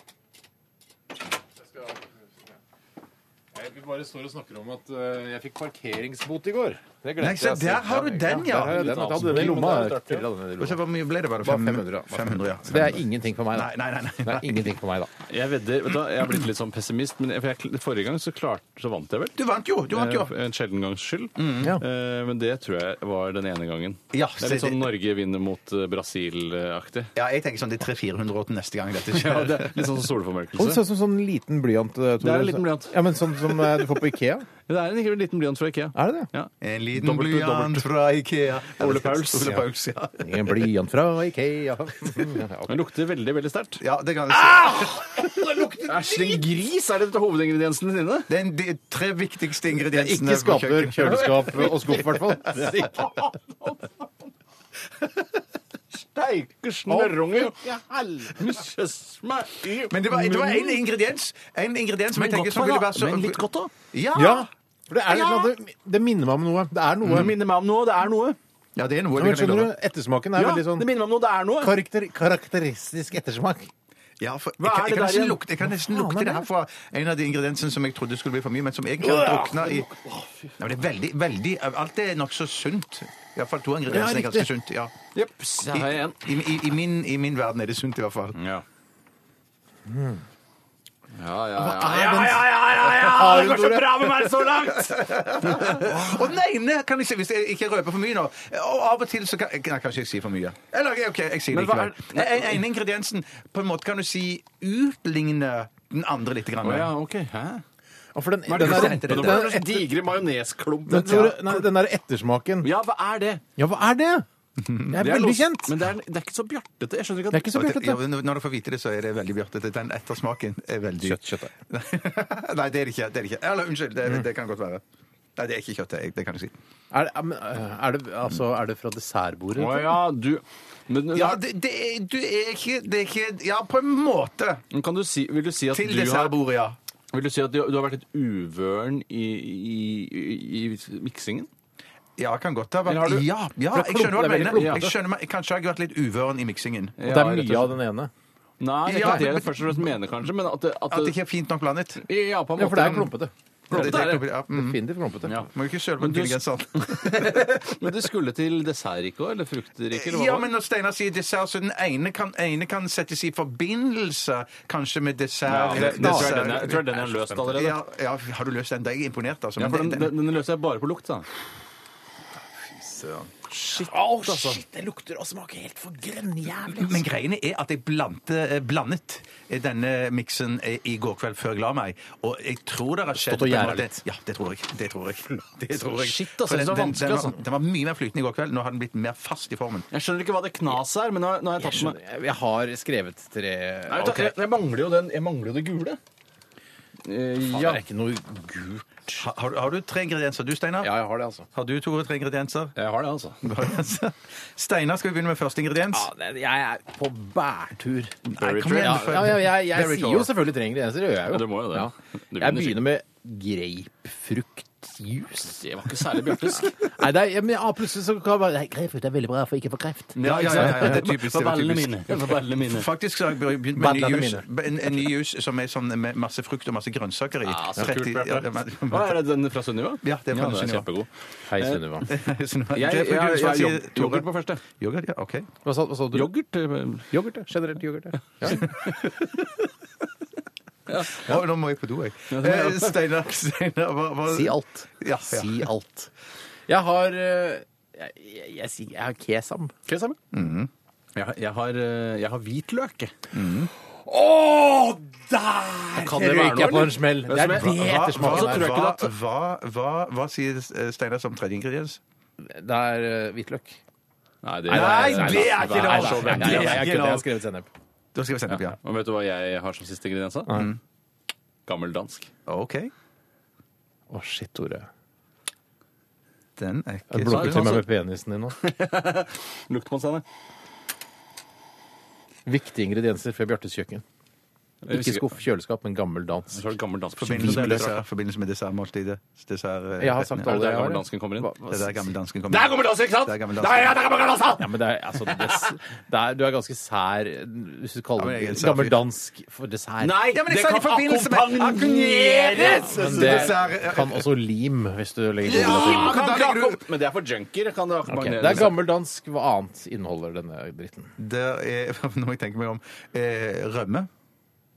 S2: Vi bare står og snakker om at eh, jeg fikk parkeringsbot i går. Det
S3: Nei, se, jeg, så der altså. har du den, ja.
S2: Der har jeg den. Jeg hadde den i lomma. Jeg hadde den i
S3: Og
S2: lomma.
S3: så Hvor mye ble det? Var det
S2: Bare
S3: 500?
S2: 500,
S3: 500 ja.
S2: Så det er ingenting for meg, da.
S3: Nei, nei, nei, nei.
S2: Det er ingenting for meg, da.
S4: Jeg vedder, vet du, hva, jeg er blitt litt sånn pessimist, men jeg, for jeg, forrige gang så, klart, så vant jeg vel.
S3: Du vant jo! du vant jo. Mm,
S4: Eh, En sjelden gangs skyld.
S2: ja.
S4: Eh, Men det tror jeg var den ene gangen.
S3: Ja,
S4: det er litt
S3: så
S4: sånn
S3: det-
S4: Norge vinner mot eh, Brasil-aktig.
S3: Ja, jeg tenker sånn det er 300-400 år til neste gang dette
S4: Ja,
S3: skjer.
S4: det er litt sånn
S2: Og det
S4: solformørkelse.
S2: ser ut som sånn liten blyant. Tore.
S4: Det er en liten blyant.
S2: Ja, men Sånn som eh, du får på Ikea?
S4: Det er en liten blyant fra Ikea.
S2: Er det det?
S4: Ja.
S3: En liten
S4: Dobbelt-
S3: blyant
S4: dobbelt.
S3: fra Ikea.
S4: Ole Pauls.
S3: Ole Pauls, ja.
S2: En blyant fra Ikea.
S4: Den lukter veldig veldig sterkt.
S3: ja det kan jeg si.
S4: Æsj, en gris! Er det dette hovedingrediensene dine?
S3: Det er en- de tre viktigste ingrediensene
S2: Ikke
S3: på
S2: skaper,
S3: kjøkkenet.
S2: kjøleskap og skuff, i hvert fall. Steike
S3: snørrunger. Men det var, det var en
S2: Men
S3: ingrediens, en ingrediens som jeg tenker
S4: godt
S3: som
S4: for
S3: ville
S4: da,
S3: være så Mm.
S4: men litt godt da.
S3: Ja.
S2: Ja. For det, er, litt sånn at det, det minner meg om noe. Det er noe.
S4: Det minner meg om noe, det er noe.
S3: ja, det er noe.
S2: Ja, men
S3: det kan jeg
S2: skjønner du,
S3: love.
S2: Ettersmaken er
S4: Mm. Ja,
S2: veldig sånn
S4: det minner meg om noe, det er noe.
S2: karakter, karakteristisk ettersmak.
S3: Ja, for
S4: Hva
S3: jeg,
S4: er
S3: kan-
S4: det
S3: jeg, kan
S4: der
S3: nesten
S4: igjen?
S3: lukte, jeg kan nesten
S2: Hva faen
S3: lukte
S2: er
S3: det her
S2: det?
S3: fra en av de ingrediensene som jeg trodde skulle bli for mye, men som egentlig har drukna i Nei, men Det er veldig, veldig Alt er nokså sunt. Iallfall to ingredienser er ganske sunt. ja.
S4: Jeps, der har jeg en.
S3: I, i, i, min, I min verden er det sunt, i hvert fall.
S4: Ja. Ja, ja, ja.
S2: Ja, ja, ja, ja, Det går så bra med meg så langt!
S3: Og den ene kan jeg si, hvis jeg ikke røper for mye nå Og av og til så kan Nei, kanskje jeg sier for mye. Eller OK, jeg sier det
S4: Men hva
S3: likevel. Den en, ene ingrediensen på en måte kan du si utligner den andre litt. Grann.
S4: Å, ja, ok. Hæ?
S2: Og for den,
S4: Hva er
S2: den, der,
S4: det for
S2: den,
S4: noe?
S2: der,
S4: Den digre majonesklumpen.
S2: den, Tore, nei, den der ettersmaken
S4: Ja, hva er det?
S2: Ja, hva er det? Det er
S4: Mm. Det er
S2: veldig
S4: los-
S2: kjent.
S4: Men det er, det er ikke så bjartete. Jeg skjønner ikke
S2: Det er
S4: at
S2: ikke så
S3: Ja,
S2: bjørtete.
S3: men når du får vite det, så er det veldig bjørtete. Den ettersmaken er veldig
S2: Kjøttkjøttet.
S3: Nei, det er det ikke. Det er det ikke. Eller unnskyld, det, det kan godt være. Nei, det er ikke kjøttet. jeg- Det kan jeg si.
S2: Er, det- ja, men, er, det, altså, er det fra dessertbordet?
S4: Å ja, du men,
S3: Ja, det, det, er- du er ikke, det er ikke Ja, på en måte.
S4: men kan du si, vil du si at
S3: Til
S4: Altså, du har,
S3: dessertbordet, ja.
S4: vil du si at du du har vært litt uvøren i, i, i, i miksingen?
S3: Ja, kan godt ha
S2: Men har
S3: vært
S2: du-
S3: Ja, ja
S2: For det er
S3: jeg skjønner hva
S2: klump-
S3: du
S2: det er
S3: mener.
S2: veldig
S3: Jeg
S2: klumpete.
S3: skjønner meg, kanskje har jeg vært litt uvøren i miksingen.
S2: Og det er
S4: rett og
S2: mye av den ene.
S4: Nei, det er
S3: Ja.
S4: ikke det jeg først og fremst mener, kanskje, men at det, at
S3: At det
S4: det-
S3: ikke er fint nok blandet.
S4: Ja, på en måte.
S2: Ja, for det er klumpete.
S4: Klumpete er det.
S3: Ja, mm.
S2: Definitivt klumpete.
S4: Ja.
S3: Må jo ikke søle på
S4: Men du-
S3: intelligensen.
S4: Men du skulle til dessertrike òg, eller fruktrike? Eller hva
S3: Ja,
S4: var det?
S3: men når Steinar sier dessert, så den ene kan, ene kan settes i forbindelse kanskje med
S4: Ja,
S3: dessert.
S4: det, det tror jeg den er,
S3: Dessert-
S4: jeg tror den er løst allerede.
S3: Ja, ja, har du løst den? Da er jeg imponert, altså.
S4: Ja,
S3: Men
S4: for den,
S3: den-
S4: den, den løser jeg bare på lukt, da.
S6: Shit, oh,
S4: altså.
S6: shit, det lukter og smaker helt for grønnjævlig.
S3: Men greiene er at jeg blandte, eh, blandet eh, denne miksen eh, i går kveld før jeg la meg. Og jeg tror det har skjedd
S2: Stått og
S3: på en
S2: gjæret
S3: måte-
S2: litt.
S3: Ja, det tror jeg. Det tror jeg. Det tror jeg.
S4: Shit, altså,
S3: For
S4: det var
S3: den,
S4: vanskelig,
S3: den, var,
S4: altså.
S3: den var mye mer flytende i går kveld. Nå har den blitt mer fast i formen.
S4: Jeg skjønner ikke hva det knaset er, men nå, har- nå har jeg
S2: Jeg,
S4: tatt
S2: skjønner.
S4: med
S2: Jeg- jeg har skrevet tre
S4: Nei, vet du,
S2: Ok.
S4: jeg, jeg mangler jo den, jeg mangler jo det gule. Eh,
S2: Faen, Det er ikke noe gult
S3: Ha- Har, du- har du tre ingredienser, du, Steinar?
S2: Ja, jeg har det, altså.
S3: Har du to og tre ingredienser?
S4: Jeg har det, altså.
S3: Steinar, skal vi begynne med første ingrediens?
S2: Ja, det- jeg er på bærtur.
S3: Nei, kom
S2: Ja,
S3: igjen.
S2: ja, ja, jeg, jeg
S3: Very
S2: sier jo
S3: sure.
S2: selvfølgelig tre ingredienser, det gjør jeg jo.
S4: Ja, du må jo det.
S2: Ja.
S4: Du
S2: Jeg
S4: begynner
S2: begynner med grapefruktjuice.
S4: Det var ikke særlig bjartisk.
S2: Nei, det er, ja, men ja, plutselig så kan det være Nei, Grapefrukt er veldig bra for ikke å få kreft.
S3: Ja, ja, ja, ja, det er typisk,
S4: For
S3: det er
S4: ballene
S3: typisk.
S4: mine. For ballene mine.
S3: Faktisk så har jeg begynt med en ny
S2: Badlandene
S3: juice, en, en ny juice som er sånn med masse frukt og masse grønnsaker i.
S4: Ja, så
S3: 30
S4: kult,
S3: ja, det
S4: Bjarte.
S3: er-
S4: Hva er det, den fra Sunniva?
S3: Ja, det er fra Sunniva.
S4: Kjempegod.
S2: Hei, Sunniva.
S4: Jeg,
S3: Sånn, det
S4: jeg,
S3: er
S4: jeg,
S3: for- hva
S4: har
S3: sier
S4: yoghurt-
S3: Tore?
S4: yoghurt på første.
S3: Yoghurt, ja, ok.
S2: Hva sa, hva sa du?
S4: Yoghurt? eh,
S2: Yoghurt, ja. Generelt yoghurt, ja. ja.
S3: Å, nå må jeg på do, jeg. Eh, Steinar, Steinar, hva, hva
S2: Si alt.
S3: Ja, ja.
S2: Si alt. Jeg har eh, jeg, jeg, jeg, sier- jeg har kesam.
S4: Kesam? jeg, har- jeg, har, eh, jeg har hvitløk. jeg.
S2: Kan
S4: det være noe,
S2: jeg på en
S4: eller?
S2: smell. Det er det
S3: Hva, hva,
S2: ettersmaken
S4: tror jeg
S2: er.
S4: ikke
S3: hva,
S4: det at-
S3: hva, hva, hva sier eh, Steinar som tredje ingrediens?
S2: Det er eh, hvitløk.
S4: Nei, det,
S2: det er ikke
S4: lov!
S2: Nei, nei, nei, jeg kødder. Jeg har skrevet sennep.
S3: Da skal vi sende opp, ja.
S4: Og vet du hva jeg har som siste ingrediens? da? Gammeldansk.
S3: OK.
S2: Å, shit, Tore.
S3: Den er
S2: Jeg
S3: ikke
S2: blunker til meg med penisen din nå.
S4: Lukt på den, Steinar.
S2: Viktige ingredienser fra Bjartes kjøkken.
S4: Jeg
S2: Ikke
S4: visste
S2: skuff kjøleskap, men gammel dans.
S4: Så er det gammeldansk på
S3: forbindelse med
S4: Det er
S3: dessert- forbindelse med dessertmåltidet. Dessert, eh,
S2: Jeg har sagt
S3: rettene.
S2: alle
S4: der
S2: jeg har.
S4: gammeldansken kommer inn.
S3: Det er der gammeldansken kommer.
S4: Det er gammeldansk, ikke sant?
S3: Det er gammeldansk.
S4: Nei, ja, det er gammeldansk!
S2: Ja, men det er, altså, des, det er, du er ganske sær hvis du
S3: Ja,
S2: kaller
S3: men jeg er
S2: det
S3: en sær
S2: gammel
S3: fyr.
S2: dansk for dessert.
S4: Nei,
S3: Ja, men jeg
S4: det
S3: sa
S4: kan
S3: i forbindelse med
S2: men
S4: akkompagneres!
S3: Så
S2: det
S3: dessert, eh,
S2: kan også lim, hvis du legger
S3: Ja,
S2: til.
S3: men da legger du-
S4: Men det er for junkier. Kan det
S2: Ok,
S4: akkompagneres?
S2: Det er gammel dansk. Hva annet inneholder denne dritten?
S3: Der er, nå må jeg tenke meg om, eh, rømme.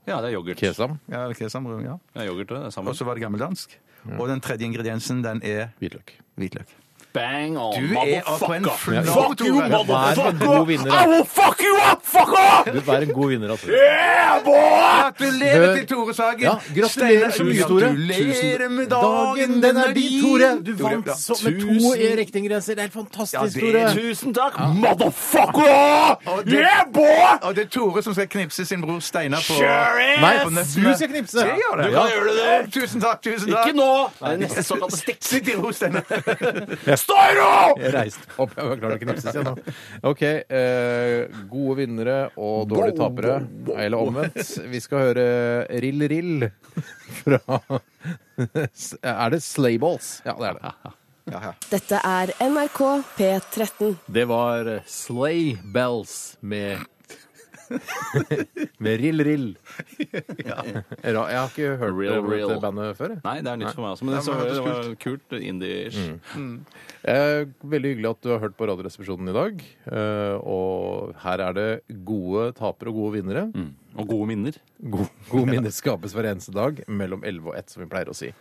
S4: Ja, det er yoghurt.
S2: Kesam,
S3: Ja, eller kesam, rømme, ja.
S2: Mm.
S4: Ja, yoghurt det er
S3: Og
S4: sammen.
S3: så var det gammeldansk. Og den tredje ingrediensen, den er
S2: hvitløk.
S3: hvitløk.
S4: Bang on,
S3: Du er på en
S4: motherfucker!
S3: flow,
S4: Fuck you,
S2: Vær
S3: Tore.
S2: en god
S4: motherfucker!
S2: vinner,
S4: I
S2: da.
S4: will fuck you up, fucker!
S2: Du er en god vinner, altså.
S4: Yeah, boy!
S3: Gratulerer
S2: Hør-
S3: til Tore Sagen!
S2: Ja, gratulerer så mye, Tore.
S3: Gratulerer med
S2: Dagen,
S3: dagen,
S2: den er din, Tore! Du vant
S3: Tore, ja.
S2: så, med to
S4: Tusen-
S2: i riktige grenser. Det er helt fantastisk,
S3: Ja, det
S2: Tore.
S3: er-
S4: Tusen takk, motherfucker! Yeah, boy!
S3: Og det er Tore som skal knipse sin bror Steinar på
S4: Sure is!
S2: Nei,
S3: på
S2: du
S3: nøttene.
S2: skal knipse!
S3: Skal jeg gjøre det?
S2: Ja.
S3: Å, Tusen takk, tusen takk!
S4: Ikke nå! sånn Det er neste såkalte stikk.
S3: Sitt i ro, Steinar.
S2: Jeg stå i ro!
S4: Jeg reiste.
S2: Håper jeg var klar til å knipses igjen nå. OK. eh, gode vinnere og dårlige tapere. Eller omvendt. Vi skal høre Rill Rill fra Er det Slayballs? Ja, det er det.
S8: Dette er NRK P13.
S10: Det var eh, Slay Bells med Med Rill Rill.
S2: Jeg har ikke hørt
S4: Real,
S2: om dette
S4: real.
S2: bandet før. jeg.
S4: Nei, det er nytt for meg også. Men
S3: Nei,
S4: det, så,
S3: men det
S4: det
S3: hørtes
S4: var kult. Mm. Indie-ish.
S2: Eh, veldig hyggelig at du har hørt på Radioresepsjonen i dag. Eh, og her er det gode tapere og gode vinnere.
S4: Og gode minner.
S2: God, gode minner skapes hver eneste dag mellom 11 og 1, som vi pleier å si.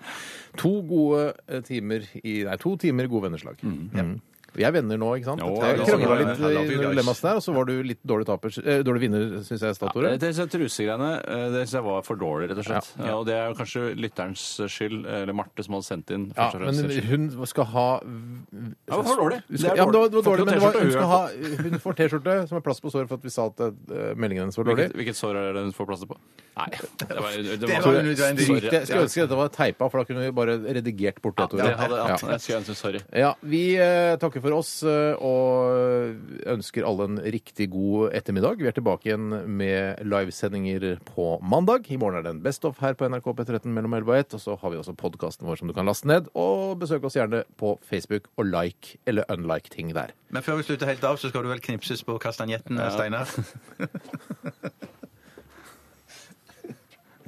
S2: To gode eh, timer i Nei, to timer i gode vennerslag. Ja. Vi er venner nå, ikke sant?
S4: Mm, Jo,
S2: Jeg
S4: ja,
S2: krangla
S4: ja,
S2: litt
S4: ja, ja,
S2: i
S4: ja.
S2: dilemmaet der, og så var du litt dårlig, taper, eh, dårlig vinner, syns jeg, Statore.
S4: Ja, det synes jeg Eh, trusegreiene eh, det synes jeg var for dårlig, rett og slett. Eh, Og det er jo kanskje lytterens skyld, eller Marte som hadde sendt inn.
S2: Ja,
S4: først og fremst.
S2: men hun skal ha Ja,
S4: det var dårlig.
S2: Hun
S4: Det
S2: skal,
S4: er
S2: ja, men det var, det var
S4: dårlig.
S2: dårlig, men det var, hun, skal ha,
S4: Får
S2: hun får T-skjorte som er plass på såret for at vi sa at eh, meldingen hennes var dårlig.
S4: Hvilket, hvilket sår er det hun får plass til på? Nei, det var, det var,
S3: Det var unødvendig.
S2: Stryk det. Jeg skulle ønske dette var teipa, for da kunne vi bare redigert bort det.
S4: Ja,
S2: Tore.
S4: det hadde,
S2: Ja.
S4: jeg skulle ønske sorry.
S2: Ja, vi eh, takker for oss eh, og ønsker alle en riktig god ettermiddag. Vi er tilbake igjen med livesendinger på mandag. I morgen er det en Best of her på NRK P13 mellom 11 og 1. Og så har vi også podkasten vår som du kan laste ned. Og besøk oss gjerne på Facebook og like eller unlike ting der.
S3: Men før vi slutter helt av, så skal du vel knipses på kastanjetten, Steinar?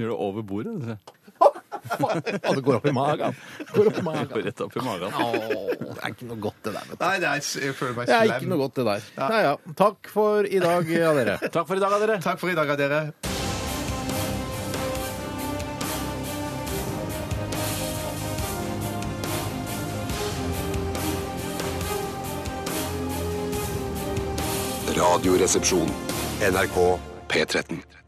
S4: Gjør det over bordet? det ser jeg.
S2: Å, det går opp i magen! Går opp i magen.
S4: Rett opp i magen.
S2: Å, det er ikke noe godt, det der. vet du.
S3: Nei, nei, jeg føler meg
S2: Det er ikke noe godt, det der. Nei, ja. Takk for i dag, ja, dere.
S4: Takk for i dag, dere.
S3: Takk for i dag, dere.
S5: Radioresepsjon. NRK P13.